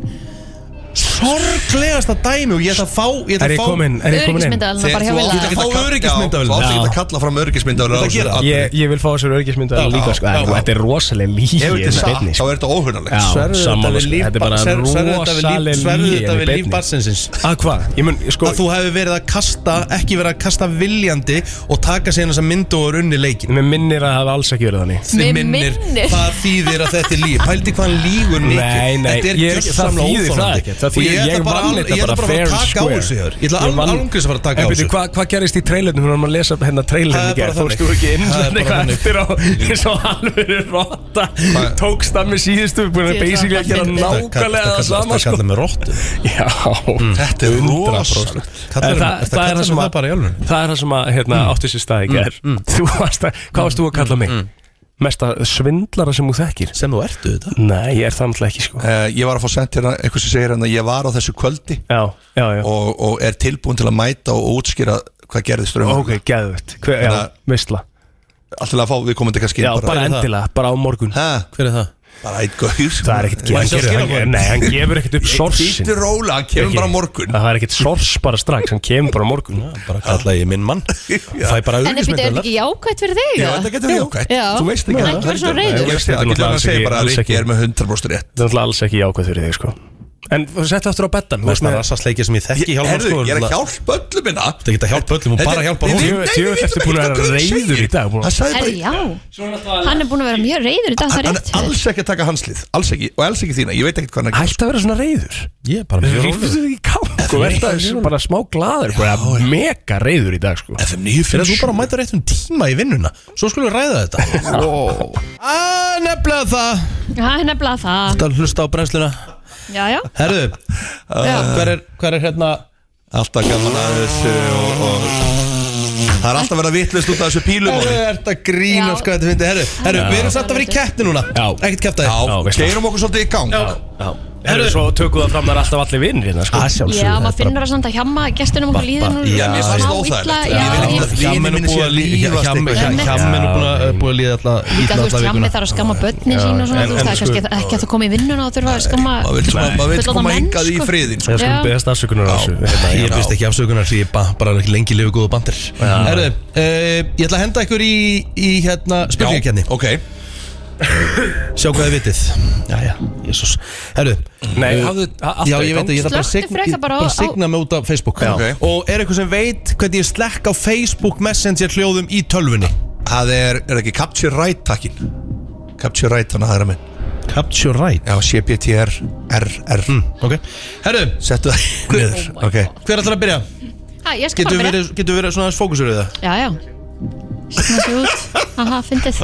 S2: sorglegasta dæmi og ég ætla að fá ég ætla að
S4: Er ég
S2: fá-
S4: kominn- er ég kominn inn? Öryggismyndavélina
S2: Þegar
S4: bara hjá
S2: þú
S4: Villa.
S2: átt ekki að
S4: Þú átt
S2: fá
S4: ekki að
S2: öryggismyndavel
S19: Það átti ekki
S4: Já.
S19: að kalla fram örgismyndavel
S2: Þetta gera.
S4: Ég, ég vil fá þessar örgismynda
S2: Já,
S4: líka sko.
S2: já,
S4: En
S2: já.
S4: Þetta er rosalega lígi
S19: Ef þetta er satt,
S4: sko.
S19: þá er
S2: sko.
S19: þetta óhugnarlegt. Sverðu þetta
S4: Sammála
S19: við
S4: sko.
S19: líf-
S4: Þetta er bara
S19: sverðu- sverðu þetta við líf-
S4: rosalega lígi
S2: sverðu þetta við líf barnsins
S4: Að hvað? Ég mun, sko
S2: að þú hefði verið að kasta ekki verið að kasta viljandi og taka sér þess að myndu og runni leikin
S4: Mér minnir að það hafa alls ekki verið þannig
S2: Þið
S4: Mig
S2: minnir,
S4: minnir.
S2: það þýðir að þetta er líf Pældi hvað hann lígur mikið
S4: Nei, nei,
S2: Þetta er
S4: ég er- það
S2: gjörsamlega
S4: þýðir það
S2: óþolandi.
S4: ekkert. Það
S2: Og ég
S4: þýðir-
S2: ætla
S4: ég
S2: bara
S4: vann
S2: al-
S4: þetta
S2: ég ætla
S4: bara
S2: bara að fara
S4: fair
S2: að taka á
S4: square.
S2: þessu hér. Ég ætla
S4: Ég
S2: al-
S4: vann-
S2: alungis að fara að taka á
S4: En byrju,
S2: þessu
S4: hvað hva gerist í trailernum Hvernig maður lesa hérna
S2: Það
S4: trailernum
S2: er
S4: í gerð
S2: bara
S4: Fórstu
S2: þannig.
S4: ekki inn
S2: Það er bara
S4: eitthvað
S2: þannig.
S4: eftir á eins og alveg rotta Tókst það með síðustu Búin að
S2: Ég ætla
S4: basically
S2: að
S4: að gera
S2: finna-
S4: nákvæmlega það
S2: Þetta- þetta-
S4: sama sko.
S2: þetta Mm. kallar mig róttu
S4: Já
S19: Þetta er rosalegt
S4: En það- Það er það sem að Það er það sem að hérna,
S2: Mm.
S4: átti sér stað í gerð Þú varst að, hvað varst þú að kalla mig? Mesta svindlara sem þú þekkir
S2: Sem þú ertu þetta?
S4: Nei, ég er það náttúrulega ekki sko
S19: Eh, Ég var að fá sent hérna einhvers sem segir hérna Ég var á þessu kvöldi
S4: já, já, já.
S19: Og, og er tilbúin til að mæta og útskýra Hvað gerðist raunum
S4: Ok, geðvögt Já, veistla
S19: Alltaf að fá við komandi kannski
S4: Já, bara endilega, bara á morgun
S19: ha?
S2: Hver er það?
S19: Bara eitt gauð
S4: Það er ekkert
S19: Hann
S4: hann
S19: gefur-
S4: gefur- hann- Nei, hann gefur ekkert upp
S19: Ég-
S4: sorsin
S19: bíddu rólega, hann kemur
S4: Ekki-
S19: bara á morgun.
S4: Það er ekkert sors bara strax, hann kemur bara á morgun
S2: Bara kalla ég minn mann Fæ bara
S3: En er þetta er þetta ekki jákvætt fyrir þig?
S19: Já,
S3: eða?
S19: þetta getur við okkvæmt
S3: Já.
S19: Þú veist ekki
S3: Ekki verið svona reiður.
S19: Ég veist ekki Það segir bara að Rikki er með
S4: Það
S19: 100% rétt
S4: er náttúrulega alls ekki jákvæð fyrir þig sko En þú settu aftur á bettan
S2: Mesta rassasleiki sem ég þekki hjálmar
S19: Herðu, ég er að hjálpa öllum minna
S2: Þetta geta hjálpa öllum og
S19: Þetta-
S2: bara hjálpa
S19: Nei,
S2: honum.
S19: nei, nei,
S4: Djöfull
S19: nei,
S4: ertu
S19: nei,
S4: búin að
S19: nei,
S4: vera
S19: hvað
S4: reiður
S19: segir?
S4: í dag, búin að-
S19: Hann sagði bara-
S3: Herri, já Hann er búin að vera mjög reyður í dag, það er
S19: Hann
S3: rétt
S19: er alls ekki að taka hanslið Alls ekki Og alls ekki þína Ég veit ekkert hvað hann er
S4: Hætt að vera svona reiður
S2: Ég er bara
S19: mjög
S4: Ríftu
S19: rólegur.
S4: þig í kák Þú ert að- bara smá glaður Bara mega reiður í dag sko
S19: FM 9
S2: Fyrir að þú bara mæta réttum tíma í vinnuna Svo skulum við ræða þetta Að nefnilega það
S3: Það er nefnilega það
S2: Þetta er að hlusta á brennsluna
S3: Já, já
S2: Herðu, hver er, hver er hérna
S19: Alltaf gaman að þessu og, og Það er alltaf verið að vitlust út af þessu pílum
S2: Herðu, er þetta grín og sko þetta fyndi Herðu, herðu,
S19: Já.
S2: við erum samt að vera í keppni núna Ekkert keftaði
S19: Já, keirum okkur svolítið í gang
S2: Já.
S19: Já
S4: Herru, svo tökum það fram þar alltaf allir vinnir hérna, sko. Að
S3: Já, maður finnur það samt að hjamma gestunum okkur líður nú
S2: Já, mér fannst
S3: smá
S2: það
S3: illa,
S2: óþægilegt.
S3: já,
S2: Ég vil
S3: ég-
S2: ekki að Hjammen er búið að líða Hjammen er búið að- búið að líða alltaf
S3: Líka þú veist, hjammi þarf að skamma börnin sín og svona, þú veist, það er kannski ekki að þú komið í vinnuna og þurfa að skamma
S2: Maður vill svona- maður vill
S3: fullorðna
S2: koma
S3: menn,
S2: hingað í
S3: sko.
S2: friðinn, sko. Ég
S3: Já,
S2: skal
S4: Best afsökunar á þessu.
S2: Hérna, Ég byrst ekki afsökunar því ég ba- bara ekki lengi lifu góðu bandir Herðu, eh, ég ætla að henda ykkur í, í hérna spurningakenni Ok Sjá hvað þið vitið Jæja, jésús Herðu
S4: Nei,
S2: eh,
S4: hafðu- a- allt
S2: Já,
S4: er í
S2: ég veit
S4: gangi.
S2: það, ég ætla bara að
S3: Slökktu
S2: signa,
S3: frekar
S2: ég
S3: bara á-
S2: bara signa mig út af Facebook
S4: Já.
S2: Ok. Og er eitthvað sem veit hvernig ég slekk á Facebook Messenger hljóðum í tölvunni
S19: Það er, er ekki Capture Right takkin Capture Right þannig að það er að minn
S2: Capture Right?
S19: Já, CPTR RR mm,
S2: Hm, Ok, herru
S19: Settu það niður Ok
S2: Hver ætlar að byrja?
S3: Ha, ég skal
S2: Getur
S3: bara byrja.
S2: verið, getur verið svona aðeins fókusur við það?
S3: Já, já. Svona sér út. Haha, fyndið.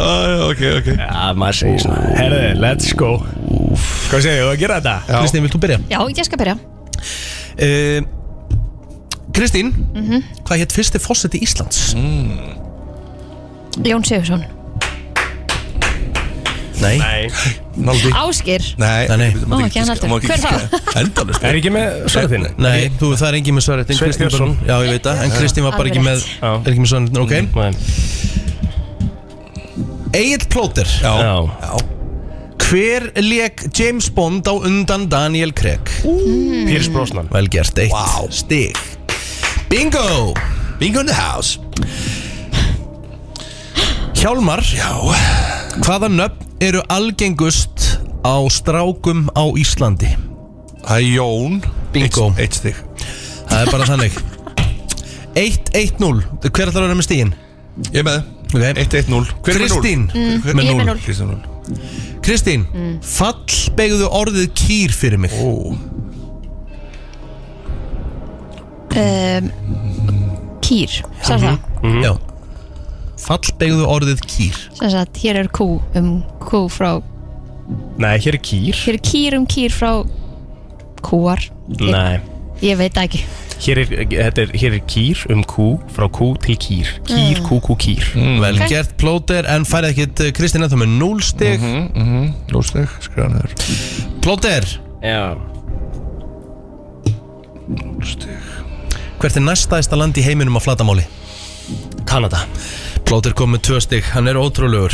S2: ok, ok
S4: Já, maður segir svona. Herru, let's go. Hvað segir þú að gera þetta?
S2: Kristín, vilt þú byrja?
S3: Já, ég skal byrja.
S2: Eh, Kristín,
S3: Mhm.
S2: hvað hétt fyrsti fósiti Íslands?
S4: Mhm.
S2: Mm.
S3: Jón Sigursson.
S2: Nei,
S4: Nei.
S19: Náldi
S3: Áskir.
S19: Nei,
S2: nei
S3: Ó, ekki hann heldur. Hver þá?
S19: Endalust
S4: Er ekki með svarið þín?
S2: Nei, þú, það er engin með svarið
S4: Sveinn Björnsson.
S2: Já, Mhm. ég veit það, en
S4: Já.
S2: Kristín var bara ekki með
S4: Alveg
S2: Er ekki með svarið, ok Egil Plóter Já,
S4: Já.
S2: Hver leik James Bond á undan Daniel Craig?
S4: Mm. Pierce Brosnan.
S2: Vel gert, eitt wow. stig Bingo Bingo in the house Hjálmar Já Hvaða nöfn eru algengust á strákum á Íslandi? Það er Jón Bingo Eitt, eitt stig Það er bara þannig 1-1-0 Hver ætlar að vera með stíin? Ég með okay. 1-1-0
S19: Hver er með núll?
S2: Kristín
S3: Mm,
S2: Hver-
S3: ég er með
S2: núll.
S3: núll.
S2: Kristín núll. Kristín, mm. fall begðu orðið kýr fyrir mig Ó.
S3: Um, kýr, sér það.
S2: Já Fall begðu orðið kýr
S3: Sér það, hér er kú um kú frá,
S4: Nei, hér er kýr.
S3: hér er kýr um kýr frá kúar. Ég-
S4: Nei.
S3: Ég veit það ekki.
S4: Hér er, þetta er, hér er kýr um kú, frá kú til kýr. Kýr,
S3: Mm.
S4: kú, kú, kýr.
S2: Vel gert plóter en færið ekkit eh, Kristín ennþá með 0 stig
S4: Mhm.
S2: mm -hmm, mm -hmm. 0 stig, skrifa neður Plóter
S4: Já.
S2: Hvert er næstæðista land í heiminum á flatamáli?
S4: Kanada
S2: Plóter kom með 2 stig, hann er ótrúlegur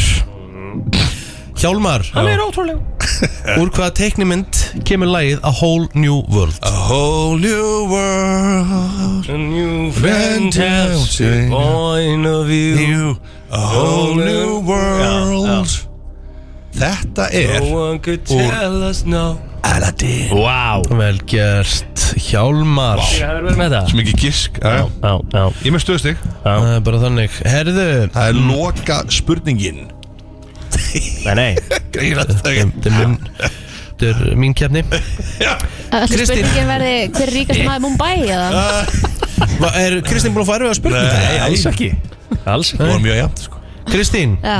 S2: Hjálmar
S4: Hann er ótrúlega.
S2: Úr hvaða teiknimynd kemur lagið A Whole New World?
S4: Ah.
S2: A Whole New World
S4: A new fantastic point of view
S19: A whole new world Þetta er
S4: No one could
S19: úr-
S4: tell us no
S2: Aladdin
S4: Wow
S2: Vel gert Hjálmar
S4: Vá. Ég hefði verið með það. Svo
S2: mikið gisk eh?
S19: já.
S4: Já, já
S2: Ég með stöðstig Það er bara þannig Herðu
S19: Það er loka spurningin
S4: Nei, nei
S19: Greirat
S2: Þetta er minn Þetta er mín kefni
S3: Allir
S2: Kristín.
S3: spurningin verði hver er ríkast maður í Mumbai eða?
S2: Er Kristín búin að fara við að spurninga
S4: Nei, alls ekki Alls ekki
S2: Það var mjög jæmt sko Kristín
S3: Já.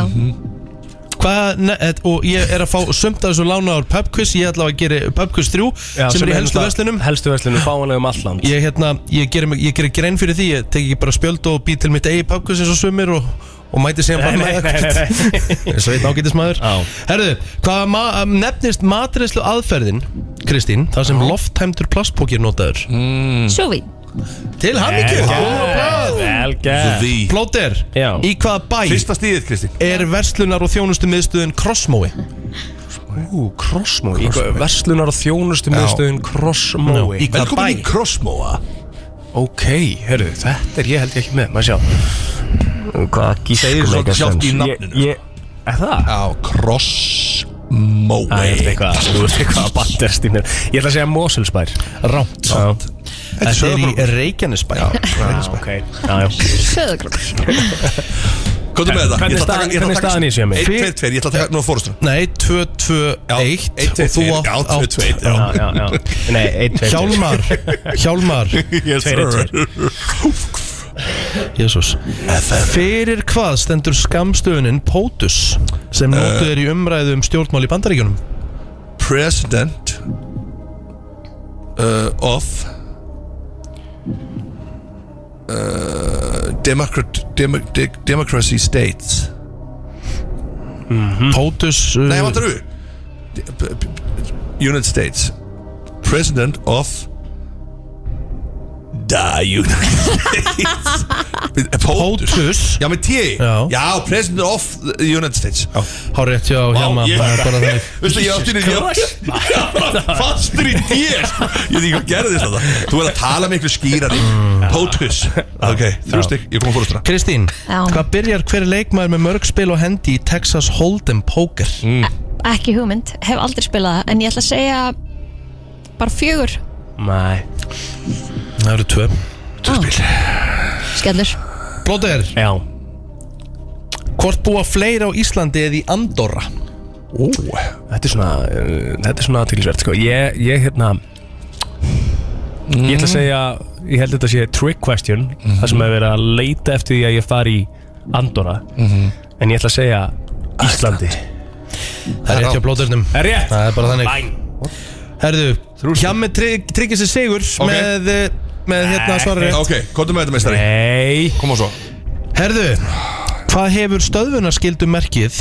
S2: Hvað, ne, et, og ég er að fá sumt af þessu lánaður pubquiz, ég ætla að gera pubquiz 3
S4: Já,
S2: sem,
S4: sem
S2: er í
S4: er
S2: helstu
S4: hérna-
S2: verslunum
S4: Helstu verslunum, fáanlegum alland
S2: Ég, hérna, ég gerir ég geri grein fyrir því, ég tek ekki bara spjöld og bý til mitt eigi pubquiz eins og sumir og, og mæti síðan bara með ekkert. eins og einn ágætismæður Herðu, hvað ma um, nefnist matreyslu aðferðin, Kristín, þar sem lofthæmdur plastpóki er notaður
S4: Hm.
S2: mm.
S3: Sjóvín.
S2: Til hamingju
S4: Vel gert,
S2: Góða
S4: vel
S2: blað.
S4: gert. Því.
S2: Plóter,
S4: Já.
S2: í hvaða bæ
S4: Fyrsta
S2: stíðið, Kristín Er verslunar og þjónustu miðstöðin Krossmói
S4: Ú, Krossmói Verslunar og þjónustu miðstöðin Krossmói
S2: Já. Í hvaða Velkomin bæ? í
S4: Krossmóa Ok, herru, þetta er ég held ég ekki með Maður sjá Hvaða
S19: Segir
S4: gískum
S19: svolítið sjálft í nafninu
S4: Er það?
S19: Já, Crossmói
S4: Æ, ég veit eitthvað, þú veit eitthvað að bandast í mér Ég ætla að segja Mosulsbær
S2: Rámt Þetta er í Reykjanesbæ Já,
S4: Reykjanesbæ Ok, já, já
S3: Söðagrús.
S19: Komdu með þetta
S4: Hvernig er staðan- hvernig er staðan í þessu hjá mér?
S19: 1, 2, 2, ég ætla að taka nú að fórustur
S2: Nei, 2, 2, 1
S19: 1, 2, 2, já, 2, 2, já
S4: Já, já, já Nei, einn, tveir, tveir.
S2: Hjálmar Hjálmar
S4: Yes, Tveir, sir.
S2: Jésús Fyrir hvað stendur skamstöðunin POTUS sem notuð er í umræðu um stjórnmál í bandaríkjunum
S19: President uh, of uh, Democrat, Demo, de, Democracy States
S2: POTUS uh, eh,
S19: um Nei, vantar þú? United States president of The United States Pótus Já, með T
S2: Já.
S19: Já, president of the United States
S2: Há rétt hjá hérna
S19: ég-
S2: bara bara þannig.
S19: Veistu, ég átti niður Ég var bara fastur í D sko. Ég veit ekki hvað gerðist þetta Þú verður að tala miklu skýrari
S2: Mm.
S19: Pótus Ok, þrjú stygg, ég kom að fórustra
S2: Kristín,
S3: Já.
S2: hvað byrjar hver leikmaður með mörg spil og hendi í Texas Hold'em Poker?
S3: Ekki hugmynd, hef aldrei spilað það En ég ætla að segja bara fjögur
S2: Nei Það eru tvö
S3: Tvö spil Ah. Skellur
S2: Blóter
S4: Já
S2: Hvort búa fleiri á Íslandi eða í Andorra?
S4: Ó, þetta er svona uh, Þetta er svona aðtilsvert sko. Ég, ég hérna Ég ætla að segja Ég held þetta sé trick question
S25: Mhm.
S4: Það sem hefur verið að leita eftir því að ég fari í Andorra
S25: Mhm.
S4: En ég ætla að segja Íslandi
S2: Það er rétt hjá blóðurnum
S4: Það er rétt
S2: Það er bara þannig Herðu, hjá með tryggir sér sigur
S19: Ok.
S2: með, eh, með hérna svarar rétt
S19: Ok, komdu með þetta meistari
S4: Nei
S19: Kom á svo
S2: Herðu, hvað hefur stöðvunarskildu merkið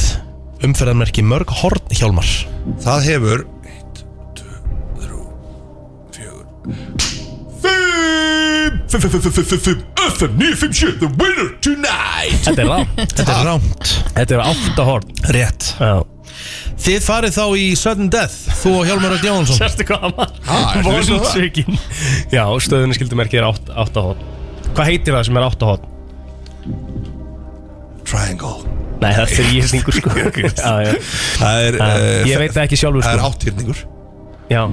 S2: umferðarmerki mörg horn hjálmar?
S19: Það hefur 5-5-5-5-5-5-5-9-5-7 The winner tonight
S4: Þetta er rámt
S2: Þetta er rámt
S4: Þetta er átta horn
S2: Rétt
S4: Já.
S2: Þið farið þá í sudden death Þú og Hjálmar Öll Jónsson
S4: Sérstu hvað
S2: Ha,
S4: maður
S2: ertu viss um það?
S4: Volsvíkin Já, stöðunni skildum er átta, átta hot Hvað heitir það sem er átta hot?
S19: Triangle
S4: Nei, það er þrýhyrningur sko Já, já.
S19: Það er
S4: Já, Ég veit það ekki sjálfur
S19: Eh, Það er
S4: sko
S19: áttýrningur
S4: Já,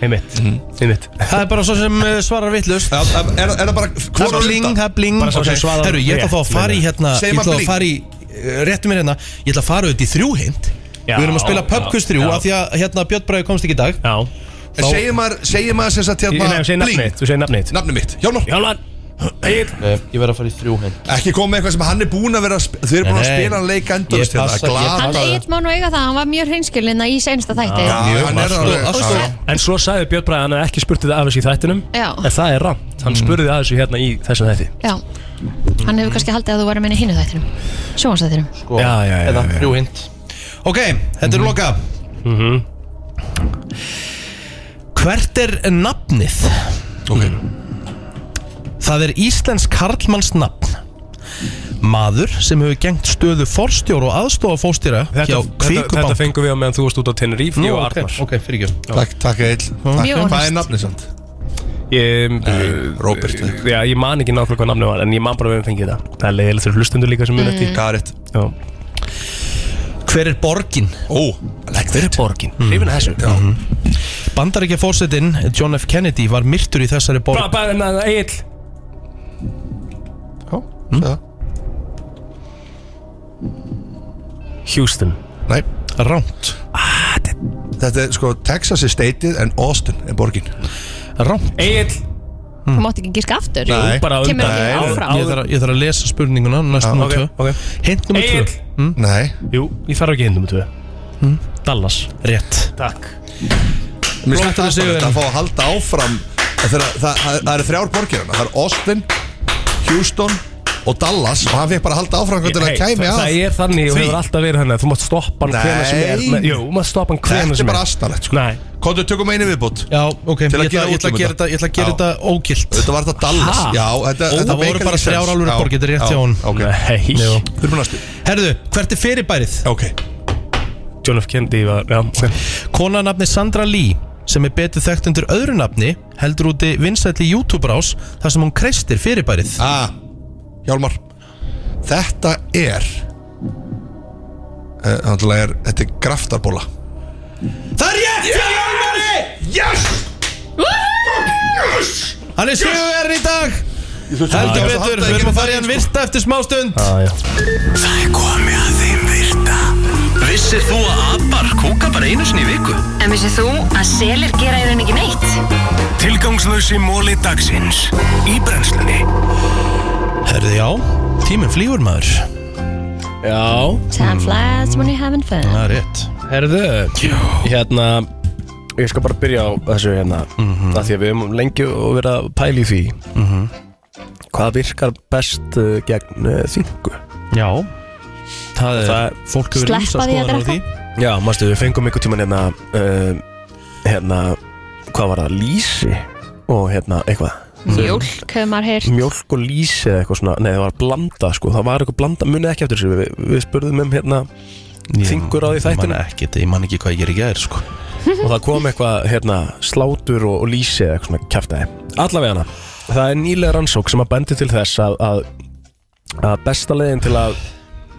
S4: einmitt, einmitt
S2: Það er bara svo sem eh, svarar vittlust
S19: Er er það bara
S2: Það er
S19: hvor
S2: bara
S19: á
S2: bling,
S19: undan?
S2: það er bling
S19: Bara svo sem
S2: Ok.
S19: svarar
S2: Herru, ég ætla
S19: rétt,
S2: þá að fara
S19: meina
S2: í
S19: ég.
S2: hérna
S19: Segir
S2: Ég ætla
S19: maður
S2: að
S19: bling?
S2: fara í eh, Réttu mér hérna Ég ætla að fara út í þrjú hint
S19: Já,
S2: Við erum að spila
S19: já,
S2: PubQuest 3
S19: já.
S2: Af því að hérna Björn Bræði komst ekki í dag
S4: Já
S19: En segir maður, segir maður sem sagt
S4: Ég-
S19: hérna
S4: Nei, þú segir nafnið
S19: bling?
S4: þitt, þú segir nafnið þitt.
S19: Nafnið mitt, Hjálmar
S4: Hjálmar Egil
S2: Eh, Ég verð að fara í þrjú hint
S19: Ekki koma með eitthvað sem hann er búinn að vera að sp- Þau eru búin að
S2: Nei, nei.
S19: spila hann leik hérna.
S2: Ég
S19: endalist
S2: passa, ég
S19: Glata
S3: Hann eitt má nú eiga það, hann var mjög hreinskilina í sensta þætti
S19: hann er alveg-
S3: Og svo-
S4: En svo sagði Björn Bræði að hann hef ekki spurt þetta af þessu í þættinum
S3: Já.
S4: En það er rámt, hann spurði að þessu hérna í þessum þætti
S3: Já, hann hefur kannski haldið að þú væri meina hinnu þættinum Sjónvarsþættinum
S2: sko,
S4: Já, já, já,
S2: eða
S4: já, já.
S2: þrjú hint Ok, þetta er loka
S4: Mhm.
S2: Hvert er nafnið? Mhm.
S19: Ok
S2: Það er Íslensk Karlmanns nafn Maður sem hefur gengt stöðu forstjóra og aðstofa fórstjóra hjá
S4: Þetta, þetta,
S2: Kvikubank
S4: þetta fengum við á meðan þú varst út á Tenerife, ég og Arnar
S2: Ok, fyrir ekki
S19: Takk, takk Egil
S4: Mjög
S19: Takk. Hvað
S4: honest.
S19: er nafnið samt?
S4: Ég, Robert Já, ég man ekki nákvæmlega hvað namni var En ég man bara að við höfum fengið þetta Það er leiðilegt fyrir hlustundur líka sem muni eftir
S19: Það er rétt
S3: Mm.
S4: Já
S2: Hver er borgin?
S19: Ó,
S4: Hver er borgin? Hrifin að þessu
S2: Bandaríkja fórsetin John F. Kennedy var myrtur í þessari borg
S4: Bara, bara, Egil
S19: Mm.
S4: Houston
S19: Nei
S2: Rámt
S19: Þetta er sko, Texas er stateið en Austin er borgin
S2: Rámt
S4: Egil
S3: Þú mátt ekki gíska aftur
S19: Nei. Bara á
S3: Kemur
S19: undan.
S3: ekki
S19: Nei.
S3: áfram
S2: Ég þarf að- ég þarf að lesa spurninguna
S4: Já,
S2: Næst nummer
S4: ok,
S2: 2
S4: ok.
S2: Hint nummer 2
S4: Egill.
S19: Nei
S4: Jú, ég þarf ekki hinn nummer 2
S19: Hm?
S4: Dallas
S2: Rétt
S4: Takk
S19: Mér finnst þetta aðstæðilegt að fá að halda áfram að þeirra, það, það, það eru þrjár borgir hana Það er Austin, Houston og Dallas Og hann fekk bara að halda áfram hvernig
S4: Hey,
S19: það kæmi
S4: það-
S19: að
S4: Það er þannig og
S19: því.
S4: hefur alltaf verið þannig að Þú mátt stoppa hann hvena sem er
S19: Nei.
S4: með- Jú, þú mátt stoppa hann hvena sem er
S19: Þetta er bara astanlegt sko.
S4: Nei
S19: Kondur, tökum einu viðbútt
S2: Já, ok, ég
S19: Til að gera
S2: ætla, ég ætla að
S19: útlum
S2: gera þetta, ég ætla að gera
S19: Já.
S2: þetta ógilt
S19: Þetta var þetta Dallas
S2: Ha?
S19: Já, þetta,
S2: Ó,
S19: þetta
S2: það voru
S19: make
S2: bara
S19: any
S2: þrjár
S19: sense.
S2: alvöru
S19: Já,
S2: borgir, þetta er rétt hjá honum.
S19: ok.
S4: Nei
S2: Jú.
S19: Þeir eru búin að stu
S2: Herðu, hvert er fyrirbærið?
S19: Ok
S4: John F. Kennedy var, já, ok
S2: Kona nafni Sandra Lee sem er betur þekkt undir öðru nafni heldur úti vinsætli YouTube-rás þar sem hún kreistir fyrirbærið
S19: ah, Hjálmar Þetta er eh, Þannig að er Þetta er graftarbóla
S2: Það er rétt hjá Hjálmari
S19: Yes Yes
S2: Hann er sigurverðin í dag
S19: Já,
S2: Heldur
S19: já.
S2: betur,
S19: Halda
S2: við erum
S19: ekki
S2: að fara í hann virta eftir smá stund
S4: Ah,
S26: Það er komið að þeim virta Vissir þú að abar kúka bara einu sinni í viku?
S27: En vissið þú að selir gera í rauninni ekki neitt?
S28: Tilgangslösi móli dagsins Í brennslunni
S2: Herðu já, tíminn flýgur maður
S4: Já
S3: Time flies when you're having fun
S2: Það er rétt
S4: Herðu Hérna Ég skal bara byrja á þessu hérna mm
S2: Mhm.
S4: Því að við höfum lengi og verið að pæla í því Hvað virkar best uh, gegn uh, þingu?
S2: Já Það er,
S4: Það-
S2: fólk hefur ýmsar
S3: Sleppa því að
S2: skoðanir á
S3: drekka?
S2: því
S4: Já, mástu, við fengum einhvern tímann eh, hérna uh, Hérna hvað var það, lýsi og hérna eitthvað
S3: Mjólk, hefur maður heyrt
S4: Mjólk og lýsi eða eitthvað svona, nei það var blanda sko, það var eitthvað blanda, munið ekki eftir þessu, við, við spurðum um hérna þingur á því
S2: Ég
S4: þættinu
S2: man ekki, ég man ekki hvað ég er í gæðir sko
S4: og það kom eitthvað hérna slátur og, og lýsi eða eitthvað svona kæftæði. Allavega hana, það er nýlega rannsók sem að bendi til þess að, að, að besta leiðin til að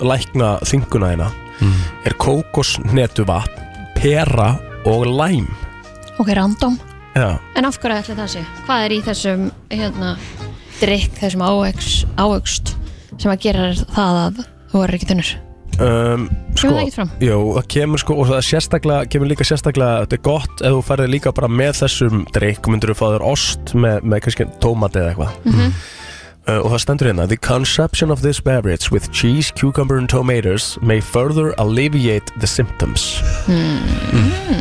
S4: lækna þinguna hérna er kókosnetu pera og læm.
S3: Ok, random
S4: Já.
S3: En af hverju ætli það sé? Hvað er í þessum hérna, drikk, þessum ávegs- ávöxt sem að gera þér það að þú er ekki þunnur?
S4: Um, sko,
S3: það ekkert fram?
S4: Jú, það kemur sko og það er sérstaklega, kemur líka sérstaklega þetta er gott ef þú færði líka bara með þessum drikk myndir þú fá þér ost með, með kannski tómati eða eitthvað
S3: Mhm.
S4: uh, og það stendur hérna The consumption of this beverage with cheese, cucumber and tomatoes may further alleviate the symptoms Mm.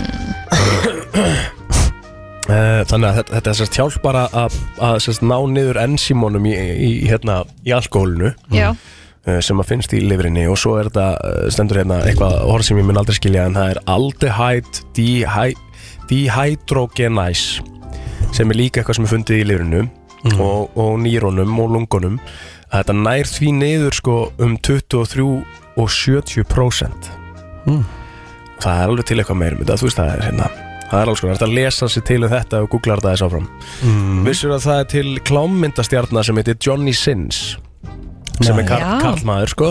S4: Uh, Þannig að þetta, þetta er sérst hjálp bara að, að sérst ná niður ensímonum í, í, hérna, í alkohólinu
S3: Já.
S4: uh, sem að finnst í lifrinni og svo er þetta uh, stendur hérna eitthvað orð sem ég mun aldrei skilja en það er aldehyde dehy, dehydrogenase sem er líka eitthvað sem er fundið í lifrinu og, og nýrónum og lungunum að þetta nær því niður sko um 23 og 70% það er alveg til eitthvað meira um þetta, þú veist það er hérna það er alls konar, þetta lesa sér til um þetta og googlar þetta þess áfram
S29: Mm.
S4: vissur að það er til klámmyndastjarnar sem heitir Johnny Sins sem er
S29: Nei.
S4: kar
S29: Já.
S4: karlmaður sko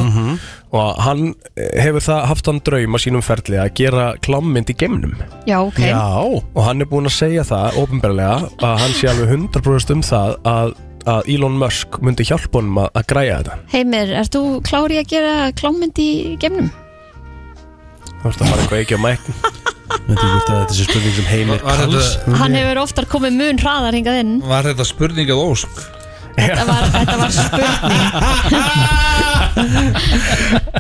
S4: og hann eh, hefur það haft hann draum á sínum ferli að gera klámmynd í geimnum
S3: Já, ok
S4: og hann er búinn að segja það ofinbarlega að hann sé alveg 100% um það að, að Elon Musk myndi hjálpa honum að, að græja þetta
S3: Heimir, ert þú klári að gera klámynd í gemnum?
S4: þú veist að fara eitthvað ekki á mækn
S2: Þetta er sér spurning sem heimir
S15: Var þetta-
S3: Hann hefur oftar komið mun hraðar hingað inn
S15: Var þetta spurning eða ósk?
S3: Þetta var, þetta var spurning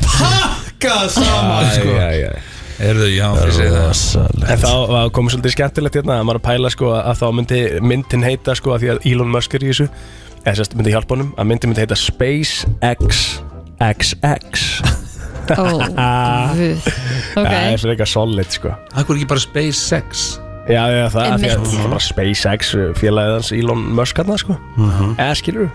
S15: Pakkað saman
S4: Æ,
S15: sko
S4: æ, æ.
S15: Erðu, já, ég segi það
S4: En þá var- kom svolítið skemmtilegt hérna að maður að pæla sko að þá myndi myndin heita sko að því að Elon Musk er í þessu eða sérst myndi hjálpa honum að myndin myndi heita SpaceX XX
S3: Ó, guð. Ok.
S4: Það er svona eitthvað solid sko
S15: Akkur ekki bara SpaceX
S4: Já, já, það er því að
S15: Einmitt.
S4: það er bara SpaceX eh, félagið hans Elon Musk hérna sko eða skilur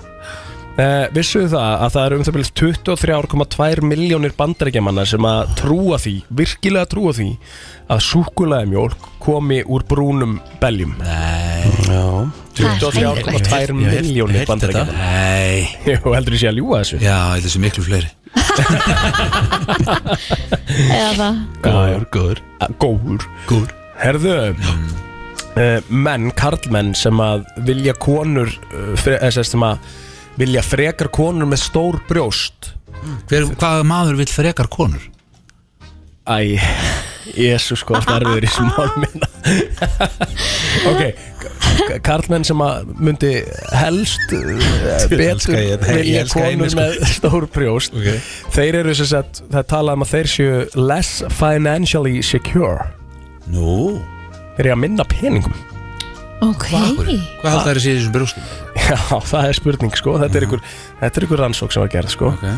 S4: Uh, vissuðu það að það eru um það byrjast 23,2 miljónir bandaríkjamanna sem að trúa því, virkilega trúa því að súkulæði mjólk komi úr brúnum beljum Nei 23,2 miljónir bandaríkjamanna
S15: Nei
S4: Jú, heldur þú sé að ljúa þessu
S15: Já, heldur þú sé miklu fleiri
S3: Eða það
S4: Góður, góður Góður Góður Herðu uh, Menn, karlmenn sem að vilja konur uh, fre, eh, sem sagt sem að vilja frekar konur með stór brjóst Hver, Hvað maður vil frekar konur? Æ, jésus sko, það erfiður í smál minna Ok, k- karlmenn sem að myndi helst uh,
S2: Ég elska
S4: betur
S2: ég- ég
S4: vilja
S2: elska ég mig,
S4: konur
S2: sko.
S4: með stór brjóst Þeir eru sem sagt, það er talað um að þeir séu less financially secure Nú Þeir eru að minna peningum
S3: Ok
S15: Hvað haldið þær að sé í þessum brjóstum?
S4: Já, það er spurning sko, þetta er ykkur, þetta er ykkur rannsók sem var gerð sko okay.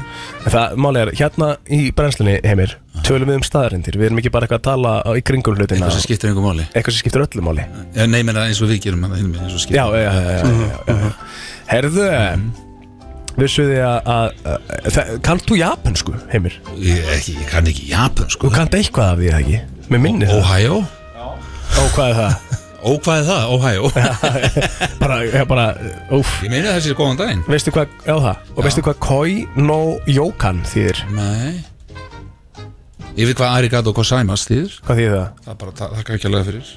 S4: Það máli er, hérna í brennslunni heimir, tölum við um staðarindir, við erum ekki bara eitthvað að tala á, í kringum hlutina
S15: Eitthvað sem skiptir einhver máli
S4: Eitthvað sem skiptir öllu máli
S15: Já, nei, menna eins og við gerum hana hinum megin, eins og skiptir
S4: Já, já, já, já, já, já, já. Herðu, vissu þið að, að, að það- Kannt þú japansku, heimir?
S15: Ég, ekki, ég kann ekki japansku
S4: Þú kannt eitthvað af því það ekki? Mér minni það
S15: Ohio?
S4: Ó, hvað er það?
S15: Ó, hvað er það? Ohio
S4: Bara, ég bara, úf
S15: Ég meina þessi góðan daginn
S4: Veistu hvað, já það, og veistu hvað koi no yokan þýðir?
S15: Nei Ég veit hvað arigato gozaimasu þýðir
S4: Hvað þýðir það?
S15: Það er bara að þakka ekki alveg fyrir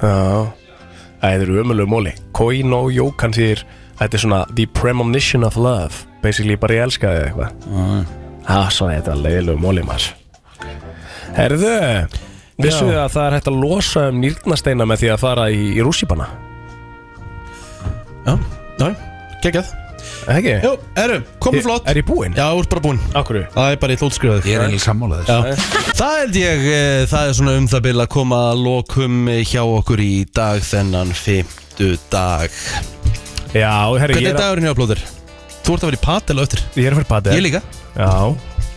S4: Já Æ, Það eru ömulegu móli Koi no yokan þýðir Þetta er svona The premonition of love Basically bara ég elska þig eitthvað
S2: Mm.
S4: Það svo þetta er leiðilegu móli maður Herðu Vissu
S29: Já.
S4: þið að það er hægt að losa um nýrnasteina með því að fara í, í rússipanna?
S2: Já, já, geggjað
S4: Ekki?
S2: Jú, erum, komið
S4: Er-
S2: flott
S4: er ég búinn?
S2: Já, þú ert bara búinn
S4: Akkur
S2: Það er bara í hlótskriðað
S15: Ég er eiginlega sammála
S2: Já. Það held ég, eh, það er svona um það byrja að koma að lokum eh, hjá okkur í dag þennan fymtu dag
S4: Já, herri
S2: Hvernig er dagurinn hjá blóður? Þú ert að vera í patel á eftir
S4: Ég er að fara í padel
S2: Ég líka
S4: Já,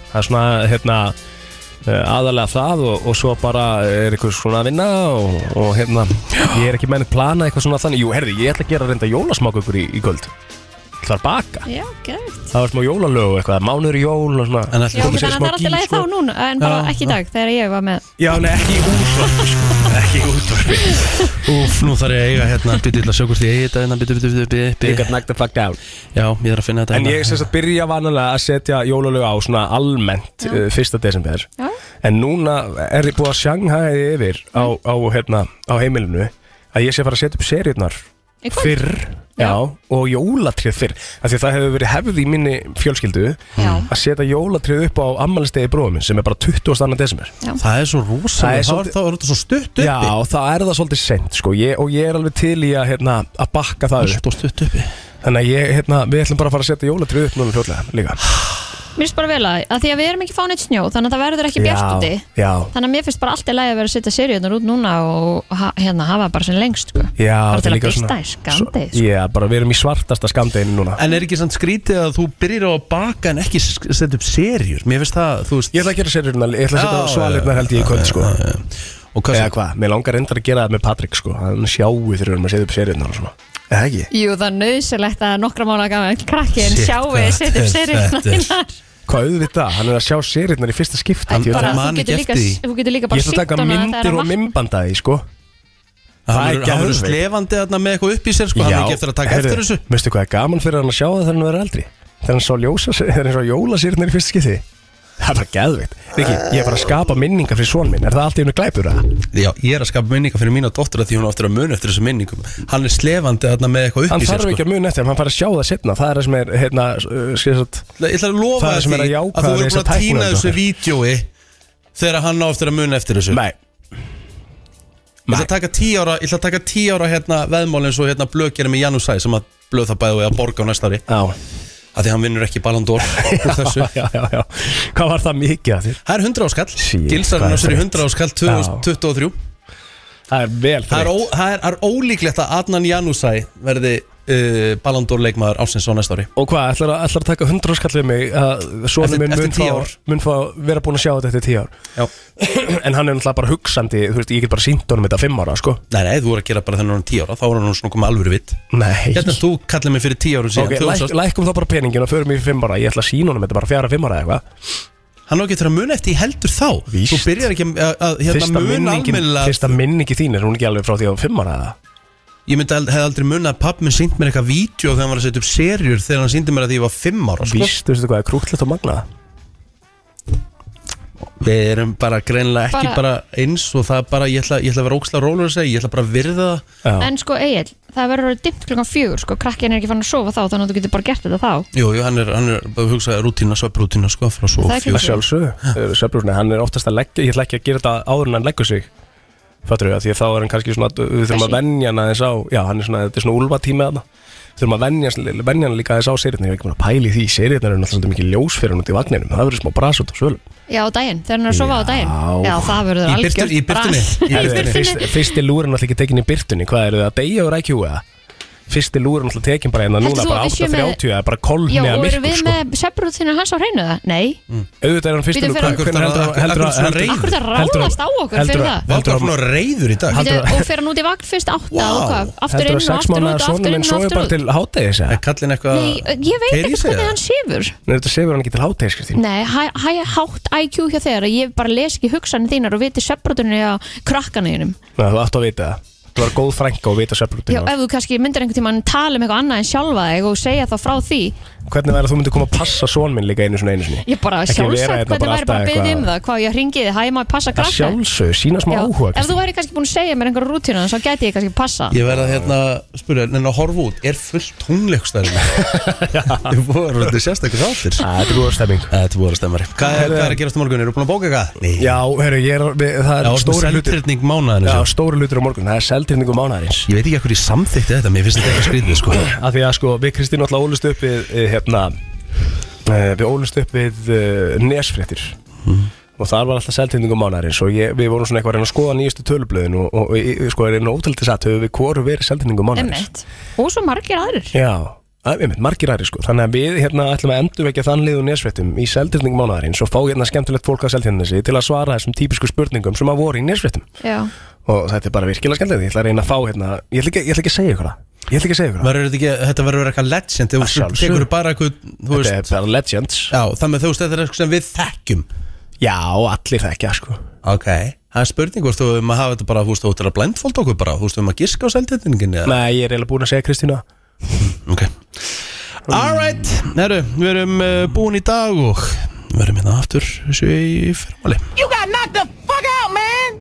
S4: það er svona hérna eh, aðalega það og, og svo bara er eitthvað svona að vinna og, og hérna, ég er ekki með að plana eitthvað svona þannig, jú, herði, ég ætla að gera reynda jólasmákökur í, í kvöld Það er baka,
S3: Já, gæt
S4: það var smá jólalög og eitthvað, mánuður í jól og svona En
S3: Já, ok, þannig að það er alltaf lægi þá núna En bara
S4: Já,
S3: ekki í dag, þegar ég var með
S4: Já, nei, ekki í útvarpi sko. Ekki í útvarpi
S11: Úf, nú þarf ég að eiga hérna Býtið til að sjókvist ég eigi þetta hérna Býtið, býtið, býtið, býtið
S4: You got knocked the fuck down
S11: Já, ég þarf að finna þetta
S2: hérna.
S4: En ég sem sagt byrja vanalega að setja jólalög á svona almennt uh, fyrsta desember
S11: Já.
S4: En núna er ég búið að sjanghæði yfir á, á, hérna, á heimilinu að ég sé að fara að setja upp seriurnar
S11: Í kvöld?
S4: fyrr Já. og jólatrið fyrr af því að það hefur verið hefð í minni fjölskyldu Já. að setja jólatrið upp á ammælistegi bróðum sem er bara 22. desember
S3: Já.
S4: Það er svo
S2: rosalega, þá er- þá
S4: er þetta svo stutt uppi Já, það er það svolítið sent sko. ég, og ég er alveg til í að, hérna, að bakka það Allt og stutt uppi Þannig að ég, hérna, við ætlum bara að fara að setja jólatrið upp núna fljótlega líka
S3: Mér finnst bara vel að, að því að við erum ekki fáin eitt snjó Þannig að það verður ekki bjart úti
S4: Já, já,
S3: Þannig að mér finnst bara alltaf lægi að vera að setja seríunar út núna og ha, hérna hafa bara sem lengst sko.
S4: já þetta
S3: bara til
S4: er
S3: að
S4: líka
S3: gista
S4: svona-
S3: í skandið sko.
S4: Já, bara við erum í svartasta skamdeginu núna
S2: En er ekki sann skrítið að þú byrjir á að baka en ekki s- setja upp serjur? Mér finnst það, þú veist
S4: Ég ætla að gera serjurnar, ég ætla að setja á svalirnar held ég í kvöld sko Eða hvað, mér langar reyndar að gera það með Patrik sko Hann sjáu þegar við erum að setja upp seriðnar og svona Eða ekki?
S3: Jú, það er nöðsilegt að nokkra mánu gaman krakkin
S4: Shit,
S3: sjáu
S4: þetta
S3: að setja upp
S4: er-
S3: seríunar
S4: þetta er-
S3: þínar.
S4: Hvað auðvitað, hann er að sjá seriðnar í fyrsta skipti
S3: Æ,
S4: ég
S3: bara,
S4: ætla-
S3: þú getur líka- þú getur líka bara
S4: Ég ætla að
S3: sýnt
S4: taka
S3: honum að það er
S4: myndir
S3: að
S4: og
S3: vatna.
S4: mymbanda því sko
S2: Hann verður- hann verður
S4: geðveikt.
S2: slefandi þarna með eitthvað upp í sér, sko, hann er ekki eftir að taka eftir þessu.
S4: Veistu hvað er gaman fyrir hann að sjá það þegar hann verður eldri Þegar hann sá ljósa, þegar hann sá jólasýrnir í fyrst skipti Það er bara geðveikt Riki, ég er bara að skapa minningar fyrir svon minn Er það allt í hennu glæpur að?
S2: Já, ég er að skapa minningar fyrir mína dóttur að því hún á eftir að muna eftir þessum minningum Hann er slefandi þarna með eitthvað upp
S4: Hann
S2: í sér sko.
S4: þarf ekki að muna eftir, þeim, hann fær að sjá það setna Það er það sem er, hérna, skilsat
S2: Ég ætla að lofa
S4: Það er
S2: þér
S4: sem er að
S2: því
S4: jákvæða
S2: að þú verður
S4: þessa
S2: búin að
S4: tækni
S2: týna
S4: okkar.
S2: þessu vídjói þegar hann á eftir að muna eftir þessu
S4: Nei
S2: Ég ætla að taka tí ára, ég ætla að taka tí ára hérna veðmálinn svo hérna blöð gerir með Janus Sæ sem að blöð það bæði og ég að borga á næsta ári
S4: Já
S2: Að því hann vinnur ekki Ballon d'Or úr þessu
S4: já, já, já. Hvað var það mikið að þér?
S2: Það er 100 áskall
S4: Shit,
S2: Gilsar
S4: hvað
S2: hann
S4: er
S2: á sér í
S4: þreytt.
S2: 100 áskall 2023
S4: Það er vel
S2: Það er, ó, það er, það er ólíklegt að Adnan Janusæ verði uh, Ballon d'Or leikmaður ásins á næsta ári
S4: Og hvað, ætlar að, ætlar að taka 100 skall við mig að svona
S2: Eftir-
S4: minn
S2: eftir
S4: mun,
S2: 10
S4: fá-
S2: ár.
S4: mun fá vera búin að sjá þetta eftir 10 ár En hann er náttúrulega bara hugsandi, þú veist, ég get bara sínt honum þetta 5 ára, sko
S2: Nei, nei, þú voru að gera bara þennan 10 ára Þá voru hann svona komið alvöru vitt
S4: Nei
S2: Hérna þú kallir mig fyrir 10 árum síðan
S4: Ok,
S2: þú
S4: læk,
S2: sást-
S4: lækum þá bara peningin og förum í 5 ára Ég ætla að sína honum þetta bara 4-5 ára eða eitthvað
S2: Hann á getur að muna eftir í heldur þá
S4: Víst.
S2: Þú byrjar ekki að, að hérna,
S4: Fyrsta
S2: muna
S4: minningin,
S2: almennilega
S4: fyrsta minningi þín er hún ekki alveg frá því á 5 ára eða?
S2: Ég myndi ald- hefði aldrei munað að pappi minn sínt mér eitthvað vídeo þegar hann var að setja upp serjur þegar hann síndi mér að því ég var 5 ára sko.
S4: Víst, veistu hvað, er krútlegt og magnað
S2: Við erum bara greinlega ekki
S3: Bara-
S2: bara, eins og það er bara, ég ætla, ég ætla að vera ókslega rólur að segja, ég ætla bara að virða það
S3: En sko Egil, það verður orðið dimmt klukkan fjögur sko. Krakkin er ekki fann að sofa þá, þannig að þú getur bara gert þetta þá
S2: Jú, jú, hann er, hann er bara að hugsa rútína, svepprútína sko, frá svo
S3: Það er klukkan fjögur.
S4: Sjálfsög, Svepplúsni, hann er oftast að leggja Ég ætla ekki að gera þetta áður en hann leggur sig Fattur við, því að þá er hann kannski svona Við þurfum að
S3: Þessi.
S4: venja hann aðeins á Já, hann er svona, þetta er svona úlfa tíma þarna Við þurfum að venja, venja hann líka aðeins á seriðnir Ég er ekki búin að pæli því, seriðnir eru náttúrulega mikið ljós fyrir hann út í vagninum Það verður smá bras út á svölum
S3: Já, á daginn, þegar hann er að sofa á daginn Já, það verður algjört bras. Í
S4: Herðu, fyrst-
S3: birtunni
S4: Fyrsti lúrin alltaf ekki tekin í byrtunni Hvað eru það, degja úr IQ eða? Fyrsti lúrin alltaf tekin bara hérna núna
S3: Heldur þú
S4: Bara
S3: að við séum með-
S4: 8.30, eða bara
S3: Já,
S4: kolmi að
S3: og erum
S4: myrkur
S3: við
S4: sko
S3: með sepprútinu hans á hreinu það? Nei
S4: Auðvitað er hann um fyrsti
S3: Bíddu,
S4: lúrin
S3: fer hann- Akkur það ráðast á okkur fyrir það
S2: Valdur er svona reyður í dag
S3: Bíddu, Og fer hann út í vagn fyrst átta og hvað? Aftur
S4: Heldur að
S3: inn og
S4: sex
S3: aftur út
S4: mánaða
S3: og aftur
S4: sonur
S3: inn
S4: minn
S3: og
S4: sofi
S3: aftur
S4: bara
S3: út
S4: til hátægis eða?
S2: Er kallin eitthvað
S3: Nei, ég veit ekki hvernig hann sefur
S4: Nei, þetta sefur hann ekki til hátægis, Kristín
S3: Nei, hæ, hæ, hátt IQ hjá þeir að ég bara les ekki hugsanir þínar og viti separatunni á krakkanuðinum
S4: Nei, þú átt að vita það Þú var góð frænka og vita
S3: Já,
S4: svefnrútinu
S3: ef þú kannski myndir einhvern tímann tala um eitthvað annað en sjálfa þig og segja þá frá því
S4: Hvernig væri að þú myndir koma að passa són minn líka einu svona einu sinni
S3: Ég bara
S4: Ekki vera
S3: sjálfsagt
S4: hérna
S3: hvernig væri bara að
S4: alltaf
S3: byggja um
S4: eitthvað-
S3: það hvað ég hringi þið, hæ, ég má ég passa
S4: Að
S3: krakka
S4: sjálfsög, sína smá
S3: Já,
S4: áhuga
S3: Ef þú væri kannski búin að segja mér einhverja rútínu þá gæti ég kannski passa
S2: Ég verða hérna, spyrja, en að horfa út, er fullt tungleikstæðin Ég voru þetta sérstakur þáttir
S4: Þetta er búið að stemming
S2: Þetta er búið að stemmari Hvað er, hvað er að gerast á morgun, eru búin að bóka eitthvað? Nei
S4: Já, herru, ég er, við, það er
S2: Já, þú ert með
S4: stóri hlutur
S2: seldrýrning mánaðarins,
S4: Já,
S2: já.
S4: stóri hlutur á morgun, það er seldrýrningu mánaðarins
S2: Ég veit ekki hvað ég samþykti þetta, mér finnst þetta eitthvað skrítið sko
S4: Af því að sko, við Kristín alltaf ólust upp við, eh, hérna eh, Við ólust upp við uh, nesfréttir Og þar var alltaf seldtýndingum mánaðarins Og ég, við vorum svona eitthvað að reyna að skoða nýjustu tölublöðin Og, og, og í- sko, er einu ótaldið satt Höfum við hvoru verið seldtýndingum mánaðarins
S3: Emmett Og svo margir aðrir
S4: Já, að, einmitt, margir aðri sko þannig að við hérna ætlum að endurvekja þann lið og nesvettum í seldirning mánuðarins og fá hérna skemmtilegt fólk að seldjarnesi til að svara þessum típisku spurningum sem að voru í nesvettum
S3: Já
S4: og þetta er bara virkilega skemmtilegt ég ætla að reyna að fá hérna ég ætla ekki, ég ætla ekki að segja ykkur það ég ætla ekki að segja ykkur það
S2: Verður þetta ekki, þetta verður eitthvað
S4: Að
S2: legend Þú
S4: sjálfsögðu.
S2: tekur bara eitthvað, þú veist
S4: Þetta er bara legend
S2: Já, þannig að þú veist, þetta er eitthvað sem við þekkjum
S4: Já, allir þekkja, sko
S2: Ok, það er spurning hvort þú um að hafa þetta bara, þú veist, þú ættir að blindfold okkur bara Þú veist, um að giska á seldetningin
S4: Nei, ég er eiginlega búin að segja Kristína
S2: Ok Alright, herru, eh, við erum uh, búin í dag og við erum hérna aftur þessu í fyrrmáli
S30: You got knocked the